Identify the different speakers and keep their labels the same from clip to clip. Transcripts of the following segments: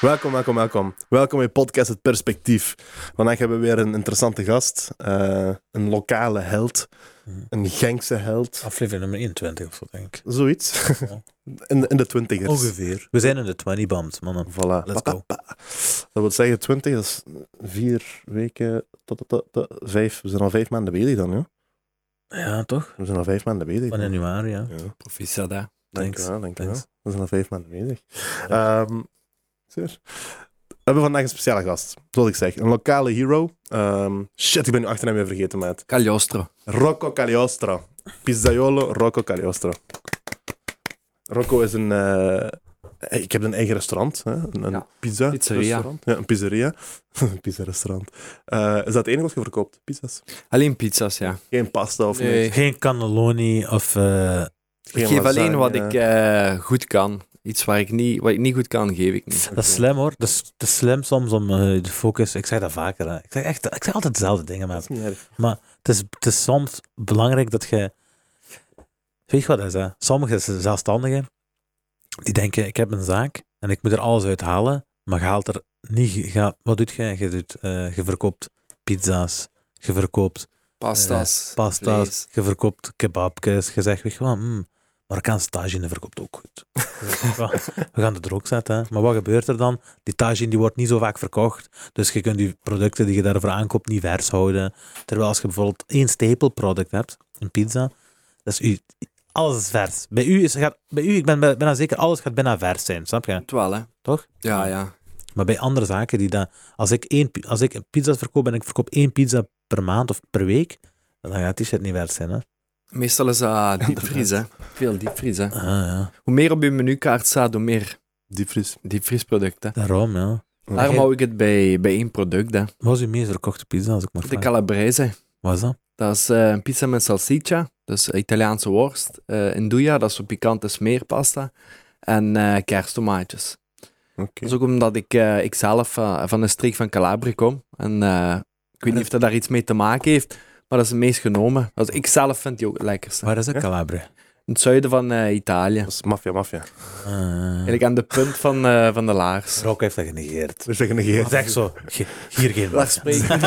Speaker 1: Welkom, welkom, welkom. Welkom bij Podcast Het Perspectief. Vandaag hebben we weer een interessante gast. eh, een lokale held.
Speaker 2: Mhm.
Speaker 1: Een Genkse held.
Speaker 2: Aflevering nummer 21 of zo, denk ik.
Speaker 1: Zoiets. In, in de twintigers.
Speaker 2: Oh, Ongeveer. We zijn in de 20 band, mannen.
Speaker 1: Voilà.
Speaker 2: Let's go.
Speaker 1: Pa, pa, pa. Dat wil zeggen, 20, dat is vier weken tot, tot, tot, tot vijf. We zijn al vijf maanden bezig dan, ja.
Speaker 2: Ja, toch?
Speaker 1: We zijn al vijf maanden bezig.
Speaker 2: Van
Speaker 1: dan.
Speaker 2: januari, ja.
Speaker 1: Ja,
Speaker 3: Proficiat, hè.
Speaker 1: dank je wel, dank je wel.
Speaker 2: Thanks.
Speaker 1: We zijn al vijf maanden bezig. Ehm, zeer. we hebben vandaag een speciale gast, zoals ik zeg. Een lokale hero. Ehm, shit, ik ben nu achternaam weer vergeten, maat.
Speaker 3: Cagliostro.
Speaker 1: Rocco Cagliostro. Pizzaiolo Rocco Cagliostro. Rocco is een... eh, ik heb een eigen restaurant. Hè? Een, een
Speaker 3: Ja.
Speaker 1: pizza
Speaker 3: Pizzeria.
Speaker 1: restaurant. Ja, een pizzeria. een pizza-restaurant. Eh, is dat het enige wat je verkoopt? Pizza's?
Speaker 3: Alleen pizza's, ja.
Speaker 1: Geen pasta of
Speaker 3: Nee.
Speaker 1: niks?
Speaker 2: Geen cannelloni of... eh,
Speaker 3: Ik
Speaker 1: Geen
Speaker 3: geef alleen wat
Speaker 1: lasagne.
Speaker 3: ik eh, goed kan. Iets waar ik niet, wat ik niet goed kan, geef ik niet.
Speaker 2: dat is slim, hoor. Dat is, dat is slim soms om eh, de focus... Ik zeg dat vaker, hè. Ik zeg, echt, ik zeg altijd dezelfde dingen,
Speaker 1: Dat
Speaker 2: maar
Speaker 1: is niet erg.
Speaker 2: het is, het is soms belangrijk dat je... Weet je wat dat is, hè? Sommige zelfstandigen, die denken, ik heb een zaak en ik moet er alles uit halen, maar je haalt er niet... je gaat- wat doet je? Je, doet, eh, je verkoopt pizza's, je verkoopt
Speaker 3: Pasta's.
Speaker 2: pasta's,
Speaker 3: Eh, vlees.
Speaker 2: je verkoopt kebabjes, je zegt, weet je wat, mm, Marokkaanse tagine verkoopt ook goed. We gaan het er ook zetten, hè. maar wat gebeurt er dan? Die tagine die wordt niet zo vaak verkocht, dus je kunt die producten die je daarvoor aankoopt niet vers houden. Terwijl als je bijvoorbeeld één stapelproduct hebt, een pizza, dat is u, alles is vers. Bij u, is, gaat, bij u ik ben bij- bijna zeker, alles gaat bijna vers zijn, snap je?
Speaker 3: Het wel, hè.
Speaker 2: Toch?
Speaker 3: Ja, ja.
Speaker 2: Maar bij andere zaken, die dat, als, ik één, pi- als ik pizza's verkoop en ik verkoop één pizza per maand of per week, dan gaat die shit niet vers zijn, hè?
Speaker 3: Meestal is dat diepvries, hè. Veel diepvries, hè.
Speaker 2: Ah, ja.
Speaker 3: Hoe meer op je menukaart staat, hoe meer
Speaker 1: Diepvries.
Speaker 3: diepvriesproducten.
Speaker 2: Daarom, ja.
Speaker 3: Daarom hou ik het bij, bij één product, hè.
Speaker 2: Wat is uw meest verkochte pizza, als ik maar
Speaker 3: De
Speaker 2: vraag?
Speaker 3: calabrese.
Speaker 2: Wat is dat?
Speaker 3: Dat is eh, een pizza met salsiccia, dus Italiaanse worst. Eh Induja, dat is zo pikante smeerpasta. En eh kersttomaatjes.
Speaker 1: Oké.
Speaker 3: Dat is ook omdat ik, eh, ik zelf eh, van de streek van Calabria kom. En eh, ik weet niet of dat daar iets mee te maken heeft, maar dat is het meest genomen. Dus ik zelf vind die ook het lekkerste.
Speaker 2: Waar is dat,
Speaker 1: Ja?
Speaker 2: Calabria?
Speaker 3: In het zuiden van eh, Italië.
Speaker 1: Dat is maffia, maffia.
Speaker 2: Ah.
Speaker 3: Eigenlijk aan de punt van, eh, van de laars.
Speaker 2: Rock heeft dat genegeerd.
Speaker 1: Dus zeggen geen.
Speaker 2: Dat is echt zo. Ge- hier geen
Speaker 3: Daar
Speaker 2: mensen.
Speaker 3: spreek ik niet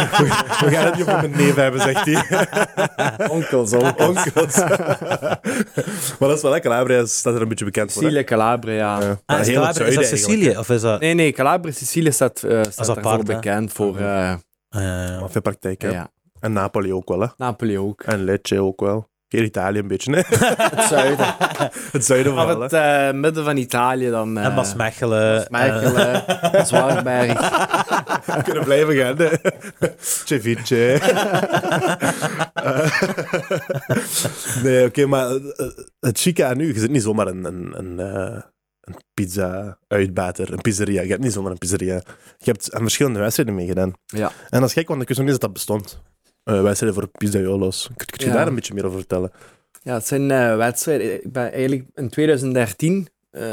Speaker 1: We gaan het niet op een neef hebben, zegt hij.
Speaker 3: onkels,
Speaker 1: Onkels. maar dat is wel lekker. Calabria is- staat er een beetje bekend voor. hè?
Speaker 3: Sicilië, Calabria, ja.
Speaker 1: Ja.
Speaker 2: Ah,
Speaker 1: Maar
Speaker 2: is
Speaker 1: heel het
Speaker 2: Calabria, is dat
Speaker 1: zuiden eigenlijk,
Speaker 2: Sicilië? Of is dat...
Speaker 3: Nee, nee, Calabria, Sicilië staat, eh staat
Speaker 2: apart,
Speaker 3: daarvoor
Speaker 2: hè?
Speaker 3: bekend voor eh,
Speaker 2: Ah, ja, ja.
Speaker 1: hè. Maar veel praktijk, hè.
Speaker 3: ja,
Speaker 1: En Napoli ook wel, hè.
Speaker 3: Napoli ook.
Speaker 1: En Lecce ook wel. Heel Italië een beetje, hè.
Speaker 3: Het zuiden.
Speaker 1: Het zuiden
Speaker 3: Af
Speaker 1: wel, hè.
Speaker 3: het eh, midden van Italië dan... eh,
Speaker 2: En Basmechelen.
Speaker 3: Maasmechelen, Zwartberg.
Speaker 1: We kunnen blijven gaan, hè. Ceviche. Eh, nee, oké, maar eh, het chique aan u, je zit niet zomaar een... een, een eh, een pizza-uitbater, een pizzeria. Je hebt niet zomaar een pizzeria. Je hebt aan verschillende wedstrijden meegedaan.
Speaker 3: Ja.
Speaker 1: En dat is gek, want ik wist nog niet dat dat bestond. Eh, wedstrijden voor pizzaiolo's. Kun, kun je
Speaker 3: Ja.
Speaker 1: daar een beetje meer over vertellen?
Speaker 3: Ja, het zijn eh, wedstrijden. Ik ben eigenlijk in 2013 eh,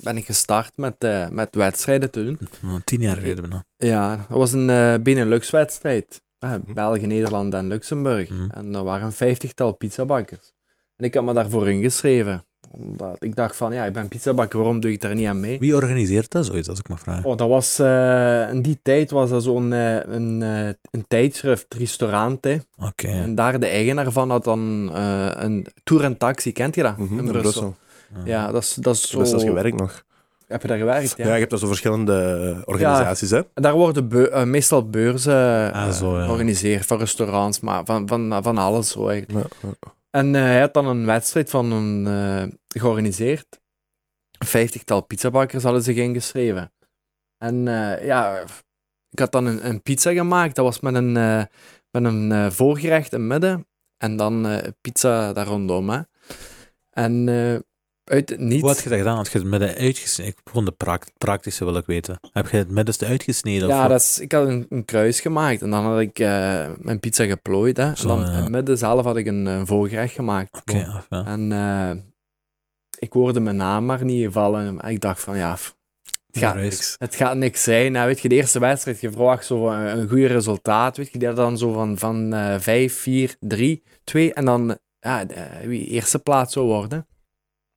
Speaker 3: ben ik gestart met, eh, met wedstrijden te doen.
Speaker 2: Oh, Tien jaar geleden bijna.
Speaker 3: Ja, dat was een eh Benelux-wedstrijd. Eh,
Speaker 1: Mhm.
Speaker 3: België, Nederland en Luxemburg.
Speaker 2: Mhm.
Speaker 3: En er waren een vijftigtal pizzabakkers. En ik had me daarvoor ingeschreven. Omdat ik dacht van, ja, ik ben pizzabakker, waarom doe ik daar niet aan mee?
Speaker 2: Wie organiseert dat zoiets, als ik mag vragen?
Speaker 3: Oh, dat was, eh, in die tijd was dat zo'n eh, een, eh, een tijdschrift, Ristorante.
Speaker 2: Oké.
Speaker 3: En daar de eigenaar van had dan eh, een tour en taxi, kent je dat?
Speaker 1: Mhm,
Speaker 3: in Brussel. mm,
Speaker 2: Ah.
Speaker 3: Ja, dat is, dat is
Speaker 1: Zo
Speaker 3: zo...
Speaker 1: best als gewerkt nog.
Speaker 3: Heb je daar gewerkt?
Speaker 1: Ja,
Speaker 3: Ja.
Speaker 1: je hebt daar zo verschillende organisaties, hè?
Speaker 3: En Daar worden beu- eh, meestal beurzen eh,
Speaker 2: Ah, zo, ja.
Speaker 3: georganiseerd van restaurants, maar van, van, van alles zo eigenlijk.
Speaker 1: Ja, ja.
Speaker 3: En eh, hij had dan een wedstrijd van een, eh, georganiseerd. Een vijftigtal pizzabakkers hadden zich ingeschreven. En eh, ja, ik had dan een, een pizza gemaakt. Dat was met een, eh, met een eh, voorgerecht in het midden en dan eh, pizza daar rondom. Hè. En eh, uit het niets...
Speaker 2: Hoe had je dat gedaan? Had je het midden uitgesneden? Gewoon de praak- praktische wil ik weten. Heb je het middenste uitgesneden?
Speaker 3: Ja,
Speaker 2: of
Speaker 3: dat is, ik had een, een kruis gemaakt en dan had ik eh, mijn pizza geplooid. Hè.
Speaker 2: Zo,
Speaker 3: en dan
Speaker 2: ja.
Speaker 3: in het midden zelf had ik een, eh, voorgerecht gemaakt.
Speaker 2: Oké, af, ja.
Speaker 3: En eh, ik hoorde mijn naam maar niet vallen. En ik dacht van ja, f- het gaat,
Speaker 2: Ja,
Speaker 1: niks.
Speaker 3: het gaat niks zijn. hè. Weet je, de eerste wedstrijd, je verwacht zo eh, een, een goed resultaat. Weet je, die had dan zo van, van eh 5, 4, 3, 2 en dan ja, de- wie eerste plaats zou worden.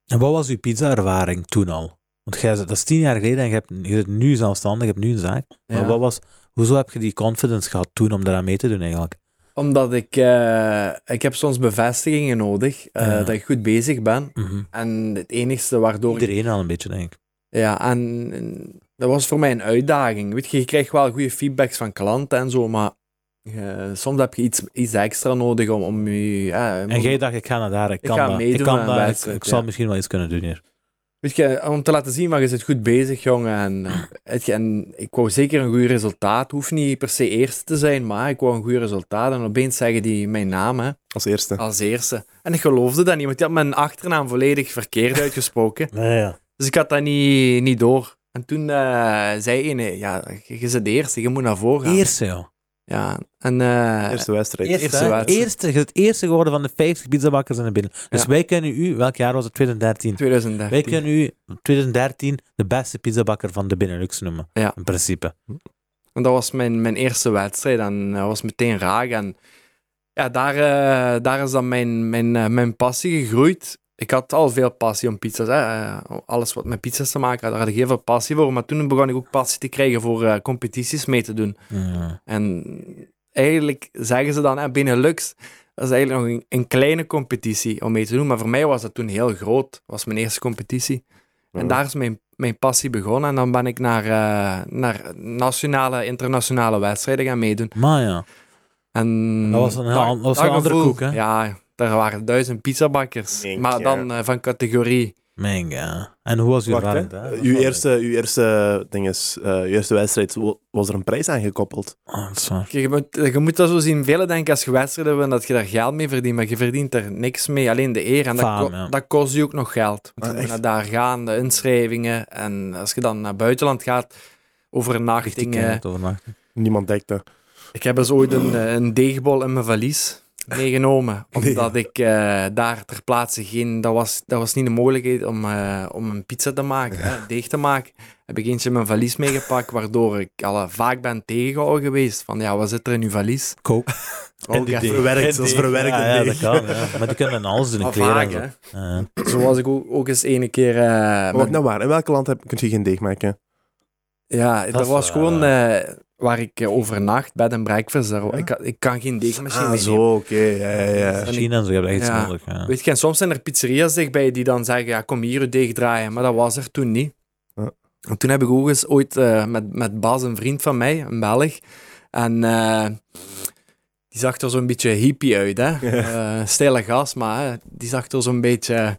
Speaker 2: En wat was uw pizza-ervaring toen al? Want jij, dat is tien jaar geleden en je, hebt, je bent nu zelfstandig, je hebt nu een zaak. Maar
Speaker 3: Ja.
Speaker 2: wat was, hoezo heb je die confidence gehad toen om daaraan mee te doen eigenlijk?
Speaker 3: Omdat ik, eh, ik heb soms bevestigingen nodig eh,
Speaker 2: Ja.
Speaker 3: dat ik goed bezig ben.
Speaker 2: Mhm.
Speaker 3: En het enigste waardoor ik
Speaker 2: Iedereen al een beetje, denk ik.
Speaker 3: Ja, en en dat was voor mij een uitdaging. Weet je, je krijgt wel goede feedbacks van klanten en zo, maar eh, soms heb je iets, iets extra nodig om, om je... Ja,
Speaker 2: En jij dacht, ik ga naar daar, ik kan
Speaker 3: ga
Speaker 2: dat, ik
Speaker 3: meedoen
Speaker 2: kan
Speaker 3: aan een
Speaker 2: dat, ik,
Speaker 3: wedstrijd,
Speaker 2: ik zal
Speaker 3: ja.
Speaker 2: misschien wel iets kunnen doen hier.
Speaker 3: Weet je, om te laten zien, maar je zit goed bezig, jongen. En, eh, weet je, en ik wou zeker een goed resultaat. Hoeft niet per se eerste te zijn, maar ik wou een goed resultaat. En opeens zeggen die mijn naam, hè,
Speaker 1: Als eerste.
Speaker 3: als eerste. En ik geloofde dat niet, want die had mijn achternaam volledig verkeerd uitgesproken.
Speaker 2: Ja, ja.
Speaker 3: Dus ik had dat niet, niet door. En toen eh, zei een, ja, je je zit de eerste, je moet naar voren gaan.
Speaker 2: Eerste, joh.
Speaker 3: Ja, en eh,
Speaker 1: eerste wedstrijd.
Speaker 2: Eerste,
Speaker 3: Eerste
Speaker 2: hè?
Speaker 3: wedstrijd.
Speaker 2: Eerste, je bent het eerste geworden van de 50 pizzabakkers in de binnen. Dus
Speaker 3: Ja.
Speaker 2: wij kennen u, welk jaar was het? 2013.
Speaker 3: 2013.
Speaker 2: Wij kunnen u 2013 de beste pizzabakker van de Benelux noemen.
Speaker 3: Ja.
Speaker 2: In principe.
Speaker 3: En dat was mijn, mijn eerste wedstrijd en dat was meteen raak. En ja, daar, eh, daar is dan mijn, mijn, eh, mijn passie gegroeid. Ik had al veel passie om pizza's. Hè. eh, Alles wat met pizza's te maken had, daar had ik heel veel passie voor. Maar toen begon ik ook passie te krijgen voor eh, competities mee te doen.
Speaker 2: Ja.
Speaker 3: En eigenlijk zeggen ze dan, hè, Benelux, dat is eigenlijk nog een, een kleine competitie om mee te doen. Maar voor mij was dat toen heel groot. Dat was mijn eerste competitie. En daar is mijn, mijn passie begonnen. En dan ben ik naar, eh, naar nationale, internationale wedstrijden gaan meedoen.
Speaker 2: Maar ja,
Speaker 3: En
Speaker 2: Dat was een heel
Speaker 3: dat-
Speaker 2: an- dat was
Speaker 3: dat
Speaker 2: een andere
Speaker 3: gevoel,
Speaker 2: koek, hè?
Speaker 3: Ja, daar waren duizend pizzabakkers.
Speaker 1: Denk
Speaker 3: maar
Speaker 1: je.
Speaker 3: dan eh, van categorie.
Speaker 2: menga. En hoe was uw
Speaker 1: Wacht, hè.
Speaker 2: rand? hè?
Speaker 1: Eh, Uw eerste, uw eerste ding is, eh, uw eerste wedstrijd, wo- was er een prijs aan gekoppeld?
Speaker 2: Ah, dat is waar.
Speaker 3: Je moet, je moet dat zo zien. Velen denken als je wedstrijden wint dat je daar geld mee verdient. Maar je verdient er niks mee. Alleen de eer. En dat,
Speaker 2: Faam,
Speaker 3: ko-
Speaker 2: ja.
Speaker 3: dat kost je ook nog geld. Want
Speaker 1: Ah,
Speaker 3: je moet
Speaker 1: echt?
Speaker 3: naar daar gaan, de inschrijvingen. En als je dan naar buitenland gaat,
Speaker 2: Richting
Speaker 3: overnachtingen.
Speaker 2: het overnachten.
Speaker 1: Niemand dekte.
Speaker 3: Ik heb eens ooit een, eh, een deegbol in mijn valies meegenomen.
Speaker 1: Nee.
Speaker 3: Omdat ik eh, daar ter plaatse geen... Dat was, dat was niet de mogelijkheid om, eh, om een pizza te maken, hè, deeg te maken. Heb ik eentje in mijn valies meegepakt, waardoor ik al eh, vaak ben tegengehouden geweest. Van, ja, wat zit er in uw valies? Oh,
Speaker 2: Koop.
Speaker 3: Ook
Speaker 1: die
Speaker 3: echt
Speaker 1: deeg. Verwerkt, dat is verwerkt,
Speaker 2: Ja, ja,
Speaker 1: nee.
Speaker 2: dat kan. Ja. Maar die kunnen in alles doen, in
Speaker 3: Maar
Speaker 2: kleren
Speaker 3: vaak,
Speaker 2: en zo.
Speaker 3: hè.
Speaker 2: Ja.
Speaker 3: Zo was ik ook, ook eens ene keer... eh,
Speaker 1: Maar
Speaker 3: met-
Speaker 1: wacht nou waar, in welk land heb, kun je geen deeg maken?
Speaker 3: ja,
Speaker 2: Dat
Speaker 3: dat
Speaker 2: is
Speaker 3: was
Speaker 2: waar,
Speaker 3: gewoon eh, waar ik eh, overnacht, bed en breakfast. Daar, ik, kan- ik kan geen deegmachine
Speaker 1: Ah,
Speaker 3: meenemen.
Speaker 1: zo, oké. ja, ja, ja.
Speaker 3: En ik-
Speaker 2: China en zo, je hebt echt iets
Speaker 3: Ja.
Speaker 2: nodig. Ja.
Speaker 3: Weet je, en soms zijn er pizzeria's dichtbij die dan zeggen, ja, kom hier je deeg draaien. Maar dat was er toen niet.
Speaker 1: Ja.
Speaker 3: En toen heb ik ook eens ooit eh, met, met Bas, een vriend van mij, een Belg, en eh, die zag er zo'n beetje hippie uit, hè. Eh, stille gast, maar hè, die zag er zo'n beetje... eh,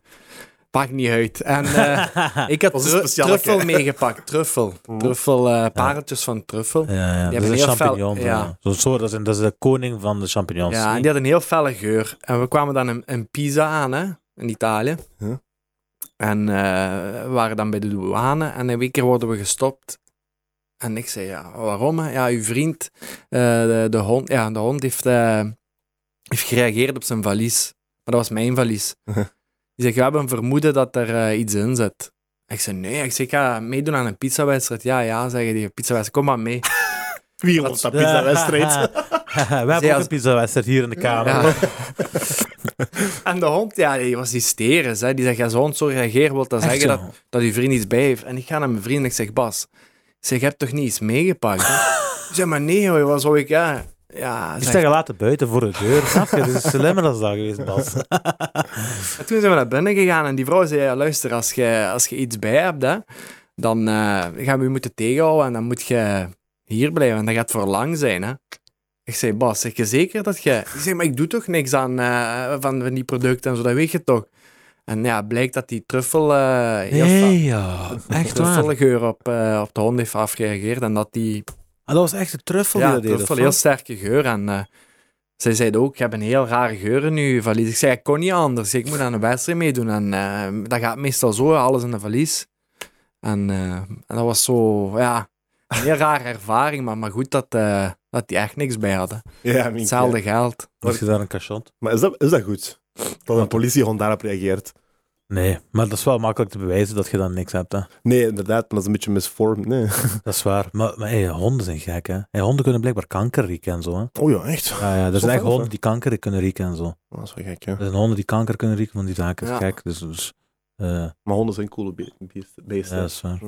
Speaker 3: Pak niet uit. En eh, ik had
Speaker 1: was een
Speaker 3: tru-
Speaker 1: specialeke.
Speaker 3: truffel meegepakt. Truffel. Truffel, eh pareltjes van truffel. Ja,
Speaker 2: Ja, ja.
Speaker 3: Die
Speaker 2: Dat is
Speaker 3: hebben
Speaker 2: een
Speaker 3: heel fel-
Speaker 2: champignon. zo.
Speaker 3: ja.
Speaker 2: Zo'n soort, dat is, dat is de koning van de champignons.
Speaker 3: en die had een heel felle geur. En we kwamen dan een, een pizza aan, hè, in Italië.
Speaker 1: Ja.
Speaker 3: En eh, we waren dan bij de douane. En in één keer worden we gestopt. En ik zei, ja, waarom? hè? Ja, uw vriend, eh, de, de hond, ja, de hond heeft, eh, heeft gereageerd op zijn valies. Maar dat was mijn valies. Die zegt, we hebben een vermoeden dat er eh, iets in zit. Ik zei, nee. Ik zei, ik ga meedoen aan een pizzawedstrijd. Ja, ja, zeggen die, pizzawedstrijd, kom maar mee.
Speaker 1: Wie ons dat pizza-wedstrijd?
Speaker 2: We hebben ook
Speaker 3: als-
Speaker 2: een pizza-wedstrijd hier in de kamer.
Speaker 3: Ja. en de hond, ja, die was hysterisch. Hè. Die zegt, ja, zo'n hond zo reageert, wil dat
Speaker 2: Echt
Speaker 3: zeggen
Speaker 2: zo.
Speaker 3: dat, dat uw vriend iets bij heeft. En ik ga naar mijn vriend en ik zeg, Bas, ik zeg, je hebt toch niet iets meegepakt? hè? Ik zeg, maar nee, hoor, wat zou ik... Ja, ja
Speaker 2: Die
Speaker 3: zeg.
Speaker 2: staan laten buiten voor de deur. Snap je? Dat is slimmer dan dat geweest, Bas.
Speaker 3: En toen zijn we naar binnen gegaan en die vrouw zei, ja, luister, als je, als je iets bij hebt, hè, dan eh, gaan we je moeten tegenhouden en dan moet je hier blijven. En dat gaat voor lang zijn, hè. Ik zei, Bas, zeg je zeker dat je... Ik zei, maar ik doe toch niks aan eh, van, van die producten en zo, dat weet je toch? En ja, blijkt dat die truffel... eh heel fel-
Speaker 2: Nee, ja. Echt waar.
Speaker 3: truffelgeur op, eh, op de hond heeft afgereageerd. En dat die
Speaker 2: Ah, dat was echt de truffel
Speaker 3: ja,
Speaker 2: die dat deed.
Speaker 3: truffel,
Speaker 2: of
Speaker 3: heel
Speaker 2: wat?
Speaker 3: sterke geur. En eh, zij zeiden ook, je hebt een heel rare geur in je valies. Ik zei, ik kon niet anders. Ik moet aan een wedstrijd meedoen. En eh, dat gaat meestal zo, alles in de valies. En, eh, en dat was zo, ja, een heel rare ervaring. Maar, maar goed dat, eh, dat die echt niks bij hadden.
Speaker 1: Ja, I mean,
Speaker 3: Hetzelfde geld.
Speaker 2: Was je daar een cachot?
Speaker 1: Maar is dat, is dat goed? Dat een politiehond daarop reageert?
Speaker 2: Nee, maar dat is wel makkelijk te bewijzen dat je dan niks hebt. Hè.
Speaker 1: Nee, inderdaad, maar dat is een beetje misvormd. Nee.
Speaker 2: Dat is waar. Maar, maar hey, honden zijn gek, hè. Hey, honden kunnen blijkbaar kanker rieken en zo, hè.
Speaker 1: Oh ja, echt?
Speaker 2: Ah, Ja, ja, er
Speaker 1: Zo
Speaker 2: zijn echt
Speaker 1: fel,
Speaker 2: honden
Speaker 1: hè?
Speaker 2: die kanker kunnen rieken en zo.
Speaker 1: Dat is wel gek, hè?
Speaker 2: Er zijn honden die kanker kunnen rieken, want die zaken is
Speaker 3: Ja.
Speaker 2: gek. Dus, dus Eh,
Speaker 1: Maar honden zijn coole be- beesten.
Speaker 2: ja,
Speaker 1: beesten.
Speaker 2: dat is waar.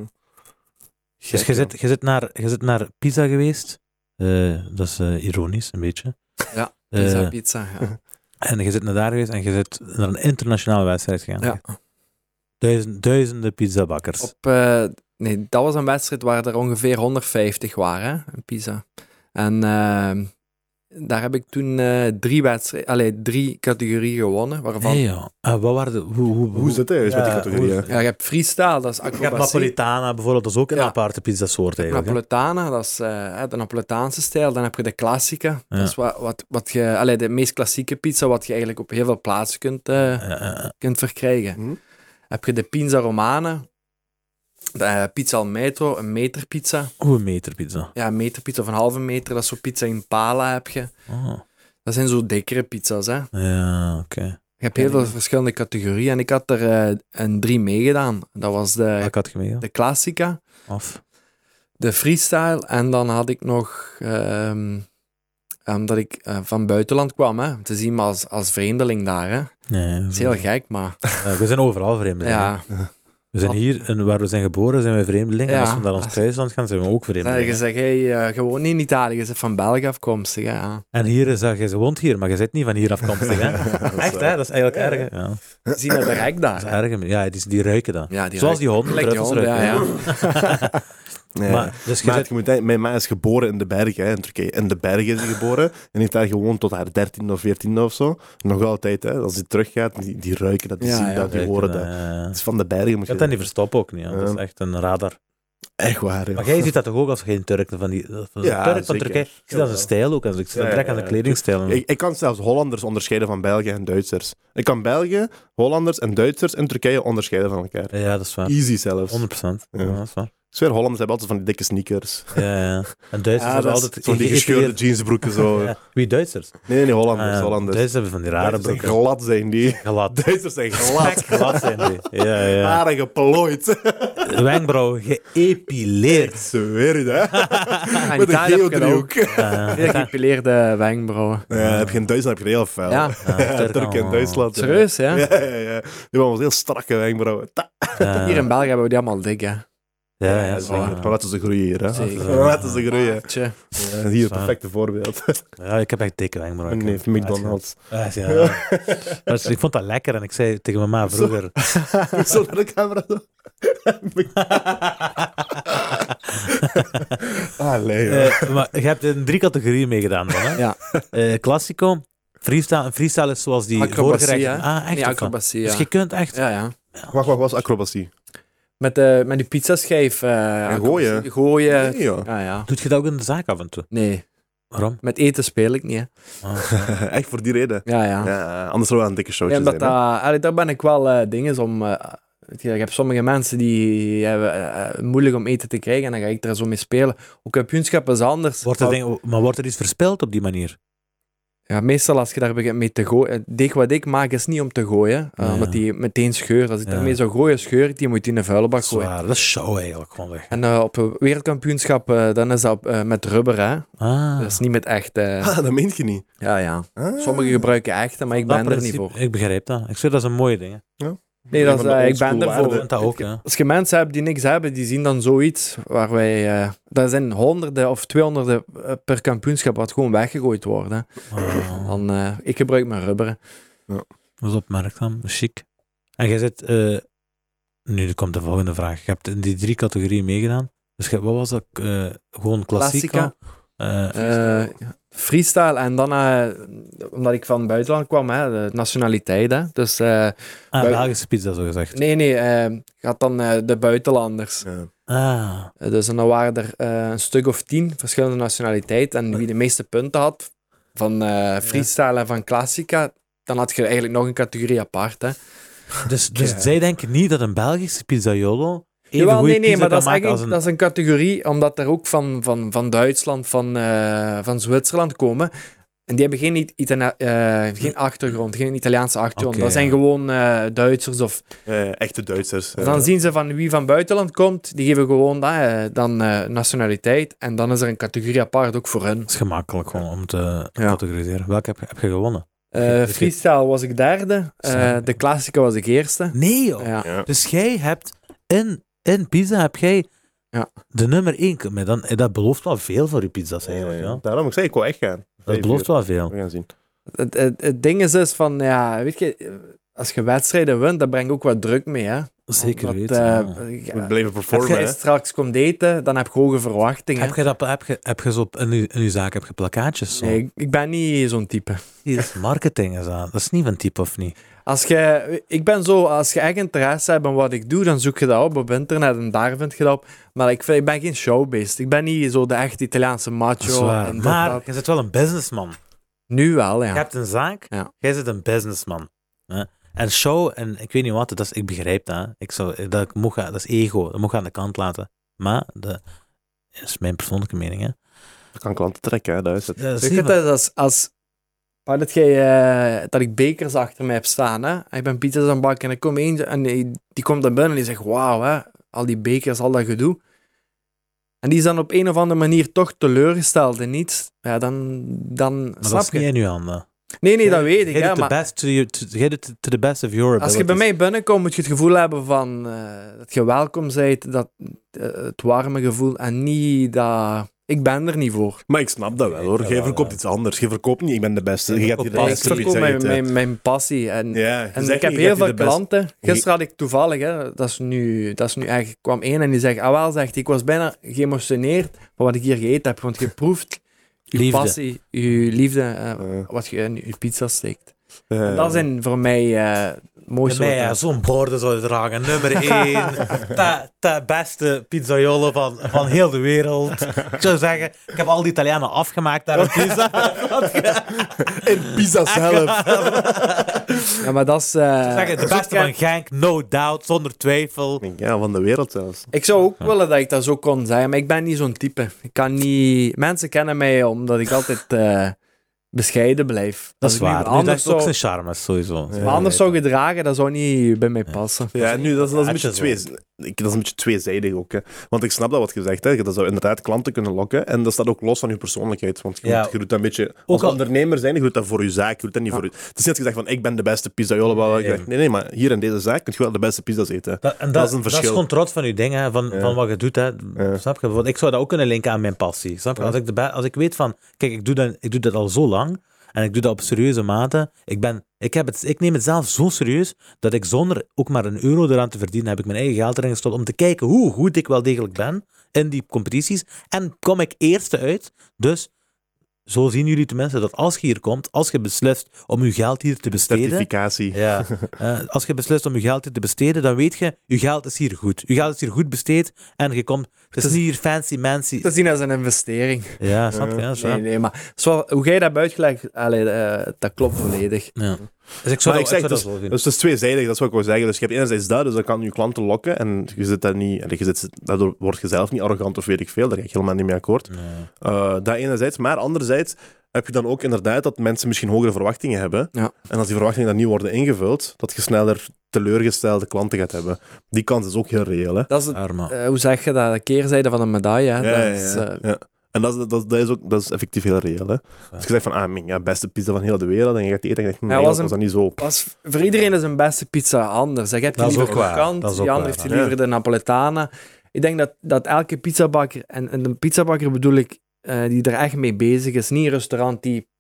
Speaker 1: Gek,
Speaker 2: Dus je
Speaker 1: ja.
Speaker 2: zit, je zit, naar, je zit naar Pisa geweest. Eh, dat is eh, ironisch, een beetje.
Speaker 3: Ja,
Speaker 2: Eh,
Speaker 3: Pizza, pizza. Ja.
Speaker 2: en je zit naar daar geweest en je zit naar een internationale wedstrijd gegaan.
Speaker 3: Ja.
Speaker 2: Duizend, duizenden pizzabakkers.
Speaker 3: Op, eh, nee, dat was een wedstrijd waar er ongeveer 150 waren, hè, in Pisa. En ehm, daar heb ik toen eh, drie, wedstrijden, allee, drie categorieën gewonnen. Waarvan,
Speaker 2: Nee, joh. Ah, wat waren de, hoe, hoe,
Speaker 1: Hoe zit hij met die categorieën?
Speaker 2: hoe-
Speaker 3: ja, je hebt freestyle, dat is
Speaker 2: Je hebt
Speaker 3: acrobatie.
Speaker 2: Napolitana bijvoorbeeld, dat is ook een
Speaker 3: Ja.
Speaker 2: aparte pizzasoort eigenlijk. hè?
Speaker 3: Napoletana, dat is eh, hè, de Napoletaanse stijl. Dan heb je de klassieke.
Speaker 2: Ja.
Speaker 3: Dat is wat, wat, wat je, allee, de meest klassieke pizza, wat je eigenlijk op heel veel plaatsen kunt, eh,
Speaker 2: Eh, eh,
Speaker 3: kunt verkrijgen.
Speaker 1: Mhm.
Speaker 3: Heb je de Pinza Romana, de eh, pizza al metro, een meterpizza.
Speaker 2: hoe een meter pizza.
Speaker 3: Ja, een meterpizza of een halve meter, dat is zo'n pizza in pala heb je.
Speaker 2: Oh,
Speaker 3: Dat zijn zo dikkere pizza's, hè.
Speaker 2: ja, oké.
Speaker 3: Je hebt heel veel verschillende categorieën en ik had er eh, een drie meegedaan. Dat was de,
Speaker 2: Ah, Ik had gemeen.
Speaker 3: de Classica,
Speaker 2: Af.
Speaker 3: de Freestyle en dan had ik nog... ehm, omdat ik eh, van buitenland kwam, hè. Te zien me als, als vreemdeling daar, hè. Dat
Speaker 2: Nee,
Speaker 3: is heel gek, maar...
Speaker 2: Eh, we zijn overal vreemdelingen.
Speaker 3: Ja,
Speaker 2: We zijn hier, en waar we zijn geboren, zijn we vreemdelingen. En
Speaker 3: Ja.
Speaker 2: als we naar ons
Speaker 3: Als-
Speaker 2: thuisland gaan, zijn we ook
Speaker 3: dan
Speaker 2: vreemdelingen.
Speaker 3: je zegt, hey, eh, je woont niet in Italië, je bent van België afkomstig, hè. Ja.
Speaker 2: En hier is dat, je woont hier, maar je zit niet van hier afkomstig. Hè?
Speaker 1: Dat is
Speaker 2: Echt, hè?
Speaker 1: waar.
Speaker 2: Dat is eigenlijk
Speaker 1: Ja,
Speaker 2: erg. hè? Ja.
Speaker 3: Te zien dat de rek
Speaker 2: Dat
Speaker 3: daar,
Speaker 2: is
Speaker 3: hè.
Speaker 2: erg. Ja, die, die ruiken dat.
Speaker 3: Ja, die
Speaker 2: Zoals die honden,
Speaker 3: Gelijk die
Speaker 2: truffels
Speaker 3: honden,
Speaker 2: ruiken.
Speaker 3: ja,
Speaker 1: Nee.
Speaker 2: Maar, dus je
Speaker 1: Maar
Speaker 2: zit-
Speaker 1: je moet denken, mijn ma is geboren in de bergen, hè, in Turkije. In de bergen is ze geboren. En heeft daar gewoond tot haar dertiende of veertiende of zo. Nog altijd, hè. Als die teruggaat, die, die ruiken dat, die
Speaker 3: Ja,
Speaker 1: zien
Speaker 3: ja.
Speaker 1: dat, die
Speaker 2: ruiken
Speaker 1: horen dat.
Speaker 2: dat, ja, ja.
Speaker 1: Het is van de bergen.
Speaker 2: Je
Speaker 1: Moet
Speaker 2: gaat dat niet verstoppen ook niet. ja. Dat is
Speaker 1: Ja.
Speaker 2: echt een radar.
Speaker 1: Echt waar, hè.
Speaker 2: Maar jij ziet dat toch ook als geen Turk van die... Van
Speaker 1: Ja,
Speaker 2: Turk van
Speaker 1: zeker.
Speaker 2: Turkije. Ik zie dat als een stijl ook. Als ik zie dat
Speaker 1: Ja,
Speaker 2: direct
Speaker 1: ja,
Speaker 2: aan de
Speaker 1: ja.
Speaker 2: kledingstijl.
Speaker 1: Ik, ik kan zelfs Hollanders onderscheiden van Belgen en Duitsers. Ik kan Belgen, Hollanders en Duitsers in Turkije onderscheiden van elkaar.
Speaker 2: Ja, dat is waar. 100%.
Speaker 1: Easy zelfs. Ik
Speaker 2: Ja, dat is waar.
Speaker 1: zweer, Hollanders hebben altijd van die dikke sneakers.
Speaker 2: Ja, ja. En Duitsers
Speaker 3: Ja,
Speaker 2: hebben
Speaker 3: dat is-
Speaker 2: altijd...
Speaker 1: Zo'n die gescheurde jeansbroeken zo.
Speaker 2: Ja. Wie Duitsers?
Speaker 1: Nee, nee, Hollanders.
Speaker 2: Ah, ja.
Speaker 1: Hollanders.
Speaker 2: Duitsers hebben van die rare
Speaker 1: Duitsers zijn
Speaker 2: broeken.
Speaker 1: glad zijn die.
Speaker 2: Glad.
Speaker 1: Duitsers Ah. zijn glad.
Speaker 2: Glad zijn die. Ja, ja.
Speaker 1: Haren geplooid.
Speaker 2: Wenkbrauwen geëpileerd.
Speaker 1: Zweer je dat?
Speaker 3: Ja, Ah, in
Speaker 1: Met een
Speaker 3: Italië heb je dat ook.
Speaker 1: geodriehoek.
Speaker 2: Ja,
Speaker 3: Heel geëpileerde wenkbrauwen.
Speaker 1: Ja, heb je in Duitsland heb je heel vuil.
Speaker 3: Ja,
Speaker 1: Turk en Duitsland. ja.
Speaker 3: serieus, hè.
Speaker 1: Ja, ja, ja. Die hebben ons heel strakke wenkbrauwen. Ta-
Speaker 2: Ja,
Speaker 3: Hier in België hebben we die allemaal dik, hè.
Speaker 2: ja, ja,
Speaker 1: dat is
Speaker 2: zeker.
Speaker 1: lekker. Maar laten ze groeien hier, hè.
Speaker 3: Zeker.
Speaker 1: Maar Laten ze groeien.
Speaker 3: Tje.
Speaker 1: Ja, eh, hier, perfecte voorbeeld.
Speaker 2: Ja, ik heb echt dikke wenkbrauwen.
Speaker 1: Nee, van McDonald's.
Speaker 2: Ja, ja. ja. Maar Ik vond dat lekker en ik zei tegen mijn ma vroeger...
Speaker 1: Zo naar de camera. zo. ah, nee, joh.
Speaker 2: Eh, maar je hebt in drie categorieën meegedaan dan, hè?
Speaker 3: Ja.
Speaker 2: Eh, classico, freestyle. En Freestyle is zoals die
Speaker 3: Acrobatie,
Speaker 2: voorgerechten. Ah,
Speaker 3: hè?
Speaker 2: echt?
Speaker 3: Nee,
Speaker 2: of wat?
Speaker 3: acrobatie,
Speaker 2: Dus
Speaker 3: ja.
Speaker 2: je kunt echt...
Speaker 3: Ja, ja.
Speaker 1: Wacht, wacht, was acrobatie?
Speaker 3: Met, de met die pizzaschijf. eh,
Speaker 1: En gooien.
Speaker 3: Gooien.
Speaker 1: Nee, joh.
Speaker 3: Ja, ja.
Speaker 2: Doet je dat ook in de zaak af en toe?
Speaker 3: Nee,
Speaker 2: Waarom?
Speaker 3: met eten speel ik niet, hè.
Speaker 2: Ah,
Speaker 1: Echt voor die reden.
Speaker 3: Ja, ja.
Speaker 1: Ja, anders zou we een dikke
Speaker 3: Nee,
Speaker 1: showtje
Speaker 3: omdat
Speaker 1: zijn.
Speaker 3: dat,
Speaker 1: hè.
Speaker 3: allee, daar ben ik wel eh dingen om... eh, weet je, ik heb sommige mensen die hebben eh, moeilijk om eten te krijgen en dan ga ik er zo mee spelen. Ook kampioenschap is anders.
Speaker 2: wordt er ding- maar wordt er iets verspild op die manier?
Speaker 3: Ja, meestal als je daar begint mee te gooien... Het deeg wat ik maak is niet om te gooien, eh,
Speaker 2: Ja.
Speaker 3: omdat die meteen scheurt. Als ik
Speaker 2: Ja.
Speaker 3: daarmee zou gooien, scheur ik die, moet die in de vuilbak gooien.
Speaker 2: Zwaar, dat is show eigenlijk gewoon weg.
Speaker 3: En eh, op een wereldkampioenschap, eh, dan is dat op, eh, met rubber, hè.
Speaker 2: Ah,
Speaker 3: Dat is niet met echt... eh,
Speaker 1: Ah, dat meent je niet.
Speaker 3: ja, ja.
Speaker 1: Ah.
Speaker 3: Sommigen gebruiken echte, maar ik
Speaker 2: dat
Speaker 3: ben er niet
Speaker 2: principe-
Speaker 3: voor.
Speaker 2: Ik begrijp dat. Ik zeg, dat is een mooie ding. hè.
Speaker 3: Nee, dat is,
Speaker 1: Van de
Speaker 3: eh, ik ben
Speaker 1: oldschool
Speaker 2: Ik
Speaker 1: waarde.
Speaker 3: ervoor.
Speaker 2: vind dat ook, hè.
Speaker 3: Als je mensen hebt die niks hebben, die zien dan zoiets waar wij... eh dat zijn honderden of tweehonderden eh, per kampioenschap wat gewoon weggegooid worden.
Speaker 2: Ah,
Speaker 3: Dan, eh, ik gebruik mijn rubberen.
Speaker 2: dat is opmerkzaam, chic. En jij zit... eh, nu komt de volgende vraag. Je hebt in die drie categorieën meegedaan. Dus je- wat was dat? eh, gewoon klassica?
Speaker 3: Klassica.
Speaker 2: Eh,
Speaker 3: Eh, freestyle en dan, eh, omdat ik van het buitenland kwam, hè, de nationaliteit. Hè, dus eh,
Speaker 2: ah,
Speaker 3: Bui-
Speaker 2: Belgische pizza, zo gezegd.
Speaker 3: nee, nee, eh gaat dan eh, de buitenlanders.
Speaker 1: Ja.
Speaker 2: Ah,
Speaker 3: Eh, Dus en dan waren er eh, een stuk of tien verschillende nationaliteiten. En wie de meeste punten had van eh, freestyle en van classica, dan had je eigenlijk nog een categorie apart. Hè.
Speaker 2: dus, dus
Speaker 1: Ja.
Speaker 2: zij denken niet dat een Belgische pizzaiolo even
Speaker 3: Jawel,
Speaker 2: goede
Speaker 3: nee, nee,
Speaker 2: pizza
Speaker 3: maar
Speaker 2: kan
Speaker 3: dat is,
Speaker 2: maken als
Speaker 3: eigenlijk,
Speaker 2: een...
Speaker 3: dat is een categorie, omdat er ook van, van, van Duitsland, van, eh, van Zwitserland komen. En die hebben geen, It- Itana- eh, geen achtergrond, geen Italiaanse achtergrond.
Speaker 2: Oké,
Speaker 3: dat zijn
Speaker 2: ja.
Speaker 3: gewoon eh, Duitsers. Of, Dus
Speaker 1: Eh, echte Duitsers. eh.
Speaker 3: Dan zien ze van wie van buitenland komt, die geven gewoon dat, eh, dan eh, nationaliteit. En dan is er een categorie apart ook voor hun.
Speaker 2: Dat is gemakkelijk gewoon om te
Speaker 3: Ja.
Speaker 2: categoriseren. Welke heb, je- heb je gewonnen?
Speaker 3: Eh,
Speaker 2: Oké, oké.
Speaker 3: freestyle was ik derde. Eh,
Speaker 2: Samen.
Speaker 3: de klassieke was ik eerste.
Speaker 2: Nee, joh.
Speaker 3: Ja.
Speaker 1: Ja.
Speaker 2: Dus jij hebt in, in pizza heb jij
Speaker 3: Ja.
Speaker 2: de nummer 1. Maar dan, eh, dat belooft wel veel voor je pizza's eigenlijk. Ja,
Speaker 1: Daarom, ik zei, ik wil echt gaan.
Speaker 2: Dat belooft wel veel.
Speaker 1: We gaan zien.
Speaker 3: Het, het, het ding is dus van, ja, weet je, eh, als je wedstrijden wint, dat brengt ook wat druk mee, hè.
Speaker 2: Zeker
Speaker 3: Omdat,
Speaker 2: weten.
Speaker 3: eh,
Speaker 2: ja.
Speaker 3: ja,
Speaker 1: We blijven
Speaker 3: Als
Speaker 1: performen,
Speaker 3: jij
Speaker 1: hè.
Speaker 3: straks komt eten, dan heb je hoge verwachtingen.
Speaker 2: Heb je, dat, heb je, heb je zo op- in, je, in je zaak heb je plakkaatjes? Zo?
Speaker 3: Nee, ik- ik ben niet zo'n type.
Speaker 2: Die is marketing is aan. Dat is niet van type of niet.
Speaker 3: Als je, ik ben zo, als je echt interesse hebt in wat ik doe, dan zoek je dat op op internet en daar vind je dat op. Maar ik, vind- ik ben geen showbeest. Ik ben niet zo de echte Italiaanse
Speaker 2: Dat is
Speaker 3: macho.
Speaker 2: waar.
Speaker 3: en dit,
Speaker 2: Maar
Speaker 3: dat.
Speaker 2: je bent wel een businessman.
Speaker 3: Nu wel,
Speaker 2: Je
Speaker 3: ja.
Speaker 2: hebt een zaak,
Speaker 3: Ja.
Speaker 2: jij zit een businessman. Hè? En show, en ik weet niet wat, dat is, ik begrijp dat. hè. Ik zou, dat, moet gaan, dat is ego, dat moet je aan de kant laten. Maar, dat is mijn persoonlijke mening. Hè.
Speaker 1: Ik kan klanten trekken, hè. Dat is het.
Speaker 2: Dat is
Speaker 3: Ik
Speaker 2: niet
Speaker 3: vind
Speaker 2: van-
Speaker 3: dat als, als maar dat, jij, eh, dat ik bekers achter mij heb staan. Hè? Ah, Ik ben pizza's aan het bakken en er komt eentje en die, die komt dan binnen en die zegt, wauw, hè, al die bekers, al dat gedoe. En die is dan op een of andere manier toch teleurgesteld in iets. Ja, dan, dan
Speaker 2: maar dat
Speaker 3: snap
Speaker 2: is niet
Speaker 3: je.
Speaker 2: in je handen.
Speaker 3: Nee, nee, dat weet ik.
Speaker 2: Jij
Speaker 3: hè,
Speaker 2: doet the
Speaker 3: maar
Speaker 2: best to you- to- jij doet to the best of your
Speaker 3: Als je bij
Speaker 2: abilities.
Speaker 3: mij binnenkomt, moet je het gevoel hebben van eh, dat je welkom bent, dat, eh, het warme gevoel en niet dat ik ben er niet voor.
Speaker 1: Maar ik snap dat wel, hoor.
Speaker 2: Ja,
Speaker 1: Jij
Speaker 2: wel,
Speaker 1: verkoopt
Speaker 2: ja.
Speaker 1: iets anders. Je verkoopt niet, ik ben de beste. Je gaat hier de
Speaker 2: Pas-
Speaker 3: Ik
Speaker 1: beste
Speaker 3: verkoop
Speaker 1: pizza
Speaker 3: mijn,
Speaker 1: eten.
Speaker 3: mijn, mijn passie en,
Speaker 1: Ja, je
Speaker 3: en
Speaker 1: zegt
Speaker 3: Dus ik heb
Speaker 1: niet,
Speaker 3: heel
Speaker 1: gaat
Speaker 3: veel
Speaker 1: hier de beste-
Speaker 3: klanten. Gisteren had ik toevallig, hè, dat, is nu, dat is nu eigenlijk, kwam één en die zegt, ah wel, zegt, hij, ik was bijna geëmotioneerd van wat ik hier gegeten heb, want je proeft je
Speaker 2: Liefde.
Speaker 3: passie, je liefde, eh,
Speaker 1: Ja.
Speaker 3: wat je in je pizza steekt.
Speaker 2: Eh.
Speaker 1: Ja.
Speaker 3: En dat zijn voor mij eh mooie
Speaker 2: Bij mij, ja,
Speaker 3: soorten.
Speaker 2: zo'n borden zou je dragen. Nummer 1. de, de beste pizzaiolo van, van heel de wereld. Ik zou zeggen, ik heb al die Italianen afgemaakt daar op pizza.
Speaker 1: En pizza zelf.
Speaker 3: Ja, maar dat is... eh,
Speaker 2: Zeg het, de
Speaker 3: zo
Speaker 2: beste
Speaker 3: krijg-
Speaker 2: van Genk, no doubt, zonder twijfel.
Speaker 1: Ja, van de wereld zelfs.
Speaker 3: Ik zou ook willen dat ik dat zo kon zijn, maar ik ben niet zo'n type. Ik kan niet... Mensen kennen mij omdat ik altijd eh, bescheiden blijf.
Speaker 2: Dat is
Speaker 3: Als ik me
Speaker 2: waar. Nu, dat is
Speaker 3: Anders
Speaker 2: ook
Speaker 3: zou,
Speaker 2: zijn charme, is sowieso.
Speaker 1: Ja.
Speaker 3: me anders zou gedragen, dat zou niet bij mij
Speaker 2: Ja.
Speaker 3: passen.
Speaker 1: Ja, nu, dat is, dat is, een, beetje
Speaker 2: Had je
Speaker 1: twee, ik, dat is een beetje tweezijdig ook. Hè. Want ik snap dat wat je zegt. Hè. Dat zou inderdaad klanten kunnen lokken. En dat staat ook los van je persoonlijkheid. Want je,
Speaker 2: Ja.
Speaker 1: moet- je doet dat een beetje... als
Speaker 2: al-
Speaker 1: ondernemer zijn, je doet dat voor je zaak. Je doet dat niet
Speaker 3: Ja.
Speaker 1: voor je... Het is niet dat je zegt van, ik ben de beste pizzaiolo. bla, bla, bla. Ik
Speaker 2: Nee.
Speaker 1: zeg, Nee, nee, maar hier in deze zaak kun je wel de beste pizza's eten.
Speaker 2: Dat, en dat,
Speaker 1: Dat is een
Speaker 2: Dat
Speaker 1: verschil.
Speaker 2: is gewoon trots van je ding, hè, van,
Speaker 1: Ja.
Speaker 2: van wat je doet. Hè.
Speaker 1: Ja.
Speaker 2: Snap je? Want ik zou dat ook kunnen linken aan mijn passie. Snap je?
Speaker 1: Ja.
Speaker 2: Als, ik de be- als ik weet van, kijk, ik doe, dat, ik doe dat al zo lang en ik doe dat op serieuze mate. Ik, ben, ik, heb het, ik neem het zelf zo serieus dat ik zonder ook maar een euro eraan te verdienen, heb ik mijn eigen geld erin gestopt om te kijken hoe goed ik wel degelijk ben in die competities. En kom ik eerste uit, dus... Zo zien jullie tenminste dat als je hier komt, als je beslist om je geld hier te besteden,
Speaker 1: Certificatie.
Speaker 2: ja. Eh, als je beslist om je geld hier te besteden, dan weet je, je geld is hier goed. Je geld is hier goed besteed en je komt... Het is niet hier fancy mancy.
Speaker 3: Te zien als een investering.
Speaker 2: Ja, snap je? Ja, dat is waar.
Speaker 3: Nee, nee, maar zo, hoe jij dat hebt uitgelegd, allee, eh, dat klopt volledig.
Speaker 2: Ja. Dus ik zou,
Speaker 1: Maar
Speaker 2: dat,
Speaker 1: ik zeg,
Speaker 2: ik zou dat
Speaker 1: dus,
Speaker 2: zo doen.
Speaker 1: dus het is tweezijdig, dat is wat ik wil zeggen. Dus je hebt enerzijds dat, dus dat kan je klanten lokken en je zit daar niet, en je zit, daardoor word je zelf niet arrogant of weet ik veel, daar ga ik helemaal niet mee akkoord.
Speaker 2: Nee.
Speaker 1: Eh, dat enerzijds, maar anderzijds heb je dan ook inderdaad dat mensen misschien hogere verwachtingen hebben.
Speaker 3: Ja.
Speaker 1: En als die verwachtingen dan niet worden ingevuld, dat je sneller teleurgestelde klanten gaat hebben. Die kans is ook heel reëel, hè.
Speaker 3: Dat is het,
Speaker 2: Arma.
Speaker 3: eh, hoe zeg je dat? De keerzijde van een medaille. Hè?
Speaker 1: Ja,
Speaker 3: dat is,
Speaker 1: ja, ja.
Speaker 3: eh,
Speaker 1: Ja. En dat is, dat, is- dat is ook, dat is effectief heel reëel, hè. Als je zegt van, ah, mijn ja, beste pizza van heel de wereld, en je gaat die eten en je denkt,
Speaker 3: Ja,
Speaker 1: nee,
Speaker 3: was
Speaker 1: dat was dat niet zo.
Speaker 3: Pas, voor iedereen is een beste pizza anders. Je hebt die
Speaker 2: Dat is
Speaker 3: liever
Speaker 2: ook waar.
Speaker 3: krokant,
Speaker 2: Dat is
Speaker 3: die
Speaker 2: ook
Speaker 3: ander
Speaker 2: waar,
Speaker 3: heeft die
Speaker 1: ja.
Speaker 3: liever de Napoletana. Ik denk dat, dat elke pizzabakker, en, en een pizzabakker bedoel ik, eh, die er echt mee bezig is, niet een restaurant die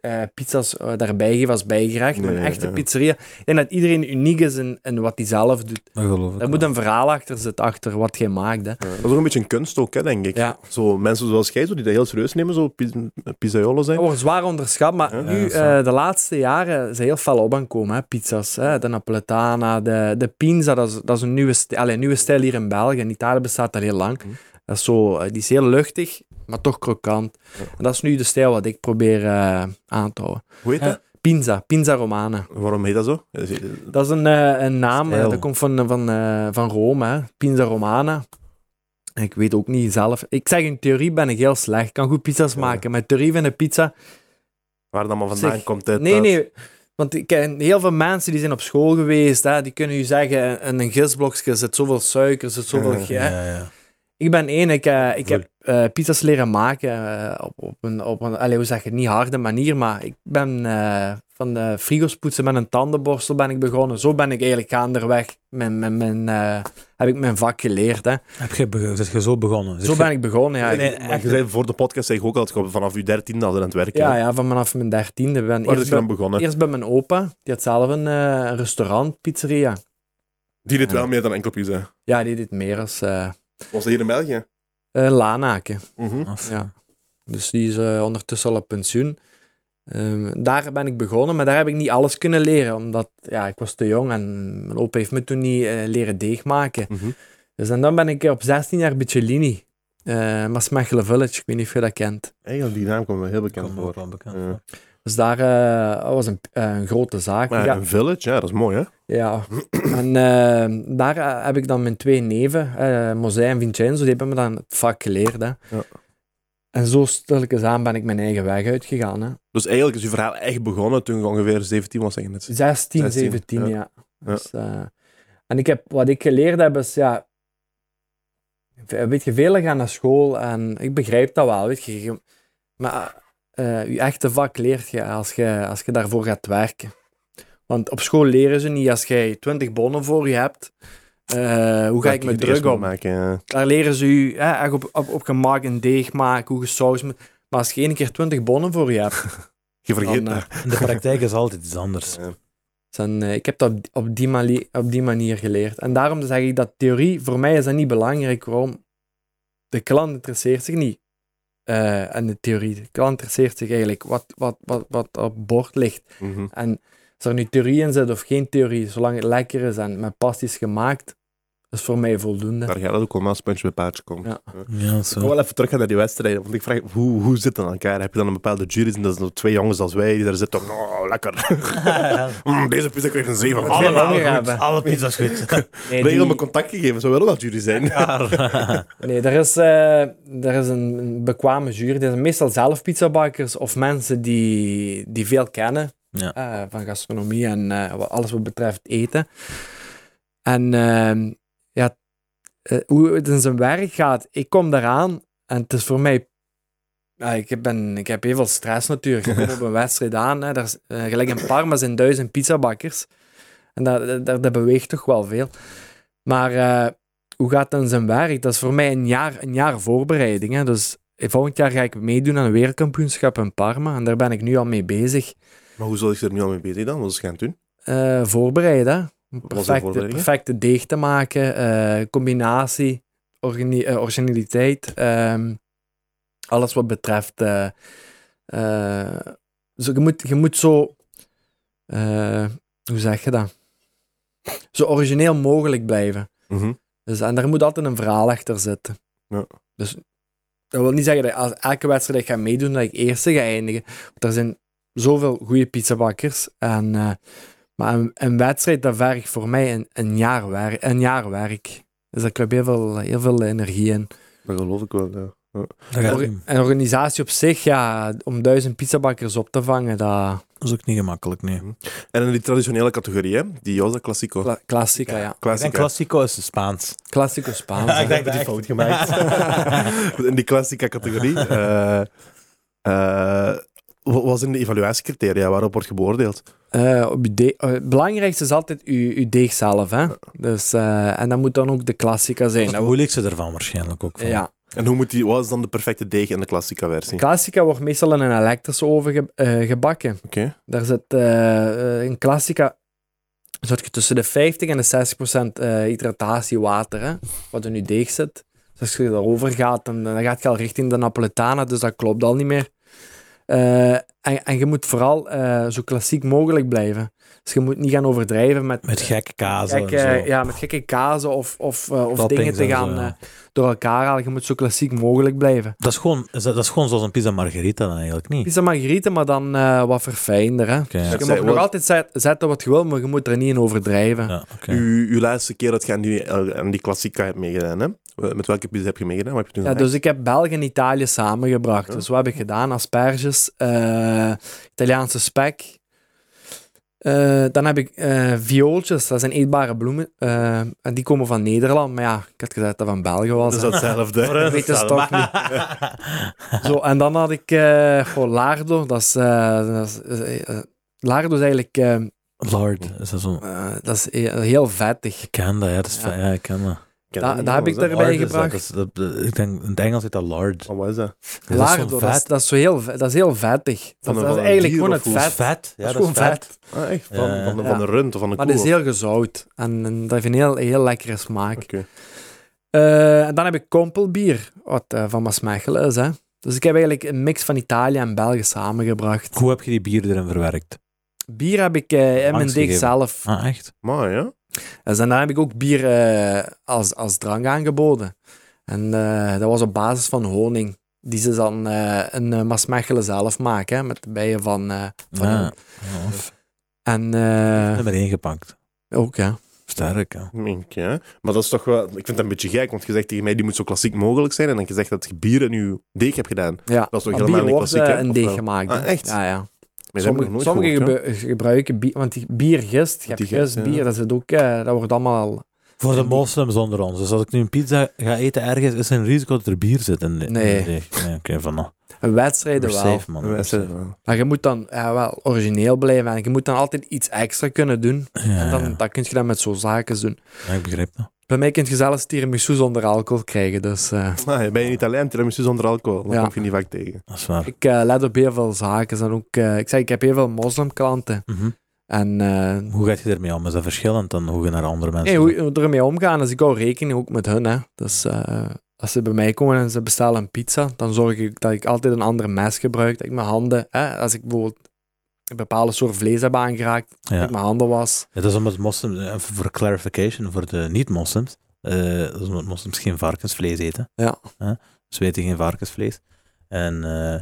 Speaker 3: eh, pizza's eh, daarbij geeft als bijgerecht, maar een
Speaker 1: Nee,
Speaker 3: echte
Speaker 1: ja.
Speaker 3: pizzeria. Ik denk dat iedereen uniek is in, in wat hij zelf doet.
Speaker 2: Dat geloof ik
Speaker 3: Er
Speaker 2: wel.
Speaker 3: moet een verhaal achter zitten, achter wat jij maakt. Hè.
Speaker 1: Ja, Dat is ook een beetje een kunst ook, hè, denk ik.
Speaker 3: Ja.
Speaker 1: Zo, mensen zoals jij, zo, die dat heel serieus nemen, zo piz- pizzaiolo zijn.
Speaker 3: Dat wordt zwaar onderschat, maar
Speaker 1: Ja.
Speaker 3: nu,
Speaker 2: Ja, dat is waar.
Speaker 3: eh, de laatste jaren, zijn heel fel op aan komen, hè, pizza's. Hè, de Napoletana, de, de pinza, dat is, dat is een nieuwe, sti- allee, nieuwe stijl hier in België. In Italië bestaat dat heel lang.
Speaker 1: Mhm.
Speaker 3: Dat is zo, eh, die is heel luchtig, maar toch krokant.
Speaker 1: Ja.
Speaker 3: En dat is nu de stijl wat ik probeer eh, aan te houden.
Speaker 1: Hoe heet
Speaker 2: Ja.
Speaker 1: dat?
Speaker 3: Pinza, Pinza Romana.
Speaker 1: Waarom heet dat zo? Is- is-
Speaker 3: Dat is een, eh, een naam, eh,
Speaker 2: Stijl.
Speaker 3: dat komt van, van, eh, van Rome, hè. Pinza Romana. En Ik weet ook niet zelf. Ik zeg, in theorie ben ik heel slecht. Ik kan goed pizza's
Speaker 1: Ja.
Speaker 3: maken, maar in theorie vind ik pizza...
Speaker 1: Waar dat maar vandaan
Speaker 3: Zeg,
Speaker 1: komt dit,
Speaker 3: Nee,
Speaker 1: dat?
Speaker 3: nee. Want ik ken heel veel mensen die zijn op school geweest, hè, die kunnen u zeggen, in een gisblokje zit zoveel suiker, zit zoveel...
Speaker 1: Ja,
Speaker 3: ge-
Speaker 2: Ja, ja.
Speaker 3: Ik Ik ben één. Ik, eh, ik
Speaker 2: Voel.
Speaker 3: heb eh, pizza's leren maken eh, op, op een, op een allee, hoe zeg je, het, niet harde manier, maar ik ben eh, van de frigo's poetsen met een tandenborstel ben ik begonnen. Zo ben ik eigenlijk gaanderweg. Mijn, mijn, mijn, eh, heb ik mijn vak geleerd. Hè.
Speaker 2: Heb je, be- zit je zo begonnen? Zit
Speaker 3: Zo
Speaker 2: je-
Speaker 3: ben ik begonnen. Ja,
Speaker 1: Maar
Speaker 2: Dus Nee,
Speaker 3: Ik-
Speaker 2: echt.
Speaker 1: je zei voor de podcast zeg ik ook altijd vanaf je dertiende al aan het werken.
Speaker 3: ja,
Speaker 1: hè?
Speaker 3: ja, van vanaf mijn dertiende ben
Speaker 1: Waar Oh, is
Speaker 3: eerst
Speaker 1: je
Speaker 3: bij-
Speaker 1: dan begonnen?
Speaker 3: Eerst bij mijn opa, die had zelf een eh, restaurant, pizzeria.
Speaker 1: Die deed
Speaker 2: Ja.
Speaker 1: wel meer dan enkel pizza.
Speaker 3: Ja, die deed meer als eh
Speaker 1: Was dat hier in België?
Speaker 3: eh, Lanaken.
Speaker 1: Mhm.
Speaker 2: Af.
Speaker 3: Ja. Dus die is eh, ondertussen al op pensioen. Ehm, daar ben ik begonnen, maar daar heb ik niet alles kunnen leren, omdat ja, ik was te jong en mijn opa heeft me toen niet eh, leren deeg maken.
Speaker 1: Mhm.
Speaker 3: Dus en dan ben ik op 16 jaar Bicellini, eh Maasmechelen Village, ik weet niet of je dat kent.
Speaker 1: Eigenlijk, die naam komt me heel bekend
Speaker 2: Komt me
Speaker 1: voor.
Speaker 2: ook wel bekend
Speaker 1: Ja.
Speaker 2: voor.
Speaker 3: Dus daar eh, dat was een, eh, een grote zaak.
Speaker 1: Maar
Speaker 3: ja,
Speaker 1: een village, ja, dat is mooi, hè?
Speaker 3: Ja, en eh, daar eh, heb ik dan mijn twee neven, eh Mosé en Vincenzo, die hebben me dan het vak geleerd. Hè.
Speaker 1: Ja.
Speaker 3: En zo stilletjes aan ben ik mijn eigen weg uitgegaan. Hè.
Speaker 1: Dus eigenlijk is je verhaal echt begonnen toen je ongeveer 17 was, zeg je net.
Speaker 3: 16,
Speaker 1: 16,
Speaker 3: 17,
Speaker 1: ja.
Speaker 3: ja. Dus, eh, en ik heb, wat ik geleerd heb is, ja, ve- weet je, velen gaan naar school en ik begrijp dat wel, weet je. je- Maar eh, je echte vak leert je als, je als je daarvoor gaat werken. Want op school leren ze niet, als jij 20 bonnen voor je hebt, eh, hoe ga
Speaker 1: Dat
Speaker 3: ik me
Speaker 1: het
Speaker 3: druk
Speaker 1: eerst moet
Speaker 3: op?
Speaker 1: maken? ja.
Speaker 3: Daar leren ze je hè, echt op, op, op gemak een deeg maken, hoe je saus moet... Maar als je één keer 20 bonnen voor je hebt,
Speaker 1: Je vergeet
Speaker 3: Dan,
Speaker 1: dat.
Speaker 2: In de praktijk is altijd iets anders.
Speaker 1: Ja.
Speaker 3: Dan, eh, ik heb dat op- op die, mali- op die manier geleerd. En daarom zeg ik dat theorie, voor mij is dat niet belangrijk. Waarom? De klant interesseert zich niet eh, aan de theorie. De klant interesseert zich eigenlijk wat, wat, wat, wat op bord ligt.
Speaker 1: Mhm.
Speaker 3: En als er nu theorie in zit of geen theorie, zolang het lekker is en met passie is gemaakt, is voor mij voldoende.
Speaker 1: Daar gaat het ook wel als puntje bij paardje komt.
Speaker 3: Ja.
Speaker 2: Ja,
Speaker 1: Ik wil
Speaker 2: zo.
Speaker 1: wel even teruggaan naar die wedstrijden, want ik vraag hoe, hoe zit dat aan elkaar? Heb je dan een bepaalde jury en dat zijn twee jongens als wij die daar zitten? Oh, lekker. Mm, deze pizza krijgt een 7 van
Speaker 3: Alle-
Speaker 1: allemaal.
Speaker 3: honger hebben.
Speaker 2: alle pizza's goed.
Speaker 3: Nee,
Speaker 1: Regel
Speaker 3: die-
Speaker 1: mijn contactgegevens, we willen dat jullie zijn.
Speaker 2: Klaar.
Speaker 3: Nee, er is, eh, er is een, een bekwame jury. Dat zijn meestal zelf pizzabakkers of mensen die, die veel kennen
Speaker 2: Ja.
Speaker 3: eh, van gastronomie en eh, wat- alles wat betreft eten. En ehm, ja, eh, hoe het in zijn werk gaat, ik kom daaraan en het is voor mij. ja, ik, ben, ik heb heel veel stress natuurlijk. Ik kom op een wedstrijd aan. Hè. Daar is, eh, gelijk in Parma zijn duizend pizzabakkers. En dat, dat, dat- dat beweegt toch wel veel. Maar eh, hoe gaat het in zijn werk? Dat is voor mij een jaar, een jaar voorbereiding. Hè. Dus eh, volgend jaar ga ik meedoen aan een wereldkampioenschap in Parma. En daar ben ik nu al mee bezig.
Speaker 1: Maar hoe zal ik er nu al mee bezig dan? Wat is het gaan doen?
Speaker 3: Eh, voorbereiden. hè. Om Perfecte,
Speaker 1: voorbereidingen?
Speaker 3: perfecte deeg te maken. eh, combinatie, organi- eh, originaliteit. ehm, alles wat betreft. eh, eh, zo, je, moet, je moet zo. eh, hoe zeg je dat? Zo origineel mogelijk blijven.
Speaker 1: Mhm.
Speaker 3: Dus, en daar moet altijd een verhaal achter zitten.
Speaker 1: Ja.
Speaker 3: Dus dat wil niet zeggen dat als elke wedstrijd ik ga meedoen, dat ik eerste ga eindigen. Want er zijn zoveel goede pizzabakkers. En, eh, maar een, een wedstrijd, dat vergt voor mij een, een, jaar, werk, een jaar werk. Dus daar kruip heel veel, heel veel energie in.
Speaker 1: Dat geloof ik wel, ja.
Speaker 2: Dat gaat
Speaker 3: Orga-
Speaker 2: niet.
Speaker 3: Een organisatie op zich, ja, om duizend pizzabakkers op te vangen, dat...
Speaker 2: Dat is ook niet gemakkelijk, nee.
Speaker 1: En in die traditionele categorie, hè? Die Joza Classico.
Speaker 3: Kla klassica, ja.
Speaker 2: Ik denk
Speaker 1: Classico.
Speaker 2: Classico is Spaans.
Speaker 3: Klassico Spaans.
Speaker 2: Ja, ik
Speaker 3: hè.
Speaker 2: denk-
Speaker 1: hebben die fout gemaakt. in die klassieke categorie. eh, eh, wat was in de evaluatiecriteria waarop wordt gebeoordeeld?
Speaker 3: Eh, op je de- eh, het belangrijkste is altijd je, je deeg zelf. Hè? Dus, eh, en dat moet dan ook de klassica
Speaker 2: Dat
Speaker 3: zijn.
Speaker 2: is het
Speaker 3: Dat wordt-
Speaker 2: moeilijkste ervan waarschijnlijk ook. van.
Speaker 3: nou, ja.
Speaker 1: En hoe moet die, wat is dan de perfecte deeg in de klassieke
Speaker 3: De
Speaker 1: versie?
Speaker 3: klassica wordt meestal in een elektrische oven ge- eh, gebakken.
Speaker 1: Oké.
Speaker 3: Daar zit eh, eh, in klassica zit je tussen de 50 en de 60 procent eh, hydratatie water, hè, wat in je deeg zit. Dus als je daarover gaat, dan, dan gaat je al richting de Napoletana, dus dat klopt al niet meer. Eh, en, en je moet vooral eh, zo klassiek mogelijk blijven. Dus je moet niet gaan overdrijven met,
Speaker 2: Met gekke kaas en
Speaker 3: gekke,
Speaker 2: zo.
Speaker 3: eh, ja, met gekke kazen of, of, eh, of
Speaker 2: Toppings
Speaker 3: dingen te
Speaker 2: en zo,
Speaker 3: gaan
Speaker 2: ja.
Speaker 3: eh, door elkaar halen. Je moet zo klassiek mogelijk blijven.
Speaker 2: Dat, is gewoon, is dat, dat is gewoon zoals een pizza margherita dan eigenlijk niet.
Speaker 3: Pizza margherita, maar dan eh, wat verfijnder. Hè?
Speaker 2: Oké,
Speaker 3: Dus
Speaker 2: ja.
Speaker 1: Ja,
Speaker 3: je
Speaker 1: zij-
Speaker 3: mag nog
Speaker 1: wat-
Speaker 3: altijd zet- zetten wat je wil, maar je moet er niet in overdrijven.
Speaker 2: Ja, oké.
Speaker 1: U, uw laatste keer dat je aan die, eh, aan die klassieke hebt meegedaan, hè? Eh, Met welke pizza heb je meegedaan? Wat heb je toen
Speaker 3: Ja,
Speaker 1: gemaakt?
Speaker 3: dus ik heb België en Italië samengebracht. Dus wat heb ik gedaan? Asperges, eh, Italiaanse spek, Eh, dan heb ik eh, viooltjes, dat zijn eetbare bloemen. eh, en die komen van Nederland, maar ja, ik had gezegd dat dat van België was.
Speaker 1: Dus Dat is hetzelfde.
Speaker 2: Maar, eh,
Speaker 3: weet het toch niet. Zo, en dan had ik voor Laardo, dat is, eh, dat is, eh, eh, Laardo is eigenlijk eh,
Speaker 2: Lord, is dat zo'n...
Speaker 3: eh, dat is he- heel vettig.
Speaker 2: Ik ken dat, ja. Dat is
Speaker 3: Ja.
Speaker 2: fijn, ja, ik ken dat.
Speaker 1: Ken
Speaker 3: Da-
Speaker 1: dat
Speaker 3: daar heb
Speaker 1: niet,
Speaker 3: ik
Speaker 1: jongens, hè.
Speaker 3: Erbij
Speaker 2: Lard is dat,
Speaker 3: gebracht.
Speaker 2: dat is- dat- dat- ik denk, in het Engels heet dat lard.
Speaker 1: Oh, wat is dat?
Speaker 2: zo'n
Speaker 3: Laardo, dat is,
Speaker 2: vet-
Speaker 3: dat is, zo heel, ve- dat is heel vettig.
Speaker 1: Van
Speaker 3: Dat,
Speaker 1: een-
Speaker 3: dat
Speaker 1: van
Speaker 3: is
Speaker 1: een
Speaker 3: eigenlijk
Speaker 1: dier
Speaker 3: gewoon
Speaker 1: of
Speaker 3: het
Speaker 1: hoe?
Speaker 3: vet.
Speaker 2: Vet, ja,
Speaker 3: Dat is
Speaker 2: dat is
Speaker 3: gewoon
Speaker 2: vet.
Speaker 3: vet.
Speaker 1: Ah, echt? Van,
Speaker 2: Ja.
Speaker 1: van, de, van de rund of van de koe?
Speaker 3: Maar dat is
Speaker 1: of-
Speaker 3: heel gezout. En, en dat heeft een heel, heel lekkere smaak.
Speaker 1: Oké.
Speaker 3: Eh, en dan heb ik kompelbier, wat eh, van Maasmechelen is. Hè. Dus ik heb eigenlijk een mix van Italië en België samengebracht.
Speaker 2: Hoe heb je die bier erin verwerkt?
Speaker 3: Bier heb ik eh in mijn
Speaker 2: Angst
Speaker 3: dik
Speaker 2: gegeven.
Speaker 3: zelf.
Speaker 2: Ah, echt?
Speaker 1: Maar ja.
Speaker 3: Dus en daar heb ik ook bier eh, als, als drank aangeboden. En eh, dat was op basis van honing. Die ze dan eh in eh, Maasmechelen zelf maken, hè, met de bijen van... eh, van
Speaker 2: Ja.
Speaker 3: hun.
Speaker 2: Ja, of-
Speaker 3: En eh,
Speaker 2: Nummer 1 gepakt.
Speaker 3: ook, ja.
Speaker 2: Sterk, ja.
Speaker 1: Mink, ja. Maar dat is toch wel... Ik vind dat een beetje gek, want je zegt tegen mij, die moet zo klassiek mogelijk zijn. En dan je zegt dat je bier in je deeg hebt gedaan.
Speaker 3: ja.
Speaker 1: Dat is toch
Speaker 3: Maar
Speaker 1: helemaal
Speaker 3: bier
Speaker 1: niet
Speaker 3: wordt
Speaker 1: klassiek,
Speaker 3: eh,
Speaker 1: hè,
Speaker 3: een
Speaker 1: of
Speaker 3: deeg
Speaker 1: wel?
Speaker 3: gemaakt.
Speaker 1: Ah,
Speaker 3: hè.
Speaker 1: echt?
Speaker 3: Ja, ja.
Speaker 1: Maar dat heb ik
Speaker 3: Sommige,
Speaker 1: nog nooit
Speaker 3: sommigen
Speaker 1: gehoord, ja.
Speaker 3: gebe- gebruiken bier, want die biergist, je
Speaker 1: Die
Speaker 3: hebt
Speaker 1: gist,
Speaker 3: gist
Speaker 1: ja.
Speaker 3: bier, dat, zit ook, eh, dat wordt allemaal...
Speaker 2: Voor de
Speaker 3: En die-
Speaker 2: moslims onder ons. Dus als ik nu een pizza ga eten ergens, is er een risico dat er bier zit in de in de
Speaker 3: Nee.
Speaker 2: deeg. Nee, oké, van nou.
Speaker 3: Wedstrijden
Speaker 2: We're
Speaker 3: wel.
Speaker 2: safe, man.
Speaker 1: Ja,
Speaker 2: We're
Speaker 1: dat is-
Speaker 2: safe.
Speaker 3: Maar je moet dan ja, wel origineel blijven en je moet dan altijd iets extra kunnen doen.
Speaker 2: Ja,
Speaker 3: En dan,
Speaker 2: ja.
Speaker 3: dan kun je dat met zo'n zaken doen.
Speaker 2: Ja, ik begrijp dat.
Speaker 3: Bij mij kun je zelfs tiramisu zonder alcohol krijgen, dus... eh,
Speaker 1: Ah, ben je niet alleen tiramisu zonder alcohol? Dat
Speaker 3: Ja.
Speaker 1: kom je niet vaak tegen.
Speaker 2: Dat is waar.
Speaker 3: ik eh, let op heel veel zaken. En ook, eh, ik zeg, ik heb heel veel moslimklanten.
Speaker 2: Mhm.
Speaker 3: En eh,
Speaker 2: Hoe gaat je ermee om? Is dat verschillend dan hoe je naar andere mensen...
Speaker 3: nee, hoe, hoe ermee omgaan, dus ik hou rekening ook met hun. Hè. Dus eh, als ze bij mij komen en ze bestellen een pizza, dan zorg ik dat ik altijd een andere mes gebruik. Dat ik mijn handen, hè, als ik bijvoorbeeld een bepaalde soort vlees heb aangeraakt, dat
Speaker 2: Ja.
Speaker 3: ik mijn handen was.
Speaker 2: Het is omdat moslims, even voor clarification, voor de niet-moslims, eh, dat is omdat moslims geen varkensvlees eten.
Speaker 3: Ja.
Speaker 2: Hè? Ze eten geen varkensvlees. En eh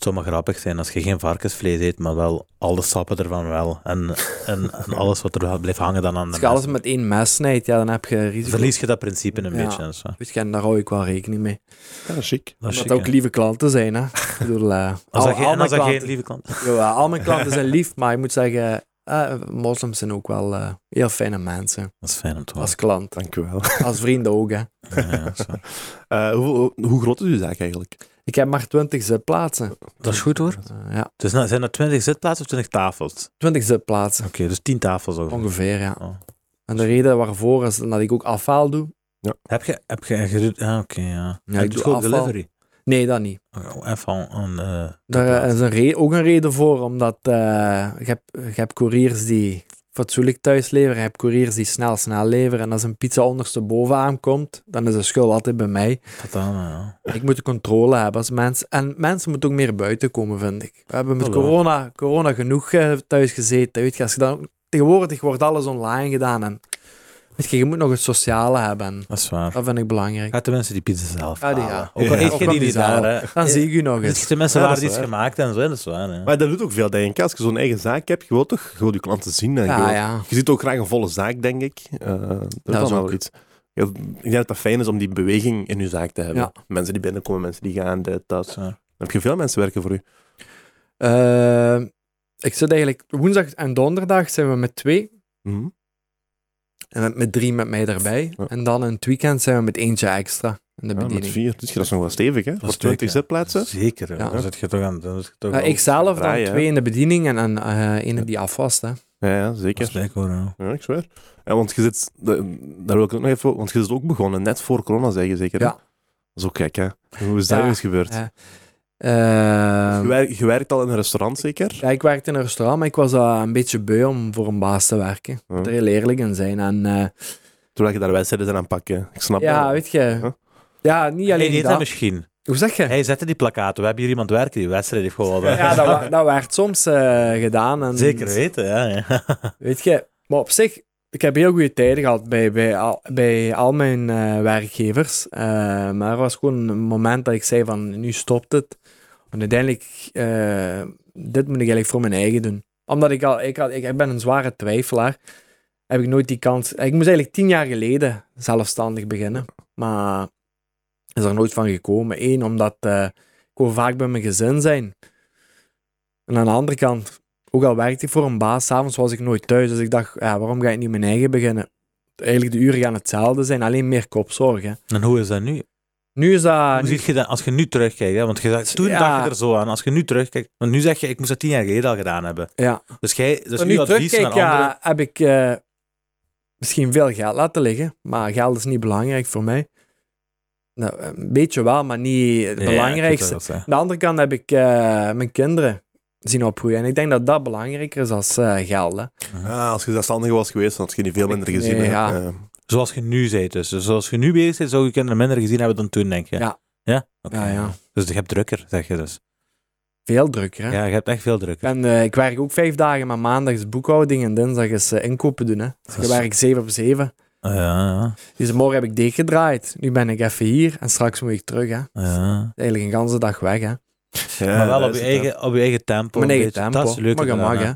Speaker 2: het zou maar grappig zijn als je geen varkensvlees eet, maar wel alle sappen ervan wel. En, en, en alles wat er wel blijft hangen dan aan de
Speaker 3: Als je alles
Speaker 2: mes.
Speaker 3: met één mes snijdt, ja, dan heb je risico.
Speaker 2: Verlies je dat principe een
Speaker 3: Ja.
Speaker 2: beetje. en zo. Dat
Speaker 3: Weet je, en daar hou ik wel rekening mee.
Speaker 1: Ja, dat is chic.
Speaker 2: is
Speaker 3: Omdat
Speaker 2: chic,
Speaker 3: dat ook
Speaker 2: hè.
Speaker 3: lieve klanten zijn, hè. Ik bedoel, eh,
Speaker 2: Als
Speaker 3: al,
Speaker 2: dat, geen,
Speaker 3: al
Speaker 2: en
Speaker 3: mijn
Speaker 2: als dat geen
Speaker 3: klanten,
Speaker 2: lieve klant is.
Speaker 3: jawel, al mijn klanten zijn lief, maar ik moet zeggen, eh, moslims zijn ook wel eh, heel fijne mensen.
Speaker 2: Dat is fijn om te horen.
Speaker 3: Als klant,
Speaker 1: Dankjewel.
Speaker 3: als vrienden ook, hè.
Speaker 2: Ja, ja, dat is waar.
Speaker 1: Eh hoe, hoe groot is uw zaak eigenlijk?
Speaker 3: Ik heb maar 20 zitplaatsen.
Speaker 2: Dat is goed hoor.
Speaker 3: Eh, ja,
Speaker 2: Dus nou, zijn er 20 zitplaatsen of 20 tafels?
Speaker 3: 20 zitplaatsen.
Speaker 2: Oké, dus 10 tafels ongeveer.
Speaker 3: Ongeveer, ja.
Speaker 2: Oh.
Speaker 3: En de reden waarvoor is dat ik ook afhaal doe.
Speaker 2: Heb je, heb je, je ah, oké, ja.
Speaker 3: Ja, ik
Speaker 2: Dus
Speaker 3: doe
Speaker 2: gewoon
Speaker 3: afval.
Speaker 2: delivery.
Speaker 3: Nee, dat niet.
Speaker 2: Oh, Even aan, eh
Speaker 3: Daar eh, is een re- ook een reden voor, omdat eh je, hebt, je hebt couriers die fatsoenlijk thuis leveren, je hebt couriers die snel, snel leveren. En als een pizza ondersteboven aankomt, dan is de schuld altijd bij mij.
Speaker 2: Tatana, ja.
Speaker 3: Ik moet de controle hebben als mens. En mensen moeten ook meer buiten komen, vind ik. We hebben met
Speaker 2: Hallo.
Speaker 3: corona, corona genoeg eh, thuis gezeten. Weet je, als je dan, tegenwoordig wordt alles online gedaan. En, weet je, je moet nog het sociale hebben.
Speaker 2: Dat is waar.
Speaker 3: Dat vind ik belangrijk.
Speaker 2: Gaat de mensen die pizza zelf
Speaker 3: Ah, die
Speaker 2: halen.
Speaker 3: ja.
Speaker 2: Ook
Speaker 1: Ja.
Speaker 2: al eet
Speaker 3: Ook
Speaker 2: je
Speaker 3: al
Speaker 2: die
Speaker 3: die
Speaker 2: niet daar, hè.
Speaker 3: Dan zie ik u nog
Speaker 2: Het
Speaker 3: eens.
Speaker 2: is de mensen
Speaker 1: Ja,
Speaker 2: waar
Speaker 1: dat is
Speaker 2: iets
Speaker 1: waar.
Speaker 2: gemaakt en zo, hè, dat is waar. hè.
Speaker 1: Maar dat doet ook veel, denk ik. Als je zo'n eigen zaak hebt, je wilt toch gewoon je klanten zien. En je
Speaker 3: Ja,
Speaker 1: wilt-
Speaker 3: ja.
Speaker 1: Je ziet ook graag een volle zaak, denk ik. Eh, dat is
Speaker 3: is
Speaker 1: allemaal
Speaker 3: ook.
Speaker 1: wel iets. Ja, ik denk dat dat fijn is om die beweging in je zaak te hebben. Mensen die binnenkomen, mensen die gaan, dit, dat.
Speaker 2: Dat is waar.
Speaker 1: Dan heb je veel mensen werken voor u.
Speaker 3: Eh, ik zit eigenlijk woensdag en donderdag zijn we met twee.
Speaker 1: Mhm.
Speaker 3: En met, met drie met mij erbij.
Speaker 1: Ja.
Speaker 3: En dan in het weekend zijn we met eentje extra in de
Speaker 1: Ja, met
Speaker 3: bediening.
Speaker 1: vier. Dus dat is nog wel stevig, hè? Voor
Speaker 2: stevig,
Speaker 1: 20
Speaker 2: ja.
Speaker 1: zitplaatsen.
Speaker 2: Zeker, hè.
Speaker 3: Ja.
Speaker 2: dan zit je toch aan... Dan zit je toch
Speaker 3: Nou, ik zelf dan
Speaker 1: draaien, hè?
Speaker 3: twee in de bediening en een eh ene die afwast. Hè.
Speaker 1: Ja, ja zeker.
Speaker 2: Kijk hoor, ja.
Speaker 1: Ja, ik zweer. Ja, want je zit, de- daar wil ik ook nog even, want je zit ook begonnen, net voor corona, zeg je zeker. hè?
Speaker 3: Ja.
Speaker 1: Dat is ook gek, hè? Hoe is dat
Speaker 3: Ja.
Speaker 1: eens gebeurd?
Speaker 3: Ja. Eh,
Speaker 1: Je, werkt, je werkt al in een restaurant, zeker?
Speaker 3: ja, ik werkte in een restaurant, maar ik was eh, een beetje beu om voor een baas te werken. Ik moet
Speaker 1: Ja.
Speaker 3: er heel eerlijk in zijn. En, eh,
Speaker 1: Terwijl je daar wedstrijden zijn aan het pakken. Ik
Speaker 2: Ah.
Speaker 1: snap
Speaker 3: ja,
Speaker 1: dat.
Speaker 3: weet je.
Speaker 1: Ja.
Speaker 3: Ja, niet
Speaker 2: Hij
Speaker 3: alleen
Speaker 2: deed dat
Speaker 3: dat.
Speaker 2: misschien.
Speaker 3: Hoe zeg je?
Speaker 2: Hij zette die plakkaten. We hebben hier iemand werken die wedstrijd heeft gewonnen.
Speaker 3: Ja, dat, wa- dat werd soms eh, gedaan. En
Speaker 2: Zeker weten, ja. ja.
Speaker 3: Weet je, maar op zich, ik heb heel goede tijden gehad bij, bij, al, bij al mijn eh, werkgevers. Eh, maar er was gewoon een moment dat ik zei van, nu stopt het. Want uiteindelijk, eh, dit moet ik eigenlijk voor mijn eigen doen. Omdat ik al, ik, had, ik, ik ben een zware twijfelaar. Heb ik nooit die kans. Ik moest eigenlijk tien jaar geleden zelfstandig beginnen. Maar is er nooit van gekomen. Eén, omdat eh, ik wil vaak bij mijn gezin zijn. En aan de andere kant, Ook al werkte ik voor een baas, s'avonds was ik nooit thuis. Dus ik dacht, ja, waarom ga ik niet mijn eigen beginnen? Eigenlijk de uren gaan hetzelfde zijn, alleen meer kopzorg. Hè.
Speaker 2: En hoe is dat nu?
Speaker 3: Ah, Nu is dat...
Speaker 2: Hoe ziet je dat als je nu terugkijkt? Hè? Want je zegt, toen
Speaker 3: Ja.
Speaker 2: dacht je er zo aan. Als je nu terugkijkt... Want nu zeg je, ik moest dat tien jaar geleden al gedaan hebben.
Speaker 3: ja.
Speaker 2: Dus jij... Dus
Speaker 3: Als
Speaker 2: uw
Speaker 3: nu
Speaker 2: advies naar
Speaker 3: terugkijk,
Speaker 2: anderen...
Speaker 3: ja, heb ik eh, misschien veel geld laten liggen. Maar geld is niet belangrijk voor mij. Nou, een beetje wel, maar niet het
Speaker 2: Ja, ik
Speaker 3: belangrijkste.
Speaker 2: weet wat dat is,
Speaker 3: Aan de andere kant heb ik eh, mijn kinderen zien opgroeien. En ik denk dat dat belangrijker is als eh, geld. Hè.
Speaker 1: Ah, als je zelfstandig was geweest, dan had je niet veel minder
Speaker 3: Ik-
Speaker 1: gezien.
Speaker 3: nee,
Speaker 1: hè.
Speaker 3: ja.
Speaker 1: Eh,
Speaker 2: hè. Zoals je nu bent dus. Dus Zoals je nu bezig bent, zou je kinderen minder gezien hebben dan toen, denk je?
Speaker 3: Ja.
Speaker 2: Ja? Oké.
Speaker 3: Ja, ja.
Speaker 2: Dus je hebt drukker, zeg je dus.
Speaker 3: Veel drukker. Hè.
Speaker 2: Ja, je hebt echt veel drukker.
Speaker 3: En eh, ik werk ook vijf dagen, maar maandag is boekhouding en dinsdag is eh, inkopen doen. Hè. Dus
Speaker 2: Dat
Speaker 3: ik
Speaker 2: is-
Speaker 3: werk zeven op zeven.
Speaker 2: Ah, Ja,
Speaker 3: Dus morgen heb ik deeg gedraaid. Nu ben ik even hier en straks moet ik terug. Hè.
Speaker 2: ja. ja.
Speaker 3: Eigenlijk een ganse dag weg. Hè.
Speaker 1: ja,
Speaker 2: maar wel
Speaker 1: dat
Speaker 2: op
Speaker 1: is
Speaker 2: je,
Speaker 1: het, hè.
Speaker 2: eigen, op je eigen tempo.
Speaker 3: Mijn
Speaker 2: een
Speaker 3: eigen
Speaker 2: beetje.
Speaker 3: tempo.
Speaker 2: Dat is leuk.
Speaker 3: maar je
Speaker 2: eraan,
Speaker 3: mag,
Speaker 2: hè.
Speaker 3: hè.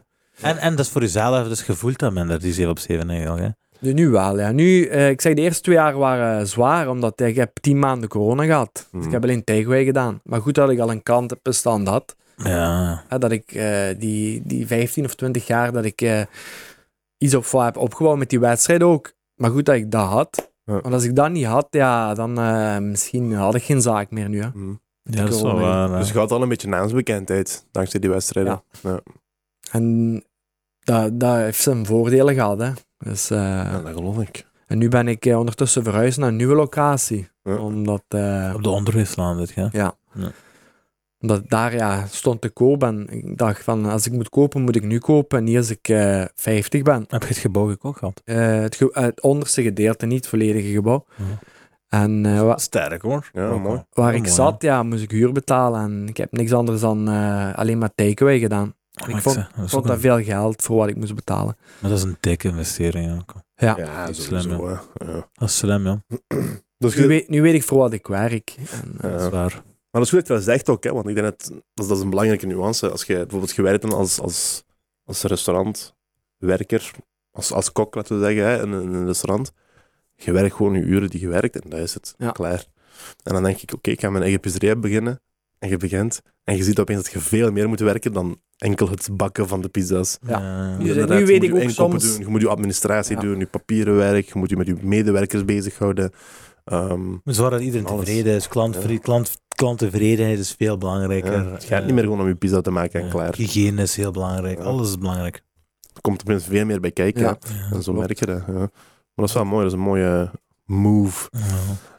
Speaker 2: En, en dat is voor jezelf, dus je voelt dat minder, die 7 op 7 eigenlijk. Hè?
Speaker 3: Nu- Nu wel, ja. Nu, eh, ik zeg, de eerste twee jaar waren eh, zwaar, omdat ik heb tien maanden corona gehad. Dus
Speaker 1: Mhm.
Speaker 3: ik
Speaker 2: Hmm.
Speaker 3: heb alleen tegenwij gedaan. Maar goed dat ik al een kant op stand had.
Speaker 2: Ja.
Speaker 3: Hè, dat ik eh, die, die 15 of 20 jaar dat ik eh, iets op voor heb opgebouwd met die wedstrijd ook. Maar goed dat ik dat had.
Speaker 1: Ja.
Speaker 3: Want als ik dat niet had, ja, dan eh, misschien had ik geen zaak meer nu. Hè.
Speaker 1: Mm.
Speaker 2: ja, dat is wel
Speaker 3: corona,
Speaker 2: waar. hè.
Speaker 1: Dus je had al een beetje naamsbekendheid dankzij die wedstrijden.
Speaker 3: En dat, dat heeft zijn voordelen gehad. Hè. Dus, eh,
Speaker 1: Ja, dat geloof ik.
Speaker 3: En nu ben ik eh, ondertussen verhuisd naar een nieuwe locatie.
Speaker 1: Ja.
Speaker 3: Omdat... eh,
Speaker 2: Op de onderwijslaan zit je.
Speaker 3: Omdat daar ja, stond te koop en ik dacht van, als ik moet kopen, moet ik nu kopen. En niet als ik eh 50 ben.
Speaker 2: Heb je het gebouw gekocht gehad?
Speaker 3: Eh, het, ge- eh, het onderste gedeelte, niet het volledige gebouw.
Speaker 2: Ja.
Speaker 3: En eh, wa-
Speaker 2: Sterk hoor.
Speaker 1: Ja,
Speaker 2: Ook
Speaker 1: mooi.
Speaker 2: wel.
Speaker 3: waar
Speaker 2: Heel
Speaker 3: ik
Speaker 2: mooi,
Speaker 3: zat, ja, moest ik huur betalen. En ik heb niks anders dan eh, alleen maar takeaway gedaan.
Speaker 2: hè.
Speaker 3: Ik
Speaker 2: Oh, Maar
Speaker 3: vond-
Speaker 2: zeg, dat
Speaker 3: Ik
Speaker 2: is
Speaker 3: vond
Speaker 2: ook
Speaker 3: dat
Speaker 2: een-
Speaker 3: veel geld voor wat ik moest betalen.
Speaker 2: Maar dat is een dikke investering. Ja. ook.
Speaker 3: Ja.
Speaker 1: Ja,
Speaker 2: dat is
Speaker 1: sowieso,
Speaker 2: slim,
Speaker 1: hè. Ja.
Speaker 2: Dat is slim, ja.
Speaker 1: Dus
Speaker 3: Nu
Speaker 1: je,
Speaker 3: weet, nu weet ik voor wat ik werk. En, eh,
Speaker 1: Ja.
Speaker 2: Dat is waar.
Speaker 1: maar dat is goed dat je dat zegt ook, hè, want ik denk dat dat, is- dat is een belangrijke nuance. Als je bijvoorbeeld gewerkt hebt als, als, als restaurantwerker, als, als kok, laten we zeggen, hè, in, een- in een restaurant, je werkt gewoon je uren die je werkt en dat is het,
Speaker 3: Ja.
Speaker 1: klaar. En dan denk ik, oké, ik ga mijn eigen pizzeria beginnen. En je begint en je ziet opeens dat je veel meer moet werken dan enkel het bakken van de pizza's.
Speaker 3: Ja.
Speaker 2: Eh,
Speaker 3: Dus-
Speaker 1: Inderdaad,
Speaker 3: nu
Speaker 1: je
Speaker 3: weet
Speaker 1: moet
Speaker 3: ik
Speaker 1: je
Speaker 3: ook
Speaker 1: inkopen
Speaker 3: soms-
Speaker 1: doen, je moet je administratie
Speaker 3: Ja.
Speaker 1: doen, je papierenwerk, je moet je met je medewerkers bezighouden. Ehm
Speaker 2: maar Zorg dat iedereen
Speaker 1: Alles.
Speaker 2: tevreden is. Klant,
Speaker 1: Ja.
Speaker 2: klant, klanttevredenheid is veel
Speaker 1: ja.
Speaker 2: belangrijker.
Speaker 1: Het gaat
Speaker 2: Eh,
Speaker 1: niet meer gewoon om je pizza te maken en
Speaker 2: eh,
Speaker 1: klaar.
Speaker 2: Hygiëne is heel belangrijk.
Speaker 1: Ja.
Speaker 2: Alles is belangrijk.
Speaker 1: Er komt opeens veel meer bij kijken.
Speaker 3: Ja.
Speaker 2: Ja.
Speaker 1: En zo
Speaker 3: klopt.
Speaker 1: merk je dat. Ja. Maar dat is wel mooi, dat is een mooie move.
Speaker 2: Ja.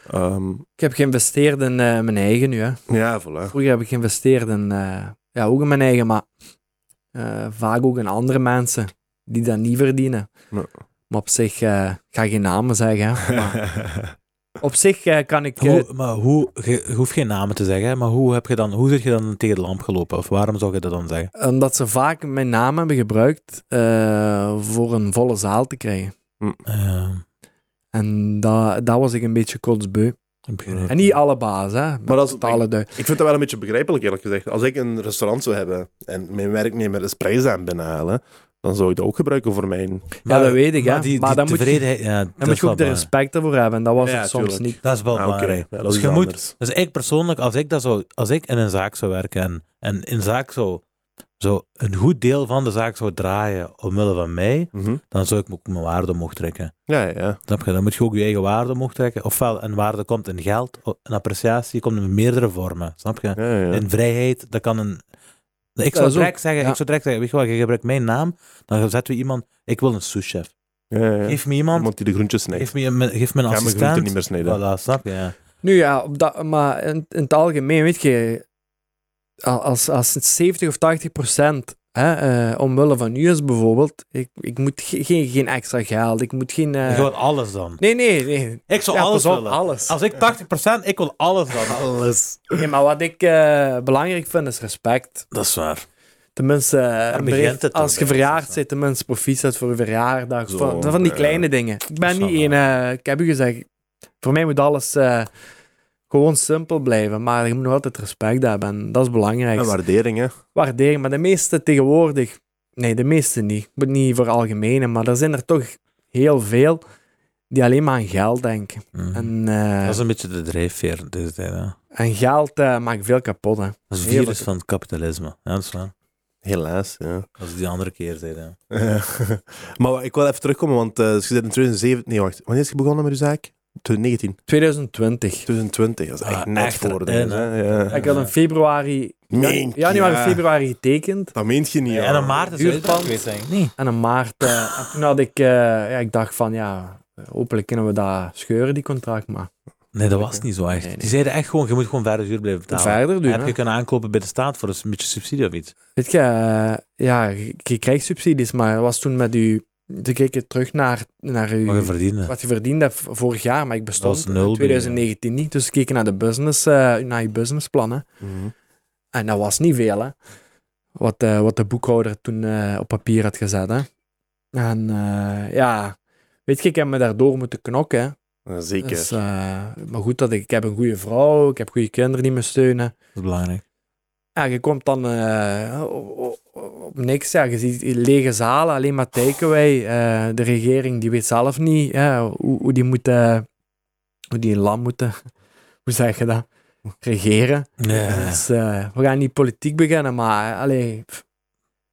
Speaker 1: Ehm,
Speaker 3: ik heb geïnvesteerd in eh, mijn eigen nu. Hè.
Speaker 1: ja, voilà.
Speaker 3: Vroeger heb ik geïnvesteerd in, eh, ja, ook in mijn eigen, maar eh, vaak ook in andere mensen die dat niet verdienen.
Speaker 1: Ja.
Speaker 3: Maar op zich, eh, ik ga geen namen zeggen. hè, Maar op zich eh, kan ik... eh,
Speaker 2: Hoe, maar hoe, je, je hoeft geen namen te zeggen, hè, maar hoe, heb je dan, hoe zit je dan tegen de lamp gelopen? Of waarom zou je dat dan zeggen?
Speaker 3: omdat ze vaak mijn naam hebben gebruikt eh, voor een volle zaal te krijgen.
Speaker 2: Eh,
Speaker 3: En dat, dat was ik een beetje kotsbeu.
Speaker 2: ik begrijp.
Speaker 3: En niet alle baas, hè.
Speaker 1: Maar dat is-
Speaker 3: Totale dui-
Speaker 1: Ik vind dat wel een beetje begrijpelijk, eerlijk gezegd. Als ik een restaurant zou hebben en mijn werknemer is prijs aan binnenhalen, dan zou ik dat ook gebruiken voor mijn...
Speaker 3: Ja, dat weet ik, hè.
Speaker 2: Maar, die,
Speaker 3: Maar
Speaker 2: die
Speaker 3: dan moet je-
Speaker 2: tevredenheid, ja, dat
Speaker 3: Dan
Speaker 2: is
Speaker 3: moet je
Speaker 2: wel
Speaker 3: ook de
Speaker 2: belangrijk.
Speaker 3: respect ervoor hebben. En dat was
Speaker 1: Ja,
Speaker 3: het soms
Speaker 1: tuurlijk.
Speaker 3: niet.
Speaker 2: Dat is wel
Speaker 1: Ah, oké.
Speaker 2: belangrijk.
Speaker 1: Ja, dat
Speaker 2: dus
Speaker 1: is
Speaker 2: je
Speaker 1: iets
Speaker 2: moet,
Speaker 1: anders.
Speaker 2: dus ik persoonlijk, als ik, dat zou, als ik in een zaak zou werken en, en in zaak zou, zou een goed deel van de zaak zou draaien omwille van mij,
Speaker 1: Mhm.
Speaker 2: dan zou ik ook mijn waarde mogen trekken.
Speaker 1: Ja, ja.
Speaker 2: Snap je? Dan moet je ook je eigen waarde mogen trekken. Ofwel, een waarde komt in geld, o- een appreciatie komt in meerdere vormen. Snap je?
Speaker 1: ja, ja.
Speaker 2: In vrijheid, dat kan een... Ik
Speaker 3: Dat
Speaker 2: zou
Speaker 3: is ook-
Speaker 2: direct zeggen,
Speaker 3: ja.
Speaker 2: ik zou direct zeggen, weet je wat, je gebruikt mijn naam, dan zetten we iemand, ik wil een souschef.
Speaker 1: ja, ja.
Speaker 2: Geef me iemand,
Speaker 1: Iemand die de groentjes snijdt.
Speaker 2: geef me, een- geef me
Speaker 1: Ga mijn
Speaker 2: een
Speaker 1: groenten
Speaker 2: assistent.
Speaker 1: niet meer snijden.
Speaker 2: Voilà, snap je? Ja.
Speaker 3: Nu ja, op dat, maar in, in het algemeen, weet je, a- als, als het 70 of 80 procent hè, eh, omwille van u is bijvoorbeeld, ik, ik moet ge- geen, geen extra geld, ik moet geen... eh,
Speaker 2: Je wilt alles dan.
Speaker 3: Nee, nee, nee.
Speaker 2: Ik zou
Speaker 3: Ja,
Speaker 2: alles
Speaker 3: pas op,
Speaker 2: willen.
Speaker 3: alles.
Speaker 2: Als ik 80%, ik wil alles dan. Alles.
Speaker 3: Nee, maar wat ik eh, belangrijk vind is respect.
Speaker 2: Dat is waar.
Speaker 3: Tenminste, eh, een
Speaker 2: begint
Speaker 3: bericht-
Speaker 2: het dan
Speaker 3: als je
Speaker 2: bij,
Speaker 3: verjaard
Speaker 2: is
Speaker 3: bent, tenminste proficiat voor je verjaardag,
Speaker 1: Zo,
Speaker 3: van, van die
Speaker 2: eh,
Speaker 1: ja.
Speaker 3: kleine dingen. Ik
Speaker 2: Dat
Speaker 3: ben
Speaker 2: is
Speaker 3: niet
Speaker 2: wel
Speaker 3: één, eh, ik heb u gezegd, voor mij moet alles eh, gewoon simpel blijven, maar je moet nog altijd respect hebben en dat is belangrijk.
Speaker 1: En waardering, hè.
Speaker 3: waardering. Maar de meeste tegenwoordig, nee, de meeste niet. Ik moet niet voor algemene, maar er zijn er toch heel veel die alleen maar aan geld denken.
Speaker 2: Mhm.
Speaker 3: En, eh,
Speaker 2: Dat is een beetje de drijfveer deze tijd. Hè.
Speaker 3: en geld eh, maakt veel kapot. Hè.
Speaker 2: Dat is het
Speaker 3: Heel
Speaker 2: virus van het kapitalisme. Ja, dat is waar.
Speaker 1: Helaas, ja.
Speaker 2: Als ik die andere keer zei. Ja.
Speaker 1: Ja. Eh, maar wa- ik wil even terugkomen, want eh, dus je zit in 2007... Nee, wacht. Wanneer is je begonnen met je zaak? 2019.
Speaker 3: 2020.
Speaker 1: 2020, dat is echt
Speaker 2: Ah,
Speaker 1: net
Speaker 2: echt
Speaker 1: voor de
Speaker 2: erin,
Speaker 1: dingen,
Speaker 2: hè?
Speaker 1: hè. Ja.
Speaker 3: Ik had in februari,
Speaker 1: Meen je?
Speaker 3: januari,
Speaker 1: Ja.
Speaker 3: februari getekend.
Speaker 1: Dat meent je niet, ja.
Speaker 2: En in maart is het
Speaker 3: Huurpand.
Speaker 2: geweest, denk ik. Nee.
Speaker 3: En in maart, eh, en toen had ik, eh, ja, ik dacht van, ja, hopelijk kunnen we dat scheuren, die contract. Maar
Speaker 2: nee, dat was niet zo echt.
Speaker 3: Nee, nee.
Speaker 2: Die zeiden echt gewoon, je moet gewoon verder huur blijven betalen.
Speaker 3: verder doen,
Speaker 2: Nou, heb
Speaker 3: hè.
Speaker 2: je kunnen aankopen bij de staat voor een beetje subsidie of iets.
Speaker 3: Weet je, eh, ja, je je krijgt subsidies, maar dat was toen met u... Toen keek je terug naar, naar uw-
Speaker 2: Mag je verdienen.
Speaker 3: wat je verdiend hebt v- vorig jaar, maar ik bestond
Speaker 2: was nul
Speaker 3: in 2019 niet. Dus keek je naar, de business, eh, naar je businessplannen.
Speaker 1: Mhm.
Speaker 3: En dat was niet veel, hè. Wat, eh, wat de boekhouder toen eh, op papier had gezet, hè. En eh, ja, weet je, ik heb me daardoor moeten knokken, hè.
Speaker 1: Ja, zeker.
Speaker 3: Dus, eh, maar goed, dat ik, ik heb een goede vrouw, ik heb goede kinderen die me steunen.
Speaker 2: Dat is belangrijk.
Speaker 3: Ja, je komt dan eh, op, op- op niks. Ja. Je ziet lege zalen, alleen maar takeaway. Eh, de regering die weet zelf niet hè, hoe, hoe die moet... eh, hoe die een land moeten... Hoe zeg je dat? Regeren.
Speaker 2: Ja.
Speaker 3: Dus, eh, we gaan niet politiek beginnen, maar... Allee, pff.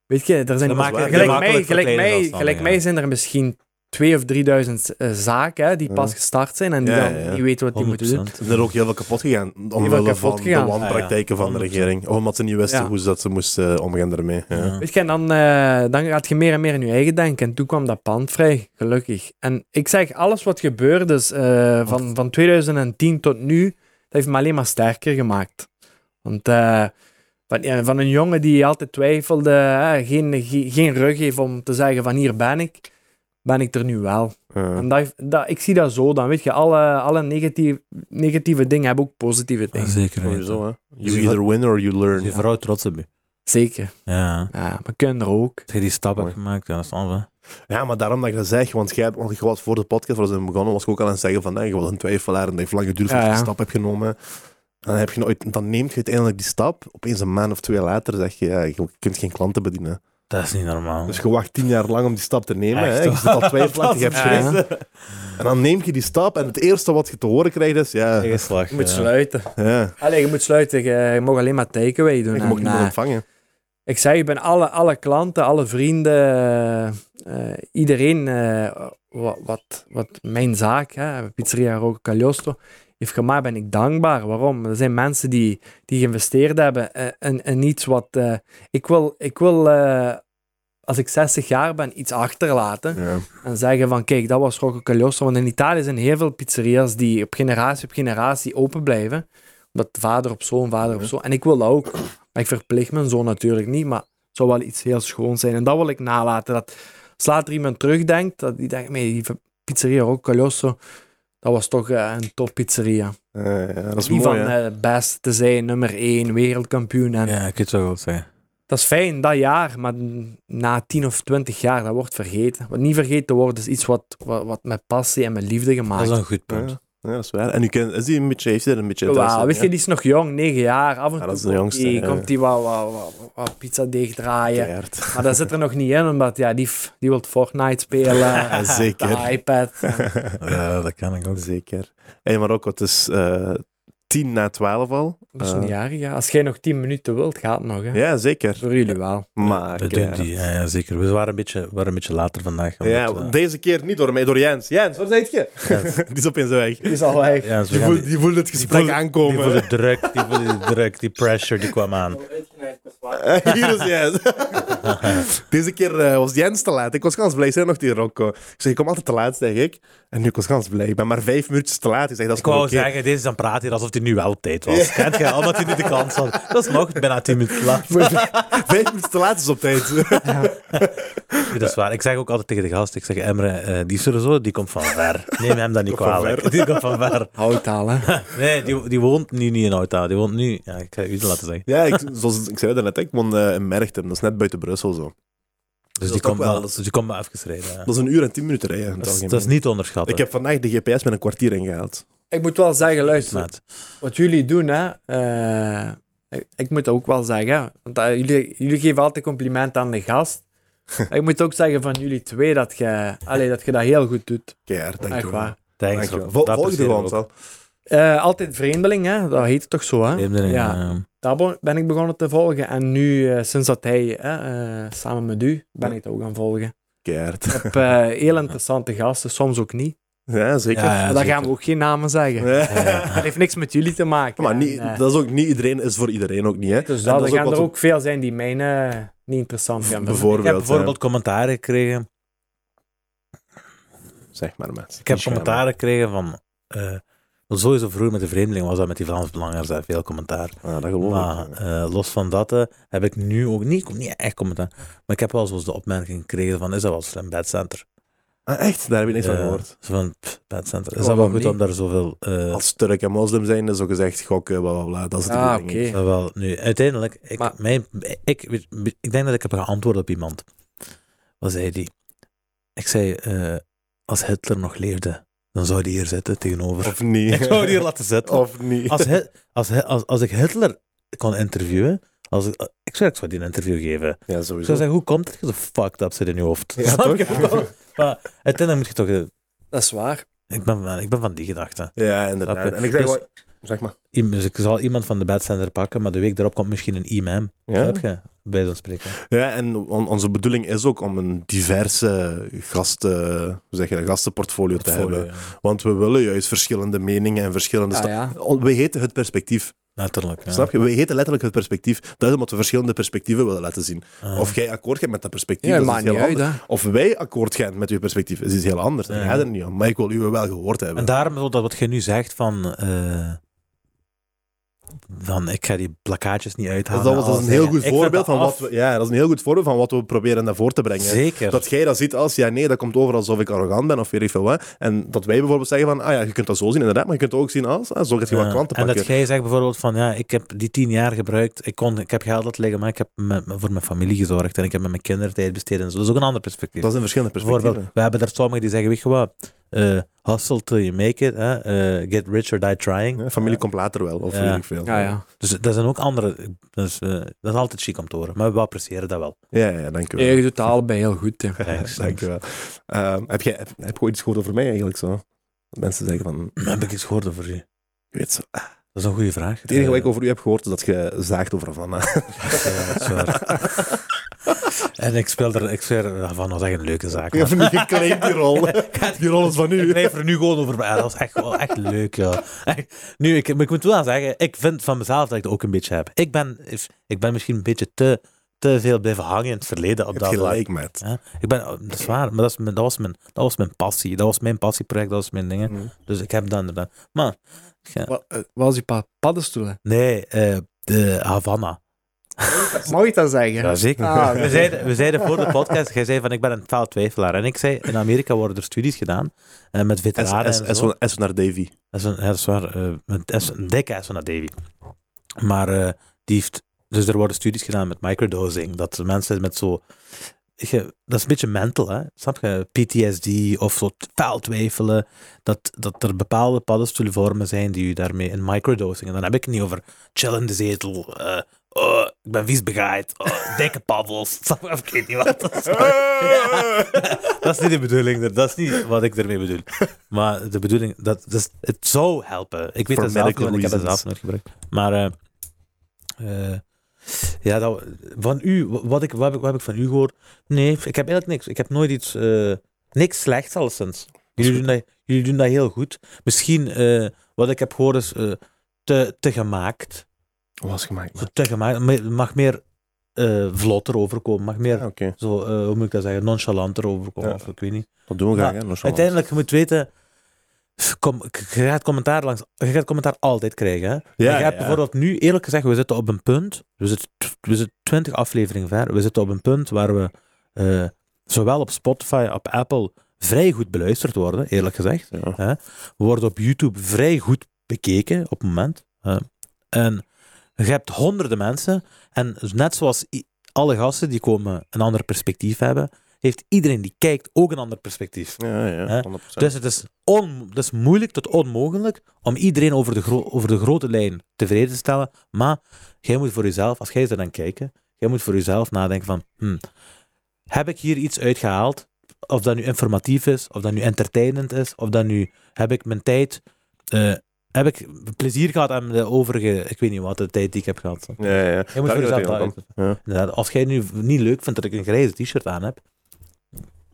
Speaker 3: weet je, er zijn...
Speaker 2: Dat maakt-
Speaker 1: dat
Speaker 3: gelijk
Speaker 2: maakt
Speaker 3: mij,
Speaker 2: het
Speaker 3: gelijk,
Speaker 2: verkleinen
Speaker 3: mij,
Speaker 2: zelfs dan,
Speaker 3: gelijk
Speaker 2: ja.
Speaker 3: mij zijn er misschien... Twee of drieduizend eh, zaken hè, die
Speaker 1: Ja.
Speaker 3: pas gestart zijn en die,
Speaker 1: Ja,
Speaker 3: dan,
Speaker 1: ja, ja.
Speaker 3: die weten wat die moeten doen.
Speaker 2: 100%.
Speaker 1: Er zijn ook heel veel kapot gegaan. Omwille
Speaker 3: kapot
Speaker 1: van
Speaker 3: gegaan.
Speaker 1: de wanpraktijken van de
Speaker 2: Ah, ja.
Speaker 1: regering. Omdat ze niet wisten
Speaker 3: Ja.
Speaker 1: hoe ze, dat ze moesten eh, omgaan ermee. Ja.
Speaker 2: Ja.
Speaker 3: Weet je, en dan, eh, dan gaat je meer en meer in je eigen denken. En toen kwam dat pand vrij, gelukkig. En ik zeg, alles wat gebeurd is eh, van, van 2010 tot nu, dat heeft me alleen maar sterker gemaakt. Want eh, van, ja, van een jongen die altijd twijfelde, hè, geen, ge- geen rug heeft om te zeggen van hier ben ik, ben ik er nu wel.
Speaker 1: Ja.
Speaker 3: En dat, heeft- dat, ik zie dat zo dan, weet je, alle, alle negatief, negatieve dingen hebben ook positieve
Speaker 2: Ja,
Speaker 3: dingen.
Speaker 2: Zeker weten.
Speaker 1: Sowieso, hè.
Speaker 2: Dus
Speaker 1: You
Speaker 2: je
Speaker 1: either win or you
Speaker 2: Dus je
Speaker 1: learn.
Speaker 2: vrouw trots op je.
Speaker 3: Zeker.
Speaker 2: Ja.
Speaker 3: Ja, maar kinderen ook.
Speaker 2: Dat je die stap hebt
Speaker 1: Mooi.
Speaker 2: gemaakt, ja, dat is anders.
Speaker 1: Ja, maar daarom dat ik dat zeg, want jij, want ik was voor de podcast waar we begonnen, was ik ook al aan het zeggen van, nee, je was een twijfelaar en dat heeft lang geduurd voordat
Speaker 3: Ja,
Speaker 1: je
Speaker 3: ja.
Speaker 1: een stap hebt genomen. En dan, heb je nooit, dan neemt je uiteindelijk die stap, opeens een maand of twee later zeg je, ja, je kunt geen klanten bedienen.
Speaker 2: Dat is niet normaal.
Speaker 1: Dus je wacht tien jaar lang om die stap te nemen,
Speaker 2: Echt
Speaker 1: hè. je
Speaker 2: waar?
Speaker 1: zit al twijfelachtig, je hebt
Speaker 3: Dat is
Speaker 1: schrik. En dan neem je die stap en het eerste wat je te horen krijgt is, ja, ja,
Speaker 2: Eigen slag.
Speaker 3: Je moet
Speaker 2: ja.
Speaker 3: sluiten. Allee, je moet sluiten. Je, je mag alleen maar takeaway doen.
Speaker 1: ik
Speaker 3: En,
Speaker 1: mocht niet meer
Speaker 3: eh,
Speaker 1: ontvangen.
Speaker 3: ik zeg, ik ben alle, alle klanten, alle vrienden, eh, eh, iedereen eh, wat, wat, wat mijn zaak, hè, Pizzeria Rocco Cagliostro, heeft gemaakt, ben ik dankbaar. Waarom? Er zijn mensen die, die geïnvesteerd hebben eh, in, in iets wat... eh, ik wil, ik wil eh, als ik 60 jaar ben, iets achterlaten.
Speaker 1: Ja.
Speaker 3: En zeggen van, kijk, dat was Rocco Cagliostro. Want in Italië zijn heel veel pizzeria's die op generatie op generatie open blijven. Omdat vader op zoon, vader op
Speaker 1: Ja.
Speaker 3: zoon. En ik wil dat ook. Maar ik verplicht mijn zoon natuurlijk niet. Maar het zou wel iets heel schoons zijn. En dat wil ik nalaten. Dat als later iemand terugdenkt, dat die denkt, nee, die pizzeria Rocco Cagliostro, dat was toch eh, een top pizzeria.
Speaker 1: Eh, ja, dat is
Speaker 3: die
Speaker 1: mooi,
Speaker 3: van
Speaker 1: hè.
Speaker 3: eh, best te zijn, nummer één, wereldkampioen. En
Speaker 2: Ja, ik kan het zo wel zeggen.
Speaker 3: dat is fijn, dat jaar, maar na 10 of 20 jaar, dat wordt vergeten. Wat niet vergeten te worden, is iets wat, wat, wat met passie en met liefde
Speaker 2: Dat
Speaker 3: gemaakt
Speaker 2: is
Speaker 3: is.
Speaker 2: een goed punt.
Speaker 1: Ja, ja, dat is waar. En u kent, is die een beetje, heeft hij daar een beetje interesse
Speaker 3: Wauw,
Speaker 1: in, ja?
Speaker 3: weet je, die is nog jong, 9 jaar. Af en
Speaker 1: Ja,
Speaker 3: toe
Speaker 1: dat is de
Speaker 3: komt
Speaker 1: jongste,
Speaker 3: die,
Speaker 1: ja.
Speaker 3: komt die wat, wat, wat, wat pizzadeeg draaien.
Speaker 1: Keihard.
Speaker 3: Maar dat zit er nog niet in, omdat ja, die, f- die wil Fortnite spelen.
Speaker 1: Ja, zeker.
Speaker 3: De iPad.
Speaker 2: Ja, dat kan ik ook.
Speaker 1: Zeker. Hé, maar ook, het is eh, tien na twaalf al.
Speaker 3: Dat is
Speaker 1: Eh,
Speaker 3: een jarige. Als jij nog 10 minuten wilt, gaat het nog. Hè?
Speaker 1: Ja, zeker.
Speaker 3: Voor jullie wel.
Speaker 1: Maar
Speaker 2: Dat
Speaker 1: eh,
Speaker 2: doet die, ja, ja, zeker. We waren een beetje, waren een beetje later vandaag. omdat,
Speaker 1: ja,
Speaker 2: eh,
Speaker 1: deze keer niet door mij, door Jens. Jens, waar zit je? die is opeens weg.
Speaker 3: Die is al weg.
Speaker 2: ja, dus we
Speaker 1: Die
Speaker 2: gaan
Speaker 1: voelt,
Speaker 2: die,
Speaker 1: die voelt het gesprek
Speaker 2: voelt- die
Speaker 1: aankomen.
Speaker 2: voelde druk, die voelde die druk, die pressure die kwam aan.
Speaker 1: Hier is Jens. deze keer eh, was Jens te laat. Ik was gans blij. Zijn nog die Rocco? Ik zeg, ik kom altijd te laat, zeg ik. En nu ik was gans blij. Ik ben maar vijf minuutjes te laat. Ik zeg, dat is
Speaker 2: Ik wou
Speaker 1: nog oké.
Speaker 2: zeggen, deze dan praat hier alsof hij nu wel op tijd was. Kent je, omdat hij niet de kans had. Dat is nog bijna 10 minuten laat.
Speaker 1: Vijf minuten te laat is op tijd.
Speaker 2: Ja, Dat is waar. Ik zeg ook altijd tegen de gast, ik zeg Emre, eh, die sowieso, die komt van ver. Neem hem dan niet
Speaker 1: Komt van
Speaker 2: kwalijk.
Speaker 1: ver.
Speaker 2: Die komt van ver.
Speaker 3: Houd al, hè.
Speaker 2: Nee, die, die woont nu niet in Oudta. Die woont nu, ja, ik ga u het laten zeggen.
Speaker 1: ja, ik, zoals ik zei daarnet, ik woon eh, in Merchtem. Dat is net buiten Brussel zo.
Speaker 2: Dus
Speaker 1: is
Speaker 2: die
Speaker 1: toch
Speaker 2: komt
Speaker 1: wel-
Speaker 2: wel, dus die komt wel afgeschreven. Ja.
Speaker 1: Dat is een uur en tien minuten rijden. in het
Speaker 2: Dat, is,
Speaker 1: algemeen.
Speaker 2: dat is niet onderschatten.
Speaker 1: Ik heb vandaag de GPS met een kwartier ingehaald.
Speaker 3: Ik moet wel zeggen, luister.
Speaker 2: Maat.
Speaker 3: wat jullie doen, hè, eh, ik, ik moet dat ook wel zeggen. hè, Want eh, jullie, jullie geven altijd compliment aan de gast. Maar ik moet ook zeggen van jullie twee dat je, allee, dat, je dat heel goed doet.
Speaker 1: Keihard,
Speaker 3: Echt
Speaker 1: dankjewel.
Speaker 3: waar.
Speaker 2: Thanks,
Speaker 1: Dankjewel.
Speaker 2: Rob.
Speaker 1: Vol-
Speaker 2: Dat
Speaker 1: Volg je
Speaker 2: appreciëren
Speaker 1: gewoon
Speaker 2: we
Speaker 1: wel.
Speaker 3: Eh, altijd vreemdeling, hè? dat heet het toch zo? Hè?
Speaker 2: ook. Vreemdeling,
Speaker 3: Ja.
Speaker 2: ja.
Speaker 3: Daar be- ben ik begonnen te volgen. En nu, eh, sinds dat hij, eh, eh, samen met u, ben ik het ook gaan volgen.
Speaker 1: Keert.
Speaker 3: Ik heb eh, heel interessante gasten, soms ook niet.
Speaker 1: Ja, zeker.
Speaker 2: Ja, ja,
Speaker 3: maar daar
Speaker 2: zeker.
Speaker 3: gaan we ook geen namen zeggen. Eh, Dat heeft niks met jullie te maken.
Speaker 1: Maar
Speaker 3: En,
Speaker 1: niet,
Speaker 3: eh,
Speaker 1: dat is ook niet iedereen is voor iedereen ook niet, hè?
Speaker 3: dus
Speaker 1: en
Speaker 3: dat,
Speaker 1: dat
Speaker 3: er
Speaker 1: is ook
Speaker 3: gaan
Speaker 1: wat
Speaker 3: er
Speaker 1: op-
Speaker 3: ook veel zijn die mijn eh, niet interessant gaan vinden.
Speaker 2: Ik heb
Speaker 1: Bijvoorbeeld.
Speaker 2: bijvoorbeeld commentaar gekregen.
Speaker 1: hè. Zeg maar, mensen.
Speaker 2: Ik heb commentaar gekregen van. eh, want sowieso vroeger met de vreemdeling was dat met die Vlaams Belangers daar veel commentaar.
Speaker 1: Ja, Ah, dat geloof
Speaker 2: Maar
Speaker 1: ik.
Speaker 2: eh, los van dat eh, heb ik nu ook niet, ik- niet echt commentaar. Maar ik heb wel zoals de opmerking gekregen van, is dat wel slim, Badcenter?
Speaker 1: Ah, echt? Daar heb ik niks van
Speaker 2: Ja,
Speaker 1: gehoord.
Speaker 2: Zo van, pff, Badcenter. Is dat wel
Speaker 3: Waarom
Speaker 2: goed
Speaker 3: niet?
Speaker 2: om daar zoveel... eh
Speaker 1: Als Turk en moslim zijn, is ook gezegd gokken, bla bla bla. Dat is het
Speaker 3: Ah,
Speaker 1: idee, denk ik.
Speaker 3: oké.
Speaker 2: eh, wel, nu, uiteindelijk, ik,
Speaker 3: Maar-
Speaker 2: mijn, ik, weet- ik denk dat ik heb geantwoord op iemand. Wat zei die? Ik zei, eh, als Hitler nog leefde, dan zou die hier zitten tegenover.
Speaker 1: Of niet.
Speaker 2: ik zou die hier laten zitten.
Speaker 1: Of niet.
Speaker 2: als, Hi- als, Hi- als, als ik Hitler kon interviewen, als ik, ik zou ik zou die een interview geven.
Speaker 1: Ja,
Speaker 2: Ik
Speaker 1: sowieso.
Speaker 2: zou zeggen, hoe komt het dat je zo fucked up zit in je hoofd?
Speaker 1: Ja,
Speaker 2: Snap je
Speaker 1: toch?
Speaker 2: wel? maar uiteindelijk moet je toch... eh,
Speaker 3: Dat is waar.
Speaker 2: Ik ben, van- ik ben van die gedachte.
Speaker 1: Ja,
Speaker 2: Snap je?
Speaker 1: inderdaad. En ik zeg,
Speaker 2: Dus-
Speaker 1: wel- zeg maar.
Speaker 2: I- Dus ik zal iemand van de bedcenter pakken, maar de week daarop komt misschien een imam.
Speaker 1: Ja?
Speaker 2: Snap je? Bij zo'n spreken.
Speaker 1: ja, en on- onze bedoeling is ook om een diverse gasten, hoe zeg je dat, gastenportfolio te hebben. Want we willen juist verschillende meningen en verschillende...
Speaker 3: Ah,
Speaker 1: sta-
Speaker 3: ja.
Speaker 1: On- We heten het perspectief,
Speaker 2: Natuurlijk. Ja.
Speaker 1: snap je? We heten letterlijk het perspectief. Dat is omdat we verschillende perspectieven willen laten zien.
Speaker 2: Ah.
Speaker 1: Of jij akkoord gaat met dat perspectief,
Speaker 3: Ja,
Speaker 1: dat is
Speaker 3: maakt
Speaker 1: iets
Speaker 3: niet
Speaker 1: heel
Speaker 3: uit,
Speaker 1: anders.
Speaker 3: hè.
Speaker 1: Of wij akkoord gaan met uw perspectief, is iets heel anders. Daar
Speaker 2: Ja.
Speaker 1: gaat het niet om. Maar ik wil u wel gehoord hebben.
Speaker 2: En daarom is ook dat wat je nu zegt van... eh, van, ik ga die plakkaatjes niet
Speaker 1: Dus
Speaker 2: uithalen.
Speaker 1: dat, was, dat is
Speaker 2: als-
Speaker 1: een heel
Speaker 2: ja, ik
Speaker 1: goed
Speaker 2: vind
Speaker 1: voorbeeld
Speaker 2: Ah, dat
Speaker 1: van wat
Speaker 2: af.
Speaker 1: we, ja, dat is een heel goed voorbeeld van wat we proberen naar voren te brengen.
Speaker 2: Zeker.
Speaker 1: Dat jij dat ziet als, ja nee, dat komt over alsof ik arrogant ben of weet ik veel wat. En dat wij bijvoorbeeld zeggen van, ah ja, je kunt dat zo zien inderdaad, maar je kunt het ook zien als, ah, zo gaat je
Speaker 2: Ja,
Speaker 1: wat klanten
Speaker 2: en
Speaker 1: pakken.
Speaker 2: dat jij zegt bijvoorbeeld van, ja, ik heb die tien jaar gebruikt, ik, kon, ik heb geld laten liggen, maar ik heb me- me- voor mijn familie gezorgd en ik heb met mijn kinderen tijd besteed en zo. Dat is ook een ander perspectief.
Speaker 1: Dat is een verschillende
Speaker 2: bijvoorbeeld,
Speaker 1: perspectieven.
Speaker 2: we hebben er sommigen die zeggen, weet je wat, eh, hustle till you make it, hè, eh, get rich or die trying.
Speaker 1: Ja, familie komt later wel, of
Speaker 2: Ja.
Speaker 1: weet ik veel.
Speaker 3: Ja, Ah, ja.
Speaker 2: Dus dat zijn ook andere, dus, eh, dat is altijd chic om te horen, maar we appreciëren dat wel.
Speaker 1: Ja, ja, dank u
Speaker 3: Ja,
Speaker 1: wel.
Speaker 3: je doet het allebei heel goed, hè.
Speaker 2: Thanks.
Speaker 1: dank u wel. Ehm, heb, jij, heb, heb je ooit iets gehoord over mij eigenlijk zo? Dat mensen zeggen van,
Speaker 2: Heb ik iets gehoord over u?
Speaker 1: ik weet zo,
Speaker 2: Dat is een goede vraag. Eh,
Speaker 1: Het enige wat ik over u heb gehoord is dat je zaagt over Havana.
Speaker 2: dat is En ik speel er, ik zweer, eh, van, dat is echt een leuke zaak.
Speaker 1: Ik heb niet geclaimd die rol. Die rol is van
Speaker 2: Ik
Speaker 1: u.
Speaker 2: blijf er nu gewoon over. Ja, dat is echt, wel echt leuk, ja. Echt. Nu, ik, maar ik moet wel zeggen, ik vind van mezelf dat ik dat ook een beetje heb. Ik ben, ik ben misschien een beetje te, te veel blijven hangen in het verleden op
Speaker 1: Je
Speaker 2: dat
Speaker 1: hebt
Speaker 2: vlak.
Speaker 1: gelijk met.
Speaker 2: Ja, ik ben, oh, dat is waar, maar dat, is mijn, dat, was mijn, dat was mijn passie. Dat was mijn passieproject, dat was mijn dingen.
Speaker 1: Mhm.
Speaker 2: Dus ik heb dat inderdaad. Maar, ja.
Speaker 3: Wat, eh, wat is die pa- paddenstoelen?
Speaker 2: nee, eh, de Havana.
Speaker 3: Mag ik dat zeggen?
Speaker 2: Ja, zeker.
Speaker 3: Ah,
Speaker 2: we, zeiden, we zeiden voor de podcast, jij zei van ik ben een taal twijfelaar. En ik zei, in Amerika worden er studies gedaan eh, met veteranen en zo.
Speaker 1: S naar Davy.
Speaker 2: Dat is, een, ja, dat is waar. eh, een, S- een dikke S van dat Davy. Maar eh, die heeft... Dus er worden studies gedaan met microdosing. Dat de mensen met zo... je- dat is een beetje mental, hè. Snap je? PTSD of zo vuil twijfelen. Dat, dat er bepaalde paddenstoelvormen zijn die je daarmee in microdosing... En dan heb ik het niet over chill in de zetel. eh, oh, ik ben vies begaaid. Oh, dikke paddels. Snap je? Of Ik weet niet wat. dat is. Ja. dat is niet de bedoeling. Dat is niet wat ik ermee bedoel. Maar de bedoeling, dat, dat is, het zou helpen. Ik weet
Speaker 1: For
Speaker 2: dat zelf niet,
Speaker 1: medical
Speaker 2: want ik heb dat
Speaker 1: reasons.
Speaker 2: zelf nooit gebruikt. Maar eh, eh, ja, dat, van u, wat, ik, wat, heb ik, wat heb ik van u gehoord? Nee, ik heb eigenlijk niks. Ik heb nooit iets, eh, niks slechts alleszins. Jullie doen, dat, jullie doen dat heel goed. Misschien, eh, wat ik heb gehoord is, eh, te, te gemaakt.
Speaker 1: Was gemaakt.
Speaker 2: Zo Te gemaakt, me- mag meer eh, vlotter overkomen, mag meer...
Speaker 1: Oké,
Speaker 2: Zo, eh, hoe moet ik dat zeggen, nonchalanter overkomen,
Speaker 1: Ja.
Speaker 2: of ik weet niet.
Speaker 1: dat doen we
Speaker 2: Maar
Speaker 1: graag. hè, nonchalant.
Speaker 2: Uiteindelijk, je moet weten, kom, je gaat commentaar langs, je gaat commentaar altijd krijgen. Hè?
Speaker 1: Ja,
Speaker 2: je gaat
Speaker 1: ja.
Speaker 2: bijvoorbeeld nu, eerlijk gezegd, we zitten op een punt, we zitten, tw- we zitten 20 afleveringen ver, we zitten op een punt waar we eh, zowel op Spotify, op Apple, vrij goed beluisterd worden, eerlijk gezegd.
Speaker 1: Ja.
Speaker 2: We worden op YouTube vrij goed bekeken op het moment. hè. en je hebt honderden mensen. En net zoals i- alle gasten die komen een ander perspectief hebben, heeft iedereen die kijkt ook een ander perspectief.
Speaker 1: Ja, ja,
Speaker 2: Hè?
Speaker 1: 100%.
Speaker 2: Dus het is, on, het is moeilijk tot onmogelijk om iedereen over de, gro- over de grote lijn tevreden te stellen. Maar jij moet voor jezelf, als jij ze dan kijken, jij moet voor jezelf nadenken van, hmm, heb ik hier iets uitgehaald? Of dat nu informatief is, of dat nu entertainend is, of dat nu heb ik mijn tijd eh, heb ik plezier gehad aan de overige, ik weet niet wat, de tijd die ik heb gehad.
Speaker 1: Ja, ja, ja.
Speaker 2: Je moet
Speaker 1: Daar
Speaker 2: Dus- voor
Speaker 1: gaat
Speaker 2: jezelf
Speaker 1: het helemaal
Speaker 2: dat
Speaker 1: om. Ja.
Speaker 2: Inderdaad, als jij nu niet leuk vindt dat ik een grijze t-shirt aan heb,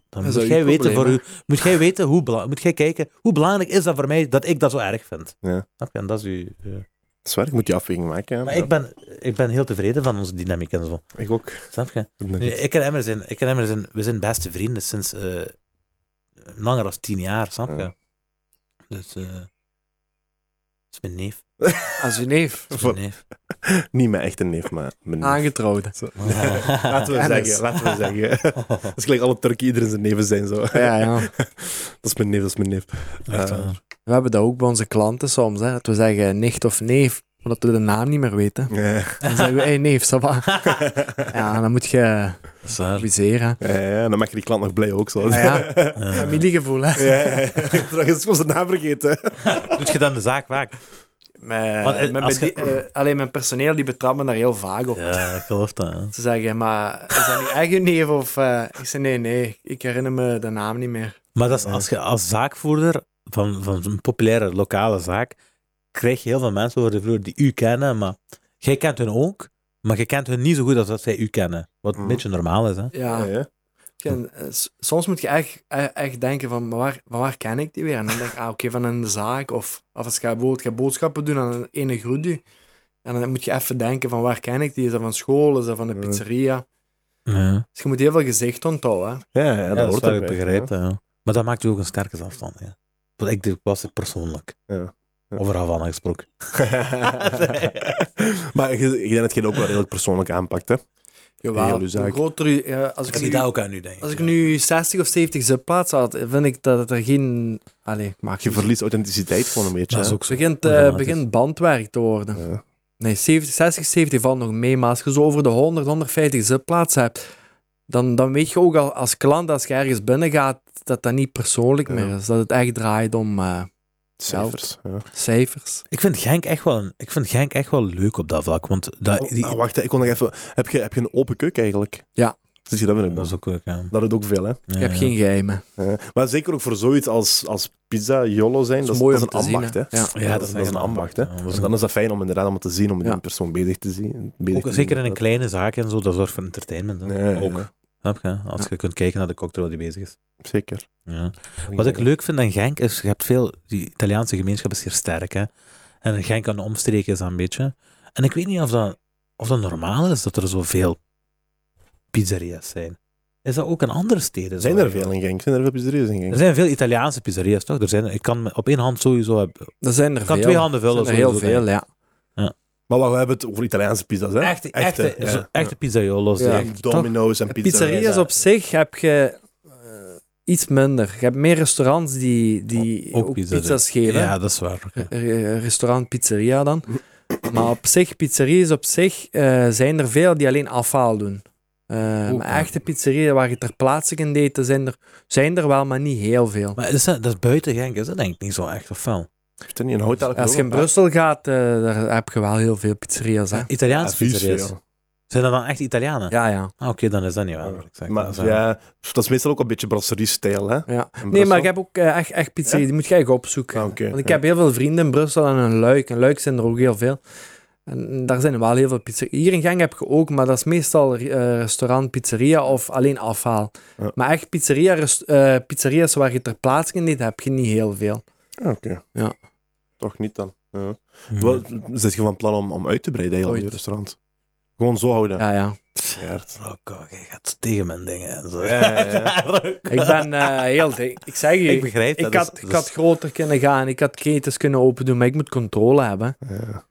Speaker 2: dan
Speaker 3: is
Speaker 2: moet
Speaker 3: dat
Speaker 2: jij,
Speaker 3: uw
Speaker 2: weten voor
Speaker 3: probleem,
Speaker 2: u, moet jij weten hoe bela- moet jij kijken hoe belangrijk is dat voor mij dat ik dat zo erg vind.
Speaker 1: Ja.
Speaker 2: Snap je? En dat is uw, uw-
Speaker 1: Dat is waar, ik moet die afweging maken. Ja.
Speaker 2: Maar
Speaker 1: Ja.
Speaker 2: ik ben, ik ben heel tevreden van onze dynamiek en zo.
Speaker 1: Ik ook.
Speaker 2: Snap je? Nu, ik en Emmer zijn, ik en Emmer zijn, we zijn beste vrienden sinds eh, langer dan tien jaar, snap je?
Speaker 1: Ja.
Speaker 2: Dus, eh dat is mijn neef.
Speaker 3: Als je neef.
Speaker 2: Dat is
Speaker 1: Voor-
Speaker 2: mijn neef.
Speaker 1: Niet mijn echte neef, maar mijn neef. Ah.
Speaker 3: Aangetrouwd.
Speaker 1: Zo. Laten Ah, we zeggen, laten we zeggen. Dat is gelijk alle Turken, iedereen zijn neven zijn zo.
Speaker 3: Ja, ja.
Speaker 1: Dat is mijn neef, dat is mijn neef.
Speaker 2: Echt waar.
Speaker 3: We hebben dat ook bij onze klanten soms, hè, dat we zeggen nicht of neef, omdat we de naam niet meer weten.
Speaker 1: Ja,
Speaker 3: Dan zeggen we, hé hey, neef, ça va. Ja, dan moet je
Speaker 2: Dat is waar.
Speaker 3: adviseren.
Speaker 1: ja, ja, dan maak je die klant nog blij ook zo.
Speaker 3: Ja, ja.
Speaker 2: Eh,
Speaker 3: Familiegevoel, hè.
Speaker 1: Ja, ja, ja. Dat is soms de naam vergeten.
Speaker 2: Doet je dan de zaak vaak?
Speaker 3: Mijn,
Speaker 2: Want, eh,
Speaker 3: mijn
Speaker 2: als
Speaker 3: bedie- eh, alleen mijn personeel die betrapt me daar heel vaag op.
Speaker 2: Ja, ik geloof dat. hè.
Speaker 3: Ze zeggen, maar is dat niet echt een neef? Of, eh, ik zei, nee, nee, ik herinner me de naam niet meer.
Speaker 2: Maar dat is, als je als zaakvoerder van, van een populaire lokale zaak, krijg je heel veel mensen over de vloer die u kennen, maar jij kent hun ook, maar je kent hun niet zo goed als dat zij u kennen. Wat een
Speaker 1: Mhm.
Speaker 2: beetje normaal is, hè?
Speaker 3: Ja,
Speaker 1: Ja, ja.
Speaker 3: En, eh, s- soms moet je echt, e- echt denken van, maar waar, van waar ken ik die weer? En dan denk ik, ah, oké, van een zaak. Of, of als je bijvoorbeeld gaat boodschappen doen aan een ene groente. En dan moet je even denken van, waar ken ik die? Is dat van school? Is dat van de
Speaker 1: Ja.
Speaker 3: pizzeria?
Speaker 2: Ja,
Speaker 3: Dus je moet heel veel gezicht onthouden. hè.
Speaker 1: Ja, ja,
Speaker 2: dat, is
Speaker 1: hoort
Speaker 2: wat ik
Speaker 1: erbij,
Speaker 2: begrijp. ja. Maar dat maakt u ook een sterke afstand. Ja. Want ik doe- was het persoonlijk.
Speaker 1: Ja. Ja.
Speaker 2: Over Havana gesproken.
Speaker 1: maar ik, ik denk dat je dat ook wel redelijk persoonlijk aanpakt, hè? Heel
Speaker 3: Jawel,
Speaker 1: uw
Speaker 3: hoe
Speaker 1: zaak.
Speaker 3: groter u- ja, als, ik
Speaker 2: zie
Speaker 3: nu,
Speaker 2: dat ook aan u, denk
Speaker 3: als ik nu 60 of 70 zitplaatsen had, vind ik dat er geen... Allee, ik maak
Speaker 1: Je verliest authenticiteit gewoon een beetje.
Speaker 2: Dat is
Speaker 1: hè.
Speaker 2: ook eh,
Speaker 3: Het
Speaker 2: zo.
Speaker 3: begint, eh,
Speaker 2: Problematisch.
Speaker 3: begint bandwerk te worden.
Speaker 1: Ja.
Speaker 3: Nee, 70, 60, 70 valt nog mee, maar als je zo over de 100, 150 zitplaatsen hebt, dan, dan weet je ook al als klant, als je ergens binnen gaat, dat dat niet persoonlijk
Speaker 1: Ja.
Speaker 3: meer is. Dat het echt draait om eh,
Speaker 1: Cijfers. Ja.
Speaker 3: cijfers.
Speaker 2: Ik vind, Genk echt wel een- ik vind Genk echt wel leuk op dat vlak. Want dat,
Speaker 1: Oh,
Speaker 2: die-
Speaker 1: ah, wacht, hè, ik kon nog even. Heb je, heb je een open keuken eigenlijk?
Speaker 3: Ja.
Speaker 1: Zit je dat weer in?
Speaker 2: dat is ook leuk, ja.
Speaker 1: Dat doet ook veel, hè?
Speaker 2: Ja,
Speaker 3: Ik heb
Speaker 2: ja.
Speaker 3: geen geheimen.
Speaker 1: Ja. Maar zeker ook voor zoiets als, als pizza, jollo zijn, dat is, dat is een
Speaker 3: om te
Speaker 1: ambacht,
Speaker 3: zien,
Speaker 1: hè?
Speaker 3: Ja.
Speaker 2: Ja, dat,
Speaker 1: dat,
Speaker 2: is
Speaker 1: dat is
Speaker 2: echt
Speaker 1: een ambacht, hè?
Speaker 2: ja. Dat is
Speaker 1: En dan is dat fijn om inderdaad om te zien, om die
Speaker 3: Ja.
Speaker 1: persoon bezig te zien. Bezig
Speaker 2: Ook,
Speaker 1: te
Speaker 2: zeker
Speaker 1: zien.
Speaker 2: in een kleine zaak en zo, dat zorgt voor entertainment.
Speaker 1: Ja,
Speaker 2: hè.
Speaker 1: ja,
Speaker 2: ook.
Speaker 1: ja.
Speaker 2: Snap je? Als je kunt kijken naar de cocktail die bezig is.
Speaker 1: Zeker.
Speaker 2: Ja. Wat ik leuk vind aan Genk is, je hebt veel, die Italiaanse gemeenschap is hier sterk, hè. En Genk aan de omstreken is dat een beetje. En ik weet niet of dat, of dat normaal is dat er zoveel pizzeria's zijn. Is dat ook in andere steden? zo?
Speaker 1: Zijn er veel in Genk? Zijn er veel pizzeria's in
Speaker 2: Er
Speaker 1: Genk?
Speaker 2: zijn veel Italiaanse pizzeria's, toch? Er zijn, ik kan me- op één hand sowieso... heb- Ik
Speaker 3: Er zijn er
Speaker 2: kan
Speaker 3: veel.
Speaker 2: twee handen vullen.
Speaker 3: Er zijn er heel
Speaker 2: sowieso, denk ik.
Speaker 3: veel, ja.
Speaker 1: Maar wacht, we hebben het over Italiaanse pizza's, hè?
Speaker 2: Echte, echte, zo-
Speaker 1: ja.
Speaker 2: echte, pizzaiolo's.
Speaker 3: Ja.
Speaker 2: Ja.
Speaker 1: En Domino's en pizza.
Speaker 3: Pizzeria's op zich heb je eh, iets minder. Je hebt meer restaurants die, die
Speaker 2: Ook
Speaker 3: ook,
Speaker 2: pizza doen.
Speaker 3: pizza's geven.
Speaker 2: ja, dat is waar. oké.
Speaker 3: Re- eh, restaurant pizzeria dan. Maar op zich, pizzeria's op zich, eh, zijn er veel die alleen afhaal doen. Eh,
Speaker 2: Ook,
Speaker 3: maar
Speaker 2: ja.
Speaker 3: echte pizzerieën waar je ter plaatse kunt eten, zijn er, zijn er wel, maar niet heel veel.
Speaker 2: Maar is dat, dat is buiten Genk, is dat denk ik niet zo echt, of wel?
Speaker 1: Heeft er niet een hotel?
Speaker 3: Als je in Brussel gaat, eh, daar heb je wel heel veel pizzeria's. Hè?
Speaker 2: Italiaanse
Speaker 1: Advies,
Speaker 2: pizzeria's.
Speaker 1: ja.
Speaker 2: Zijn dat dan echt Italianen?
Speaker 3: Ja, ja.
Speaker 2: Ah, Oké, dan is dat niet waar. wat ik zeg. Dat is
Speaker 1: Maar
Speaker 2: waar.
Speaker 1: ja, dat is meestal ook een beetje brasserie-stijl, hè? in
Speaker 3: ja. Nee,
Speaker 1: Brussel.
Speaker 3: maar ik heb ook eh, echt, echt pizzerieën, die moet je echt opzoeken.
Speaker 1: Ah, oké,
Speaker 3: Want ik
Speaker 1: ja.
Speaker 3: heb heel veel vrienden in Brussel en in Luik. En Luik zijn er ook heel veel. En daar zijn wel heel veel pizzerieën. Hier in Gang heb je ook, maar dat is meestal eh, restaurant, pizzeria of alleen afhaal.
Speaker 1: Ja.
Speaker 3: Maar echt pizzeria, rest- eh, pizzeria's waar je ter plaatse in eet, heb je niet heel veel.
Speaker 1: Ah, Oké.
Speaker 3: Ja.
Speaker 1: Toch niet dan. Ja.
Speaker 2: Mhm.
Speaker 1: Wat, zit je van plan om, om uit te breiden eigenlijk,
Speaker 3: Ooit.
Speaker 1: je restaurant? Gewoon zo houden.
Speaker 3: Ja, ja.
Speaker 1: Schaart.
Speaker 2: Oh, kijk, je gaat tegen mijn dingen en zo.
Speaker 1: Ja, ja, ja.
Speaker 3: Ik ben eh, heel dik. Ik zeg je,
Speaker 2: ik
Speaker 3: ik,
Speaker 2: begrijp dat.
Speaker 3: had,
Speaker 2: dus-
Speaker 3: ik had groter kunnen gaan, ik had ketens kunnen open doen, maar ik moet controle hebben.
Speaker 1: Ja.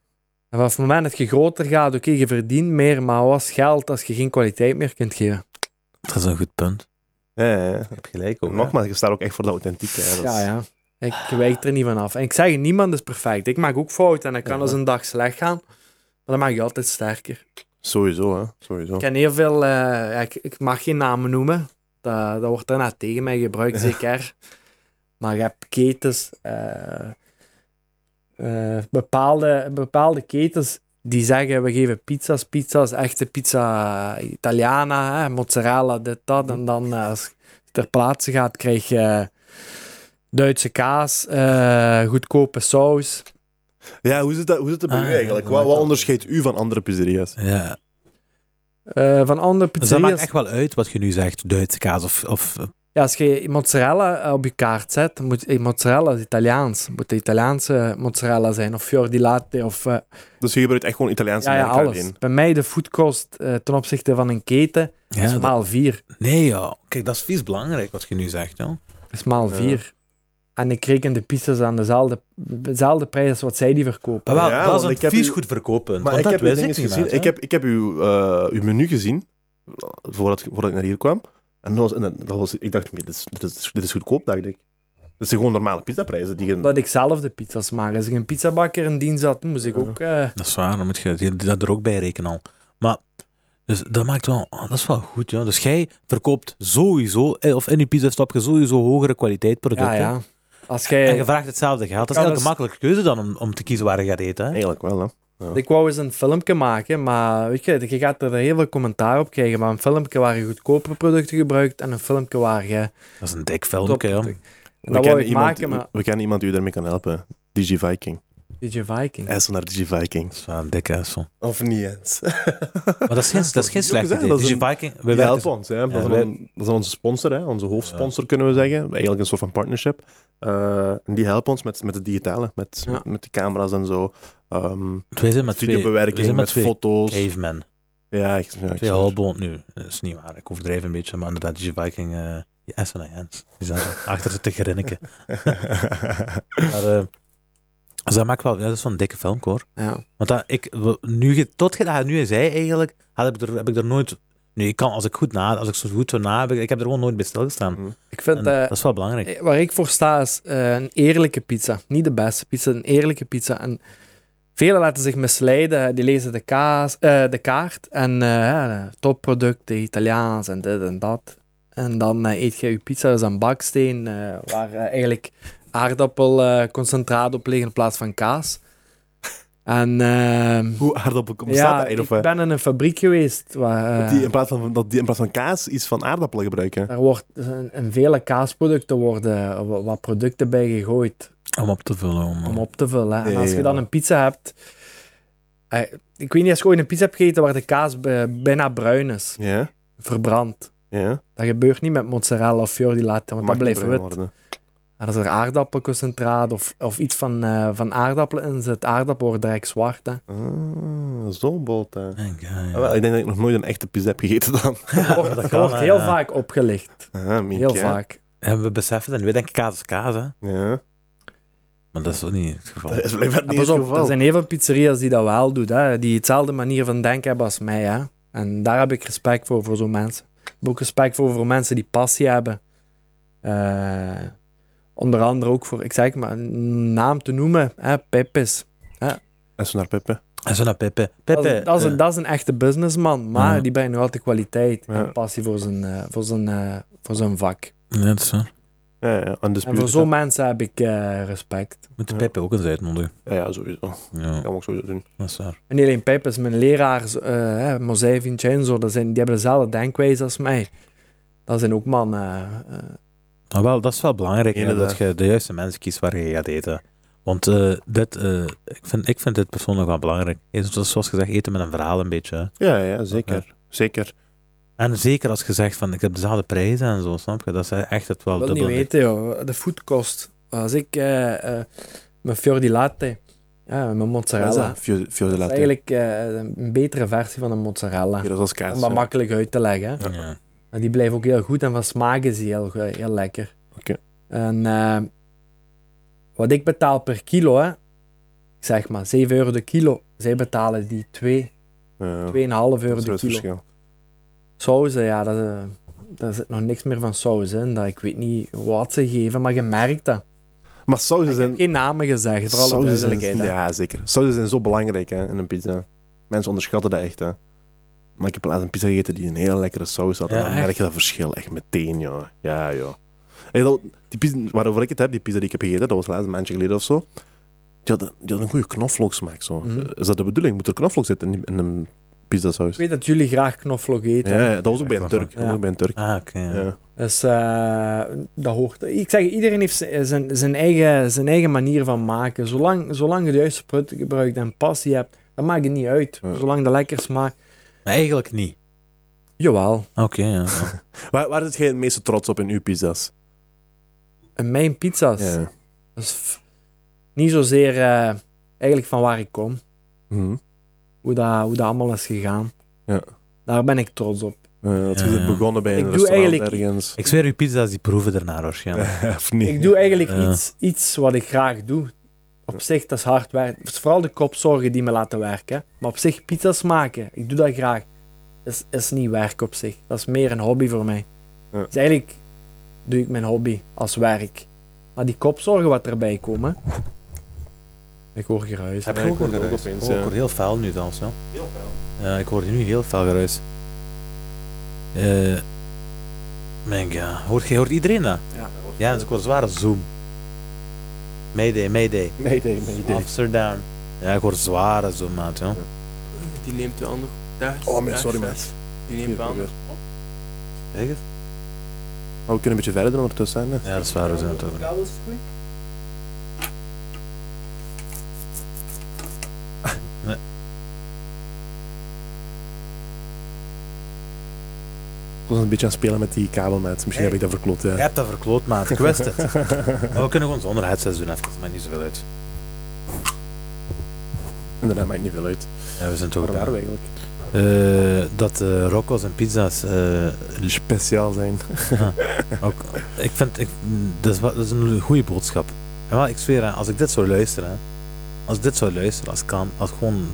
Speaker 3: En vanaf het moment dat je groter gaat, oké, je verdient meer, maar wat is geld als je geen kwaliteit meer kunt geven?
Speaker 2: dat is een goed punt.
Speaker 1: Ja, ja.
Speaker 2: Ik heb gelijk ook. hè.
Speaker 1: Nogmaals, je staat ook echt voor de authentieke. hè. Dat is-
Speaker 3: Ja, ja. Ik wijk er niet van af. En ik zeg, je, niemand is perfect. Ik maak ook fouten en dat kan
Speaker 1: Ja.
Speaker 3: als een dag slecht gaan. Maar dan maak je altijd sterker.
Speaker 1: Sowieso, hè. Sowieso.
Speaker 3: Ik ken heel veel... eh, ja, ik, ik mag geen namen noemen. Dat, dat wordt daarna tegen mij gebruikt, zeker. Maar je hebt ketens... eh, eh, bepaalde, bepaalde ketens die zeggen, we geven pizza's, pizza's, echte pizza Italiana, hè, mozzarella, dit, dat. En dan eh, als je ter plaatse gaat, krijg je... Duitse kaas, eh, goedkope saus.
Speaker 1: Ja, hoe zit dat, hoe zit dat bij
Speaker 2: Ah,
Speaker 1: u
Speaker 2: ja,
Speaker 1: eigenlijk?
Speaker 2: dat
Speaker 1: Wat,
Speaker 2: maakt
Speaker 1: wat
Speaker 2: wel-
Speaker 1: onderscheidt u van andere pizzeria's?
Speaker 2: Ja.
Speaker 3: Eh, van andere
Speaker 2: Dus dat maakt
Speaker 3: pizzeria's.
Speaker 2: echt wel uit wat je nu zegt, Duitse kaas of... of
Speaker 3: Ja, als je mozzarella eh, op je kaart zet, dan moet eh, mozzarella is Italiaans. Moet de Italiaanse mozzarella zijn, of fior di latte, of eh,
Speaker 1: Dus je gebruikt echt gewoon Italiaanse
Speaker 3: ja, ja,
Speaker 1: merken
Speaker 3: alles.
Speaker 1: alleen.
Speaker 3: Bij mij de foodkost eh, ten opzichte van een keten
Speaker 2: ja,
Speaker 3: is
Speaker 2: dat-
Speaker 3: maal vier.
Speaker 2: nee, ja. Kijk, dat is vies belangrijk wat je nu zegt, ja.
Speaker 3: Is maal
Speaker 1: Ja.
Speaker 3: vier. En ik reken de pizza's aan dezelfde, dezelfde prijs als wat zij die verkopen.
Speaker 2: Maar wel,
Speaker 1: Ja,
Speaker 2: dat
Speaker 1: want
Speaker 2: is een
Speaker 1: ik heb
Speaker 2: vies
Speaker 1: u-
Speaker 2: goed verkopen.
Speaker 1: Maar
Speaker 2: want
Speaker 1: ik
Speaker 2: dat
Speaker 1: heb, uw
Speaker 2: wist
Speaker 1: ding
Speaker 2: ik
Speaker 1: eens
Speaker 2: niet,
Speaker 1: gezien,
Speaker 2: maat,
Speaker 1: ik
Speaker 2: hè.
Speaker 1: heb, ik heb uw, eh, uw menu gezien, voordat, voordat ik naar hier kwam. En dat was, en dat was, ik dacht, dit is, dit, is, dit is goedkoop, dacht ik. Dat zijn gewoon normale pizzaprijzen. Die je-
Speaker 3: Omdat ik zelf de pizza's maak. Als ik een pizzabakker in dienst had, moest ik
Speaker 1: Ja.
Speaker 3: ook... eh,
Speaker 2: Dat is waar, dan moet je die- dat er ook bij rekenen al. Maar, dus dat maakt wel, oh, dat is wel goed, ja. Dus jij verkoopt sowieso, eh, of in je pizza stap je sowieso hogere kwaliteit producten.
Speaker 3: ja, ja. Als
Speaker 2: En je
Speaker 3: jij...
Speaker 2: vraagt hetzelfde geld. Dat is
Speaker 3: Ja,
Speaker 2: eigenlijk
Speaker 3: dat is-
Speaker 2: een makkelijke keuze dan om, om te kiezen waar je gaat eten. Hè?
Speaker 1: Eigenlijk wel, hè.
Speaker 3: Ik wou eens een filmpje maken, maar weet je, je gaat er heel veel commentaar op krijgen. Maar een filmpje waar je goedkope producten gebruikt en een filmpje waar je...
Speaker 2: Dat is een dik filmpje. ja.
Speaker 3: topproducten- En
Speaker 1: We
Speaker 3: dat wou
Speaker 1: kennen
Speaker 3: ik
Speaker 1: iemand,
Speaker 3: maken, maar...
Speaker 1: we, we kennen iemand die u daarmee kan helpen. DJ Viking.
Speaker 3: DJ Viking.
Speaker 1: IJssel naar DJ Viking.
Speaker 2: Dat is wel een dikke hassel.
Speaker 1: Of niet eens.
Speaker 2: Maar dat is geen, dat is geen
Speaker 1: is ook
Speaker 2: slecht
Speaker 1: gezegd,
Speaker 2: idee.
Speaker 1: dat is
Speaker 2: DJ
Speaker 1: een-
Speaker 2: Viking, we
Speaker 1: Die
Speaker 2: werken-
Speaker 1: helpen ons. Hè? dat, is
Speaker 2: wij-
Speaker 1: een- dat is onze sponsor, hè? onze hoofdsponsor kunnen we zeggen. Eigenlijk een soort van partnership. Eh, en die helpen ons met, met het digitale, met,
Speaker 3: Ja.
Speaker 1: met, met de camera's en zo. Ehm
Speaker 2: Wij zijn met twee.
Speaker 1: videobewerking,
Speaker 2: wij zijn
Speaker 1: met,
Speaker 2: met twee
Speaker 1: foto's.
Speaker 2: cavemen.
Speaker 1: Ja, ik, ja, ik
Speaker 2: Twee
Speaker 1: snap het.
Speaker 2: halbond nu. Dat is niet waar. Ik overdrijf een beetje, maar inderdaad, DJ Viking, eh die Essen en Jens. Die zijn er achter ze te grinniken. Maar, eh, dus dat maakt wel, ja, dat is wel een dikke film, hoor.
Speaker 3: Ja.
Speaker 2: Want dat, ik, we- nu, je- tot je dat nu zei eigenlijk, had ik er, heb ik er nooit... Nee, ik kan, als ik goed na, als ik zo goed zo na heb, ik, ik heb er gewoon nooit bij stilgestaan.
Speaker 1: Mhm.
Speaker 3: Ik
Speaker 2: En
Speaker 3: vind... eh,
Speaker 2: dat is wel belangrijk.
Speaker 3: Eh, Waar ik voor sta is eh, een eerlijke pizza. Niet de beste pizza, een eerlijke pizza. En velen laten zich misleiden. Die lezen de, kaas, eh, de kaart en eh, ja, topproducten, Italiaans en dit en dat. En dan eh, eet je je pizza dus aan baksteen, eh, waar eh, eigenlijk aardappelconcentraat op liggen in plaats van kaas. En ehm,
Speaker 1: Hoe aardappel komt
Speaker 3: ja,
Speaker 1: staat
Speaker 3: ik
Speaker 1: dat? Of, eh,
Speaker 3: ben in een fabriek geweest waar...
Speaker 1: dat
Speaker 3: eh,
Speaker 1: die in plaats van, dat die in plaats van kaas iets van aardappelen gebruiken.
Speaker 3: daar wordt, in, in vele kaasproducten worden wa- wat producten bij gegooid.
Speaker 2: Om op te vullen. Om,
Speaker 3: om op te vullen. hè. En
Speaker 1: Ja,
Speaker 3: als
Speaker 1: ja.
Speaker 3: je dan een pizza hebt. eh, ik weet niet, als je ooit een pizza hebt gegeten waar de kaas bij- bijna bruin is,
Speaker 1: Ja,
Speaker 3: verbrand.
Speaker 1: ja.
Speaker 3: Dat gebeurt niet met mozzarella of fior di latte, want dat
Speaker 1: Mag niet
Speaker 3: blijft
Speaker 1: bruin
Speaker 3: wit.
Speaker 1: worden.
Speaker 3: En als er aardappelconcentraat of, of iets van, eh, van aardappelen in zit, aardappel wordt direct zwart. Hè.
Speaker 1: Ah, zo'n bot. hè.
Speaker 2: Denk, ja, ja.
Speaker 1: Ah, wel, ik denk dat ik nog nooit een echte pizza heb gegeten dan.
Speaker 3: Dat wordt,
Speaker 2: dat
Speaker 3: dat
Speaker 2: kan,
Speaker 3: wordt
Speaker 2: hè,
Speaker 3: heel
Speaker 2: ja.
Speaker 3: vaak opgelicht.
Speaker 1: Ah, mink,
Speaker 3: Heel
Speaker 1: hè.
Speaker 3: vaak.
Speaker 2: En we beseffen dat nu. We denken kaas is kaas, hè.
Speaker 1: Ja.
Speaker 2: Maar dat is ook niet het geval.
Speaker 1: Dat is blijkbaar
Speaker 3: En
Speaker 1: niet
Speaker 3: Ah, pas
Speaker 1: het
Speaker 3: op, er
Speaker 1: geval.
Speaker 3: zijn heel veel pizzeria's die dat wel doen, hè, die hetzelfde manier van denken hebben als mij. Hè. En daar heb ik respect voor, voor zo'n mensen. Ik heb ook respect voor, voor mensen die passie hebben. Eh, onder andere ook voor, ik zeg het maar, een naam te noemen, hè, Pippis.
Speaker 1: En zo naar Peppe.
Speaker 2: En zo naar Peppe.
Speaker 3: Dat
Speaker 2: Peppe,
Speaker 3: is, dat, is
Speaker 2: eh,
Speaker 3: een, dat is een echte businessman, maar
Speaker 2: Ja.
Speaker 3: die brengt nog altijd kwaliteit
Speaker 1: Ja.
Speaker 3: en passie voor zijn, eh, voor zijn, eh, voor zijn vak.
Speaker 2: ja, dat is waar.
Speaker 1: Ja, ja.
Speaker 3: En voor
Speaker 1: undisputed,
Speaker 3: zo'n mensen heb ik eh, respect.
Speaker 2: Moet de
Speaker 1: Ja.
Speaker 2: Peppe ook eens uitnodigen.
Speaker 1: hè. Ja, ja, sowieso. Dat
Speaker 2: Ja,
Speaker 1: kan ik sowieso doen.
Speaker 2: dat is waar.
Speaker 3: En niet alleen Pippis, mijn leraars, eh, eh, Mosei Vincenzo, dat zijn, die hebben dezelfde denkwijze als mij. Dat zijn ook mannen. eh, eh.
Speaker 2: Maar wel, dat is wel belangrijk hè, dat
Speaker 1: Inderdaad.
Speaker 2: je de juiste mensen kiest waar je gaat eten. Want eh, dit, eh, ik, vind, ik vind dit persoonlijk wel belangrijk. Eerst, Zoals zoals gezegd, eten met een verhaal een beetje. hè.
Speaker 1: Ja, ja, zeker. Zeker.
Speaker 2: En zeker als je zegt van ik heb dezelfde prijzen en zo, snap je? Oh, Dat is echt het wel
Speaker 3: ik wil niet
Speaker 2: dubbel.
Speaker 3: weten, joh. de foodkost. Als ik eh, eh, mijn fior di latte, ja, mijn
Speaker 1: Ja,
Speaker 3: mozzarella, dat
Speaker 1: Fio- Fio de
Speaker 3: is
Speaker 1: latte.
Speaker 3: eigenlijk eh, een betere versie van een mozzarella.
Speaker 1: Ja, dat is als kaas.
Speaker 3: Om dat
Speaker 1: ja.
Speaker 3: makkelijk uit te leggen. hè.
Speaker 2: Ja.
Speaker 3: En die blijft ook heel goed en van smaak is die heel, ge- heel lekker.
Speaker 1: Oké.
Speaker 3: En eh, wat ik betaal per kilo, hè, ik zeg maar 7 euro de kilo. Zij betalen die 2, 2,5
Speaker 1: Ja, dat
Speaker 3: euro
Speaker 1: is wel
Speaker 3: de
Speaker 1: het
Speaker 3: kilo.
Speaker 1: verschil.
Speaker 3: Sauzen, ja, dat, eh, daar zit nog niks meer van saus in. Dat, ik weet niet wat ze geven, maar je merkt dat.
Speaker 1: Maar sauzen
Speaker 3: Ik heb
Speaker 1: zijn...
Speaker 3: geen namen gezegd, voor alle
Speaker 1: sauzen zijn-
Speaker 3: duidelijkheid. hè.
Speaker 1: Ja, zeker. Sauzen zijn zo belangrijk hè, in een pizza. Mensen onderschatten dat echt. Hè. Maar ik heb laatst een pizza gegeten die een hele lekkere saus had.
Speaker 2: Ja,
Speaker 1: en dan
Speaker 2: echt?
Speaker 1: merk je dat verschil echt meteen, joh. Ja, joh. Hey, dat- die pizza, waarover ik het heb, die pizza die ik heb gegeten, dat was laatst een maandje geleden of zo. Die had, een- die had een goede knoflooksmaak. Zo.
Speaker 3: Mhm.
Speaker 1: Is dat de bedoeling? Moet er knoflook zitten in, die- in een pizzasaus.
Speaker 3: Ik weet dat jullie graag knoflook eten.
Speaker 1: Ja, ja, dat was ook bij een
Speaker 2: Ja.
Speaker 1: Turk. Dat was ook bij een Turk.
Speaker 2: Ah, oké. ja.
Speaker 1: Ja.
Speaker 3: Dus eh, dat hoort. Ik zeg, iedereen heeft z- zijn, zijn, eigen, zijn eigen manier van maken. Zolang, zolang je de juiste product gebruikt en passie hebt, dat maakt het niet uit.
Speaker 1: Ja.
Speaker 3: Zolang dat lekker smaakt.
Speaker 2: Maar eigenlijk niet.
Speaker 3: Jawel.
Speaker 2: Oké, ja. ja.
Speaker 1: Waar, waar is jij het meeste trots op in uw pizza's?
Speaker 3: En mijn pizza's.
Speaker 1: Ja.
Speaker 3: Dat is f- niet zozeer eh, eigenlijk van waar ik kom.
Speaker 1: Mhm.
Speaker 3: Hoe dat, hoe dat allemaal is gegaan.
Speaker 1: Ja.
Speaker 3: Daar ben ik trots op.
Speaker 1: Eh, dat
Speaker 2: Ja,
Speaker 1: je
Speaker 2: ja.
Speaker 1: begonnen bij
Speaker 3: Ik
Speaker 1: een
Speaker 3: doe
Speaker 1: restaurant
Speaker 3: eigenlijk-
Speaker 1: ergens.
Speaker 2: Ik zweer, uw pizza's die proeven ernaar waarschijnlijk.
Speaker 1: of niet?
Speaker 3: Ik doe eigenlijk
Speaker 2: Ja.
Speaker 3: iets, iets wat ik graag doe. Op zich, dat is hard werken. Het is vooral de kopzorgen die me laten werken. Maar op zich, pizza's maken, ik doe dat graag. Is, is niet werk op zich. Dat is meer een hobby voor mij.
Speaker 1: Ja.
Speaker 3: Dus eigenlijk doe ik mijn hobby als werk. Maar die kopzorgen wat erbij komen. Ik hoor geruis.
Speaker 1: Heb-
Speaker 2: Ja,
Speaker 1: ik
Speaker 2: ik hoor
Speaker 1: hoor
Speaker 2: geruis.
Speaker 1: ook opeens,
Speaker 2: Oh, ik
Speaker 1: ja.
Speaker 2: hoor heel fel nu dan, zo. Ja, ik hoor nu heel fel geruis. Eh mijn god. Hoort, jij- hoort iedereen dat?
Speaker 3: Ja.
Speaker 2: Ja, dat is ook wel een zware zoom. Mayday, mayday.
Speaker 1: Nee, nee, nee.
Speaker 2: Officer down. Ja, ik hoor zware zoom, maat, joh.
Speaker 4: Die neemt u anders. Daar,
Speaker 1: Oh, man,
Speaker 4: daar,
Speaker 1: sorry,
Speaker 4: daar.
Speaker 1: man.
Speaker 4: Die neemt u anders.
Speaker 2: Zeg het?
Speaker 1: Maar we kunnen een beetje verder ondertussen. Hè? Mhm.
Speaker 2: Ja, dat is waar, we zijn het over.
Speaker 1: Ik was een beetje aan het spelen met die kabel, maat. Misschien heb ik dat verklopt. Ja.
Speaker 2: Je hebt dat verkloot, maat. Ik wist het. Maar we kunnen gewoon zonder headsets doen, even. Het maakt niet zoveel uit.
Speaker 1: En daarna maakt niet veel uit.
Speaker 2: Ja, we zijn toch
Speaker 1: Waarom waren
Speaker 2: daar.
Speaker 1: we eigenlijk?
Speaker 2: Eh, dat eh, Rocco's en pizza's eh, Ah,
Speaker 1: Speciaal zijn.
Speaker 2: Ook, ik vind, ik, mm, dat, is, wa- dat is een goede boodschap. En wel, ik zweer, hè, als ik dit zou luisteren, hè, als ik dit zou luisteren, als ik kan, als gewoon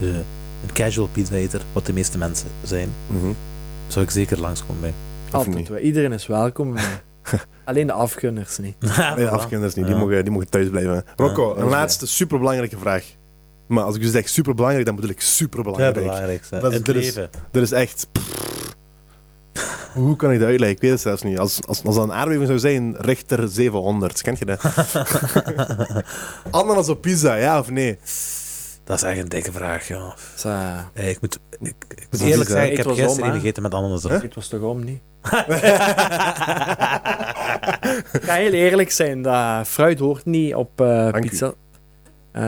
Speaker 2: eh, een casual pizza eter, wat de meeste mensen zijn,
Speaker 1: Mhm.
Speaker 2: zou ik zeker langskomen bij.
Speaker 1: niet?
Speaker 3: Altijd. wel. Iedereen is welkom. maar Alleen de afgunners niet.
Speaker 1: Nee,
Speaker 2: Ah, Voilà.
Speaker 1: afkinders niet. Die,
Speaker 2: Ja.
Speaker 1: mogen, die mogen thuis blijven. Rocco,
Speaker 2: dat is
Speaker 1: een
Speaker 2: waar.
Speaker 1: laatste superbelangrijke vraag. Maar als ik dus zeg superbelangrijk, dan bedoel ik
Speaker 2: Dat
Speaker 1: superbelangrijk.
Speaker 2: is belangrijkste.
Speaker 1: Dat is- dus-
Speaker 2: het
Speaker 1: dat is-
Speaker 2: leven.
Speaker 1: Er is echt. Hoe kan ik dat uitleggen? Ik weet het zelfs niet. Als, als, als dat een aardbeving zou zijn, rechter 700. Kent je dat? Ananas op pizza, ja of nee?
Speaker 2: dat is echt een dikke vraag, joh.
Speaker 3: Dus, eh,
Speaker 2: Hey, ik moet, ik, ik
Speaker 1: is
Speaker 2: moet eerlijk
Speaker 1: hè?
Speaker 2: zeggen, ik
Speaker 3: Ik
Speaker 2: heb
Speaker 3: was
Speaker 2: gisteren
Speaker 3: om,
Speaker 2: één
Speaker 3: hè?
Speaker 2: gegeten met ananas.
Speaker 1: Huh?
Speaker 3: Het was toch om niet?
Speaker 2: erop.
Speaker 3: Ik ga heel eerlijk zijn, dat fruit hoort niet op eh,
Speaker 1: Dank u.
Speaker 3: pizza. Eh,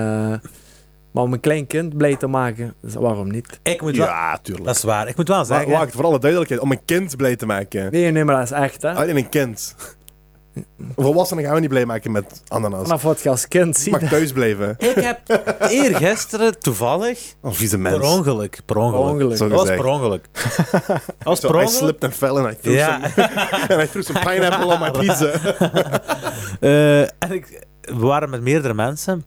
Speaker 3: maar om een klein kind blij te maken, dus waarom niet?
Speaker 2: ik moet wel,
Speaker 1: Ja, tuurlijk.
Speaker 2: dat is waar. Ik moet wel
Speaker 1: Wa-
Speaker 2: zeggen,
Speaker 1: wacht, voor alle duidelijkheid, om een kind blij te maken.
Speaker 3: Nee, nee, maar Ah, dat is echt,
Speaker 2: Ah.
Speaker 3: hè?
Speaker 1: Alleen een kind. Volwassenen gaan we niet blij maken met ananas.
Speaker 3: Vanaf wat je als kind
Speaker 1: Ik
Speaker 3: ziet.
Speaker 1: mag thuis blijven.
Speaker 2: ik heb eergisteren toevallig,
Speaker 1: Oh, vieze
Speaker 2: per
Speaker 1: mens.
Speaker 2: ongeluk, per ongelk.
Speaker 3: Ongeluk.
Speaker 1: Zo
Speaker 2: Dat was
Speaker 1: gezegd.
Speaker 2: per ongeluk. Dat was
Speaker 1: Zo,
Speaker 2: per
Speaker 1: I
Speaker 2: ongeluk.
Speaker 1: slipped and fell and I threw,
Speaker 2: Ja.
Speaker 1: some, and I threw some pineapple on my pizza.
Speaker 2: Eh, en ik, we waren met meerdere mensen.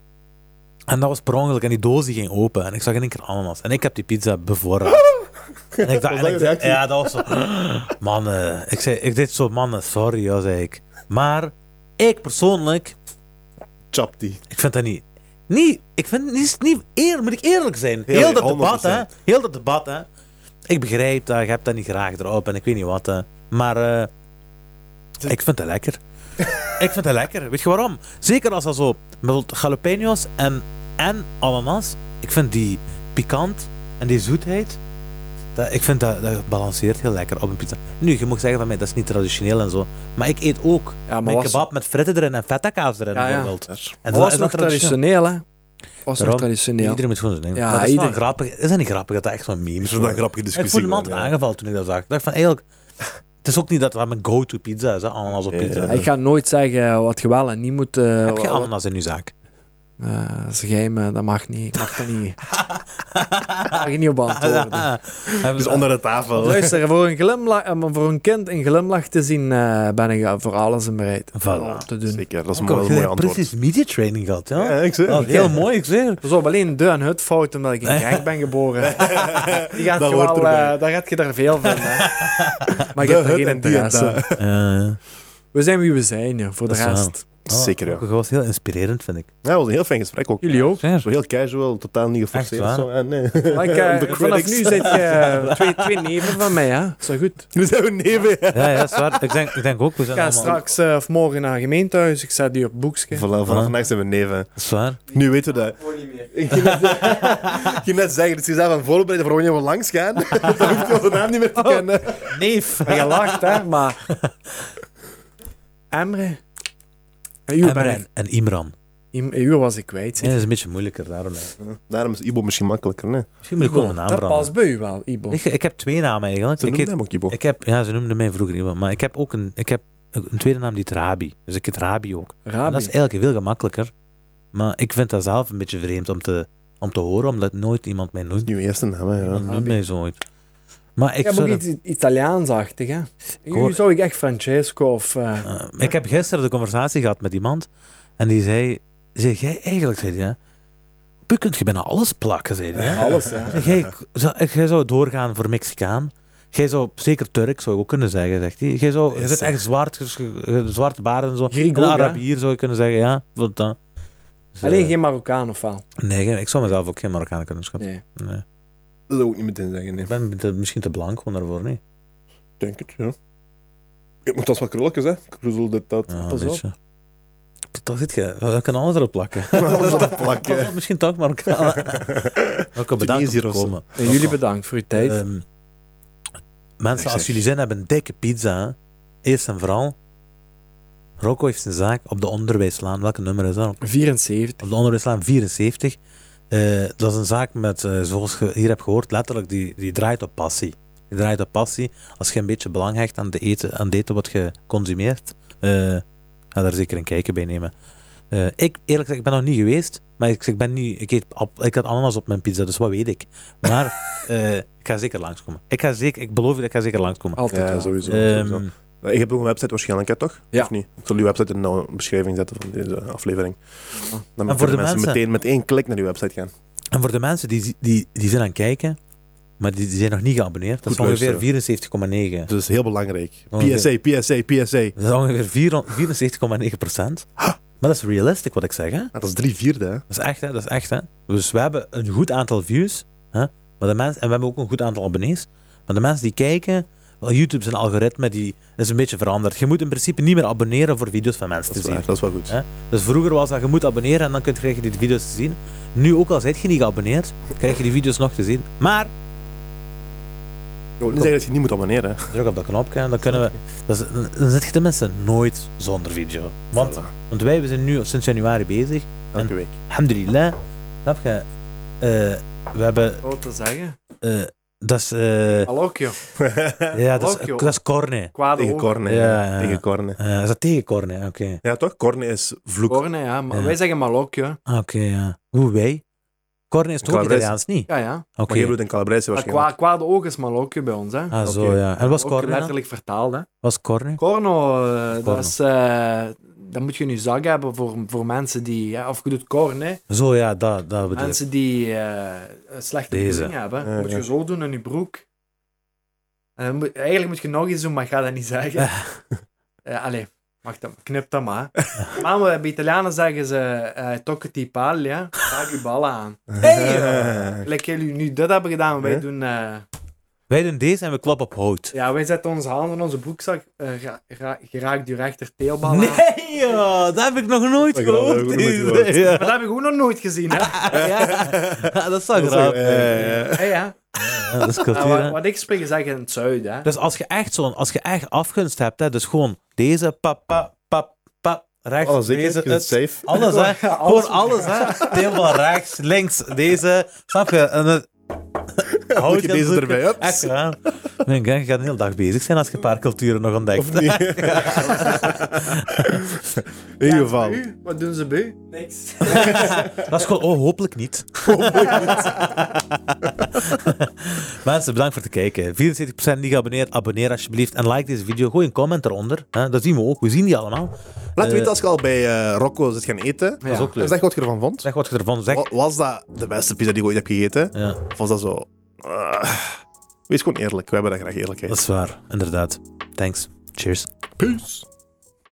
Speaker 2: En dat was per ongeluk. En die doos die ging open. En ik zag in één keer ananas. En ik heb die pizza bevoorraad. En ik dacht,
Speaker 1: Was dat
Speaker 2: en
Speaker 1: je
Speaker 2: ik dacht-
Speaker 1: reactie?
Speaker 2: ja, dat was zo. Mannen. Ik, zei, ik deed zo, mannen, sorry, ja, zei ik. Maar ik persoonlijk,
Speaker 1: Chop die.
Speaker 2: ik vind dat niet. Niet, ik vind het niet, niet eer, moet ik eerlijk zijn.
Speaker 1: Heel-
Speaker 2: Heel, dat debat, hè.
Speaker 1: 100%.
Speaker 2: Heel dat debat, hè. Ik begrijp dat, je hebt dat niet graag erop en ik weet niet wat, hè. Maar eh, ik vind het lekker. ik vind het lekker. Weet je waarom? Zeker als dat zo met jalapenos en, en ananas. Ik vind die pikant en die zoetheid. Dat, ik vind dat, dat balanceert heel lekker op een pizza. Nu, je moet zeggen van mij, dat is niet traditioneel en zo. Maar ik eet ook
Speaker 3: Ja, maar
Speaker 2: mijn
Speaker 3: was,
Speaker 2: kebab met fritten erin en feta kaas erin
Speaker 3: Ja, ja.
Speaker 2: bijvoorbeeld. En
Speaker 1: Oh,
Speaker 3: was nog
Speaker 2: traditioneel?
Speaker 3: traditioneel, hè? Was nog
Speaker 2: Daarom.
Speaker 3: traditioneel.
Speaker 2: Iedereen moet gewoon zijn ding.
Speaker 3: Ja,
Speaker 2: Ja, dat is, wel
Speaker 3: ieder-
Speaker 2: grappig. is dat niet grappig dat dat echt zo'n meme
Speaker 1: Is
Speaker 2: is?
Speaker 1: dat een grappige
Speaker 2: ik
Speaker 1: discussie?
Speaker 2: voelde me altijd
Speaker 1: gewoon, ja.
Speaker 2: aangevallen toen ik dat zag. Ik dacht van, eigenlijk... Het is ook niet dat dat mijn go-to pizza is, hè, ananas op
Speaker 1: Ja,
Speaker 2: pizza.
Speaker 1: ja.
Speaker 3: Ik ga nooit zeggen wat je wel en niet moet. eh,
Speaker 2: Heb je
Speaker 3: wat-
Speaker 2: ananas in je zaak?
Speaker 3: eh, dat is geheim, eh, dat mag niet. Ik mag dat niet. mag je niet op antwoorden.
Speaker 1: Dus onder de tafel.
Speaker 3: Luister, voor een, glimlach, eh, maar voor een kind een glimlach te zien, eh, ben ik eh, voor alles in bereid.
Speaker 2: Voilà.
Speaker 3: Om te doen.
Speaker 1: Zeker, dat is een
Speaker 2: Oh, Ik
Speaker 1: mooi,
Speaker 2: heb
Speaker 1: mooi antwoord.
Speaker 2: precies media training gehad, ja.
Speaker 1: Ja, ik zeg.
Speaker 2: Dat is heel mooi, ik zeg.
Speaker 3: Pas Dus op, alleen de en het fout omdat ik in Genk ben geboren.
Speaker 2: Oh.
Speaker 3: Die gaat
Speaker 1: Dat
Speaker 3: je
Speaker 1: hoort
Speaker 3: wel,
Speaker 1: erbij.
Speaker 3: eh, daar gaat je er veel van. Hè. Maar ik
Speaker 1: De
Speaker 3: heb daar
Speaker 1: hut
Speaker 3: geen
Speaker 1: en die en
Speaker 3: interesse.
Speaker 1: dat.
Speaker 2: Eh,
Speaker 3: We zijn wie we zijn, joh, voor de
Speaker 2: Dat is
Speaker 3: rest.
Speaker 1: Zeker, ja.
Speaker 2: Oh, Dat was heel inspirerend, vind ik.
Speaker 1: Ja, dat was een heel fijn gesprek ook.
Speaker 3: Jullie ook.
Speaker 1: Zo heel casual, totaal niet geforceerd.
Speaker 2: Echt waar?
Speaker 1: zo, en, nee.
Speaker 3: Maar ik,
Speaker 1: De
Speaker 3: eh, vanaf
Speaker 1: critics.
Speaker 3: nu zit je eh, twee, twee neven van mij, hè? Is dat goed?
Speaker 1: Nu zijn we neven.
Speaker 2: Ja, ja, zwaar. Ik denk, ik denk ook, we
Speaker 3: Ik
Speaker 2: zijn
Speaker 3: ga
Speaker 2: allemaal...
Speaker 3: straks eh, of morgen naar gemeentehuis. Ik zet die op boekje.
Speaker 1: Voilà, vanaf
Speaker 2: Ja.
Speaker 1: vandaag zijn we neven.
Speaker 2: Zwaar.
Speaker 1: Nu weten we dat.
Speaker 4: Hoor niet meer.
Speaker 1: Ik ging net, ik ging net zeggen, dus je zei van voorbereiden voor wanneer we langs gaan. Dan hoef je onze naam niet meer
Speaker 2: Oh.
Speaker 1: te kennen.
Speaker 2: Neef.
Speaker 3: Maar je lacht, hè? Maar... Emre? Een uur, ben ik-
Speaker 2: En, en Imran.
Speaker 3: een uur was ik kwijt.
Speaker 2: Ja,
Speaker 3: zeg.
Speaker 2: dat is een beetje moeilijker, daarom. hè.
Speaker 1: Daarom is Ibo misschien makkelijker, nee.
Speaker 2: Misschien moet ik gewoon mijn naam
Speaker 3: Dat past
Speaker 2: veranderen.
Speaker 3: bij u wel, Ibo.
Speaker 2: Ik, ik heb twee namen eigenlijk.
Speaker 1: Ze
Speaker 2: Ik
Speaker 1: noemen
Speaker 2: heet,
Speaker 1: hem ook Ibo.
Speaker 2: ik heb, ja, ze noemden mij vroeger Imran, maar ik heb ook een, ik heb een tweede naam die heet Rabi. Dus ik heet Rabi ook. En
Speaker 3: Rabi.
Speaker 2: Dat is eigenlijk veel gemakkelijker. Maar ik vind dat zelf een beetje vreemd om te, om te horen, omdat nooit iemand mij noemt.
Speaker 1: Nieuwe eerste naam, hè, ja.
Speaker 2: Iemand noemt
Speaker 3: Rabi.
Speaker 2: mij zo ooit. Maar ik,
Speaker 3: Ik heb ook
Speaker 2: zou dat-
Speaker 3: iets Italiaansachtig, hè? Nu
Speaker 2: hoor-
Speaker 3: zou ik echt Francesco of... eh,
Speaker 2: Eh, ik heb gisteren de conversatie gehad met iemand en die zei, zei jij eigenlijk, zei die, hè, op u kunt je bijna alles plakken, zei die, hè.
Speaker 3: Alles, hè?
Speaker 2: Zeg, Jij zou, jij zou doorgaan voor Mexicaan. Jij zou, zeker Turk zou ik ook kunnen zeggen, zegt hij. Jij zou, je
Speaker 1: Yes,
Speaker 2: zit echt zwart, ges- ge- zwart baard en zo.
Speaker 3: Griek
Speaker 2: een
Speaker 3: ook, hè?
Speaker 2: Arabier zou je kunnen zeggen, ja. Wat dan? Dus, eh,
Speaker 3: Alleen geen Marokkaan of wel?
Speaker 2: Nee, geen- ik zou mezelf ook geen Marokkaan kunnen schatten.
Speaker 3: Nee.
Speaker 2: Nee.
Speaker 1: Dat zou ik niet meteen zeggen, nee.
Speaker 2: Ik ben te- misschien te blank gewoon daarvoor, nee.
Speaker 1: Ik denk het, ja. Ik moet dat wel krulletjes, hè. Kruzzel, dit, dat.
Speaker 2: Ja,
Speaker 1: Pas
Speaker 2: een
Speaker 1: op.
Speaker 2: beetje. Toch zit je, we kunnen alles erop plakken.
Speaker 1: Alles erop plakken.
Speaker 2: Pas op, Misschien toch Marokkaan. Oké, bedankt
Speaker 1: Tunesiër
Speaker 2: voor
Speaker 1: of zo.
Speaker 2: het komen.
Speaker 3: En jullie bedankt voor uw tijd.
Speaker 2: Ehm,
Speaker 1: Ik
Speaker 2: mensen, als
Speaker 1: zeg-
Speaker 2: jullie zin hebben, dikke pizza. hè. Eerst en vooral, Rocco heeft zijn zaak op de onderwijslaan. Welke nummer is dat?
Speaker 3: 74.
Speaker 2: Op de onderwijslaan 74. Eh, dat is een zaak met, eh, zoals je hier hebt gehoord, letterlijk, die, die draait op passie. Die draait op passie. Als je een beetje belang hecht aan, de eten, aan het eten wat je consumeert, eh, ga daar zeker een kijkje bij nemen. Eh, ik, eerlijk gezegd, ik ben nog niet geweest, maar ik, ik ben niet, ik, eet ap- ik had ananas op mijn pizza, dus wat weet ik. Maar eh, ik ga zeker langskomen. Ik, ga zeker, ik beloof je dat ik ga zeker langskomen.
Speaker 3: Altijd
Speaker 1: Ja,
Speaker 3: wel.
Speaker 1: sowieso. sowieso.
Speaker 2: Ehm
Speaker 1: Eh, Je hebt ook een website waarschijnlijk, hè, toch?
Speaker 3: Ja.
Speaker 1: Of niet? Ik zal uw website in de beschrijving zetten van deze aflevering. Dan kunnen
Speaker 2: voor de
Speaker 1: mensen,
Speaker 2: mensen-
Speaker 1: meteen met één klik naar uw website gaan.
Speaker 2: En voor de mensen die, die, die zijn aan het kijken, maar die, die zijn nog niet geabonneerd, dat
Speaker 1: Goed
Speaker 2: is ongeveer
Speaker 1: luisteren.
Speaker 2: 74,9.
Speaker 1: Dat is Dus heel belangrijk.
Speaker 2: Oh, oké.
Speaker 1: PSA, PSA, PSA.
Speaker 2: Dat is ongeveer 474,9 Maar dat is realistic wat ik zeg. Hè?
Speaker 1: Ah, dat is drie vierde, hè?
Speaker 2: Dat is echt, hè? Dat is echt, hè? Dus we hebben een goed aantal views. Hè? Maar de mensen, en we hebben ook een goed aantal abonnees. Maar de mensen die kijken... Wel, YouTube zijn algoritme die is een beetje veranderd. Je moet in principe niet meer abonneren voor video's van mensen
Speaker 1: Dat is,
Speaker 2: te zien.
Speaker 1: waar, dat is wel goed.
Speaker 2: Hè? Dus vroeger was dat je moet abonneren en dan kun je, krijg je die video's te zien. Nu, ook al zit je niet geabonneerd, krijg je die video's nog te zien. Maar
Speaker 1: Ik wil niet zeggen dat je niet moet abonneren. hè.
Speaker 2: druk op dat knopje en dan kunnen we. dat is- dan zit je tenminste nooit zonder video. Want,
Speaker 1: Voilà.
Speaker 2: want wij we zijn nu sinds januari bezig.
Speaker 1: Elke week.
Speaker 2: Alhamdulillah. Snap je? Eh, we hebben.
Speaker 3: Wat te zeggen?
Speaker 2: eh, dat is. eh,
Speaker 3: Hallo, joh.
Speaker 2: ja, dat
Speaker 3: ook,
Speaker 2: is,
Speaker 3: joh.
Speaker 2: dat is corne.
Speaker 3: Kwade
Speaker 1: Tegen
Speaker 3: ogen.
Speaker 1: Corne.
Speaker 2: Ja,
Speaker 1: ja.
Speaker 2: ja.
Speaker 1: Tegen Corne.
Speaker 2: Eh, is dat tegen corne? Oké.
Speaker 1: Ja, toch? Corne is vloek.
Speaker 3: Corne, ja. Maar
Speaker 2: Ja.
Speaker 3: Wij zeggen malokje.
Speaker 2: Ah, Oké, ja. Hoe wij? Corne is toch ook
Speaker 1: Calabres.
Speaker 2: Italiaans, niet?
Speaker 3: Ja, ja.
Speaker 2: Oké.
Speaker 1: Maar je bedoelt in Calabrijse
Speaker 3: Maar
Speaker 1: waarschijnlijk.
Speaker 3: kwa- kwade ogen is malokje bij ons, hè.
Speaker 2: Ah, zo
Speaker 1: Oké.
Speaker 2: ja. En was
Speaker 3: Ook
Speaker 2: corne? dan?
Speaker 3: letterlijk vertaald, hè.
Speaker 2: Was corne?
Speaker 3: Corno, eh,
Speaker 2: Corno.
Speaker 3: dat is... eh, dat moet je nu zak hebben voor, voor mensen die... Ja, of je doet corne.
Speaker 2: Zo ja, dat, dat bedoel ik.
Speaker 3: Mensen die eh, een slechte
Speaker 2: Deze.
Speaker 3: bedoeling hebben.
Speaker 1: Ja,
Speaker 3: moet
Speaker 1: ja.
Speaker 3: je zo doen in je broek. En dan moet- eigenlijk moet je nog iets doen, maar ik ga dat niet zeggen. Eh, allee, mag dat, knip dat maar. maar we- bij Italianen zeggen ze... eh Tocca ti pali, hè. Raak je ballen aan.
Speaker 1: Hey!
Speaker 3: Like jullie nu dit hebben gedaan, maar wij
Speaker 1: Ja.
Speaker 3: doen... eh,
Speaker 2: Wij doen deze en we klappen op hout.
Speaker 3: ja, wij zetten onze handen in onze broekzak. eh ra- ra- je raakt je rechter teelbal aan.
Speaker 2: Nee, joh, dat heb ik nog nooit
Speaker 1: Dat heb ik nog
Speaker 2: gehoord.
Speaker 1: nooit gehoord.
Speaker 2: Ja.
Speaker 3: Maar dat heb ik ook nog nooit gezien, hè.
Speaker 2: Ja, dat is
Speaker 1: Dat
Speaker 2: wel
Speaker 1: is
Speaker 2: grappig.
Speaker 1: ook- ja, ja, ja.
Speaker 3: Ja, ja.
Speaker 2: Ja, dat is
Speaker 3: Nou,
Speaker 2: cultuur,
Speaker 3: wa-
Speaker 2: hè.
Speaker 3: wat, ik spreek is echt in het zuiden, hè.
Speaker 2: Dus als je echt zo'n, als je echt afgunst hebt, hè, dus gewoon deze, pap, pap, pap, pap, rechts,
Speaker 1: Oh, zeker?
Speaker 2: deze,
Speaker 1: Is het
Speaker 2: het-
Speaker 1: safe?
Speaker 2: alles hè. Gewoon alles hè. Helemaal rechts, links, deze, snap je? En het,
Speaker 1: Moet je deze erbij, hups.
Speaker 2: Echt, ja. Ik denk, hè, je gaat een hele dag bezig zijn als je een paar culturen nog ontdekt.
Speaker 1: Of niet? In ieder geval.
Speaker 3: Bij u? Wat doen ze bij u?
Speaker 4: Niks.
Speaker 2: Dat is gewoon, oh, hopelijk niet. Mensen, bedankt voor het kijken. 74% niet geabonneerd. Abonneer alsjeblieft en like deze video. Gooi een comment eronder. Hè? Dat zien we ook. We zien die allemaal.
Speaker 1: Laat
Speaker 2: Eh,
Speaker 1: weten als je al bij eh, Rocco zit gaan eten.
Speaker 2: Dat is ook leuk.
Speaker 1: Zeg wat je ervan vond.
Speaker 2: Zeg wat je ervan
Speaker 1: Wa-
Speaker 2: zegt.
Speaker 1: Was dat de beste pizza die je ooit hebt gegeten?
Speaker 2: Ja,
Speaker 1: Of was dat zo... eh, wees gewoon eerlijk. We hebben dat graag eerlijkheid.
Speaker 2: dat is waar. Inderdaad. Thanks. Cheers.
Speaker 1: Peace.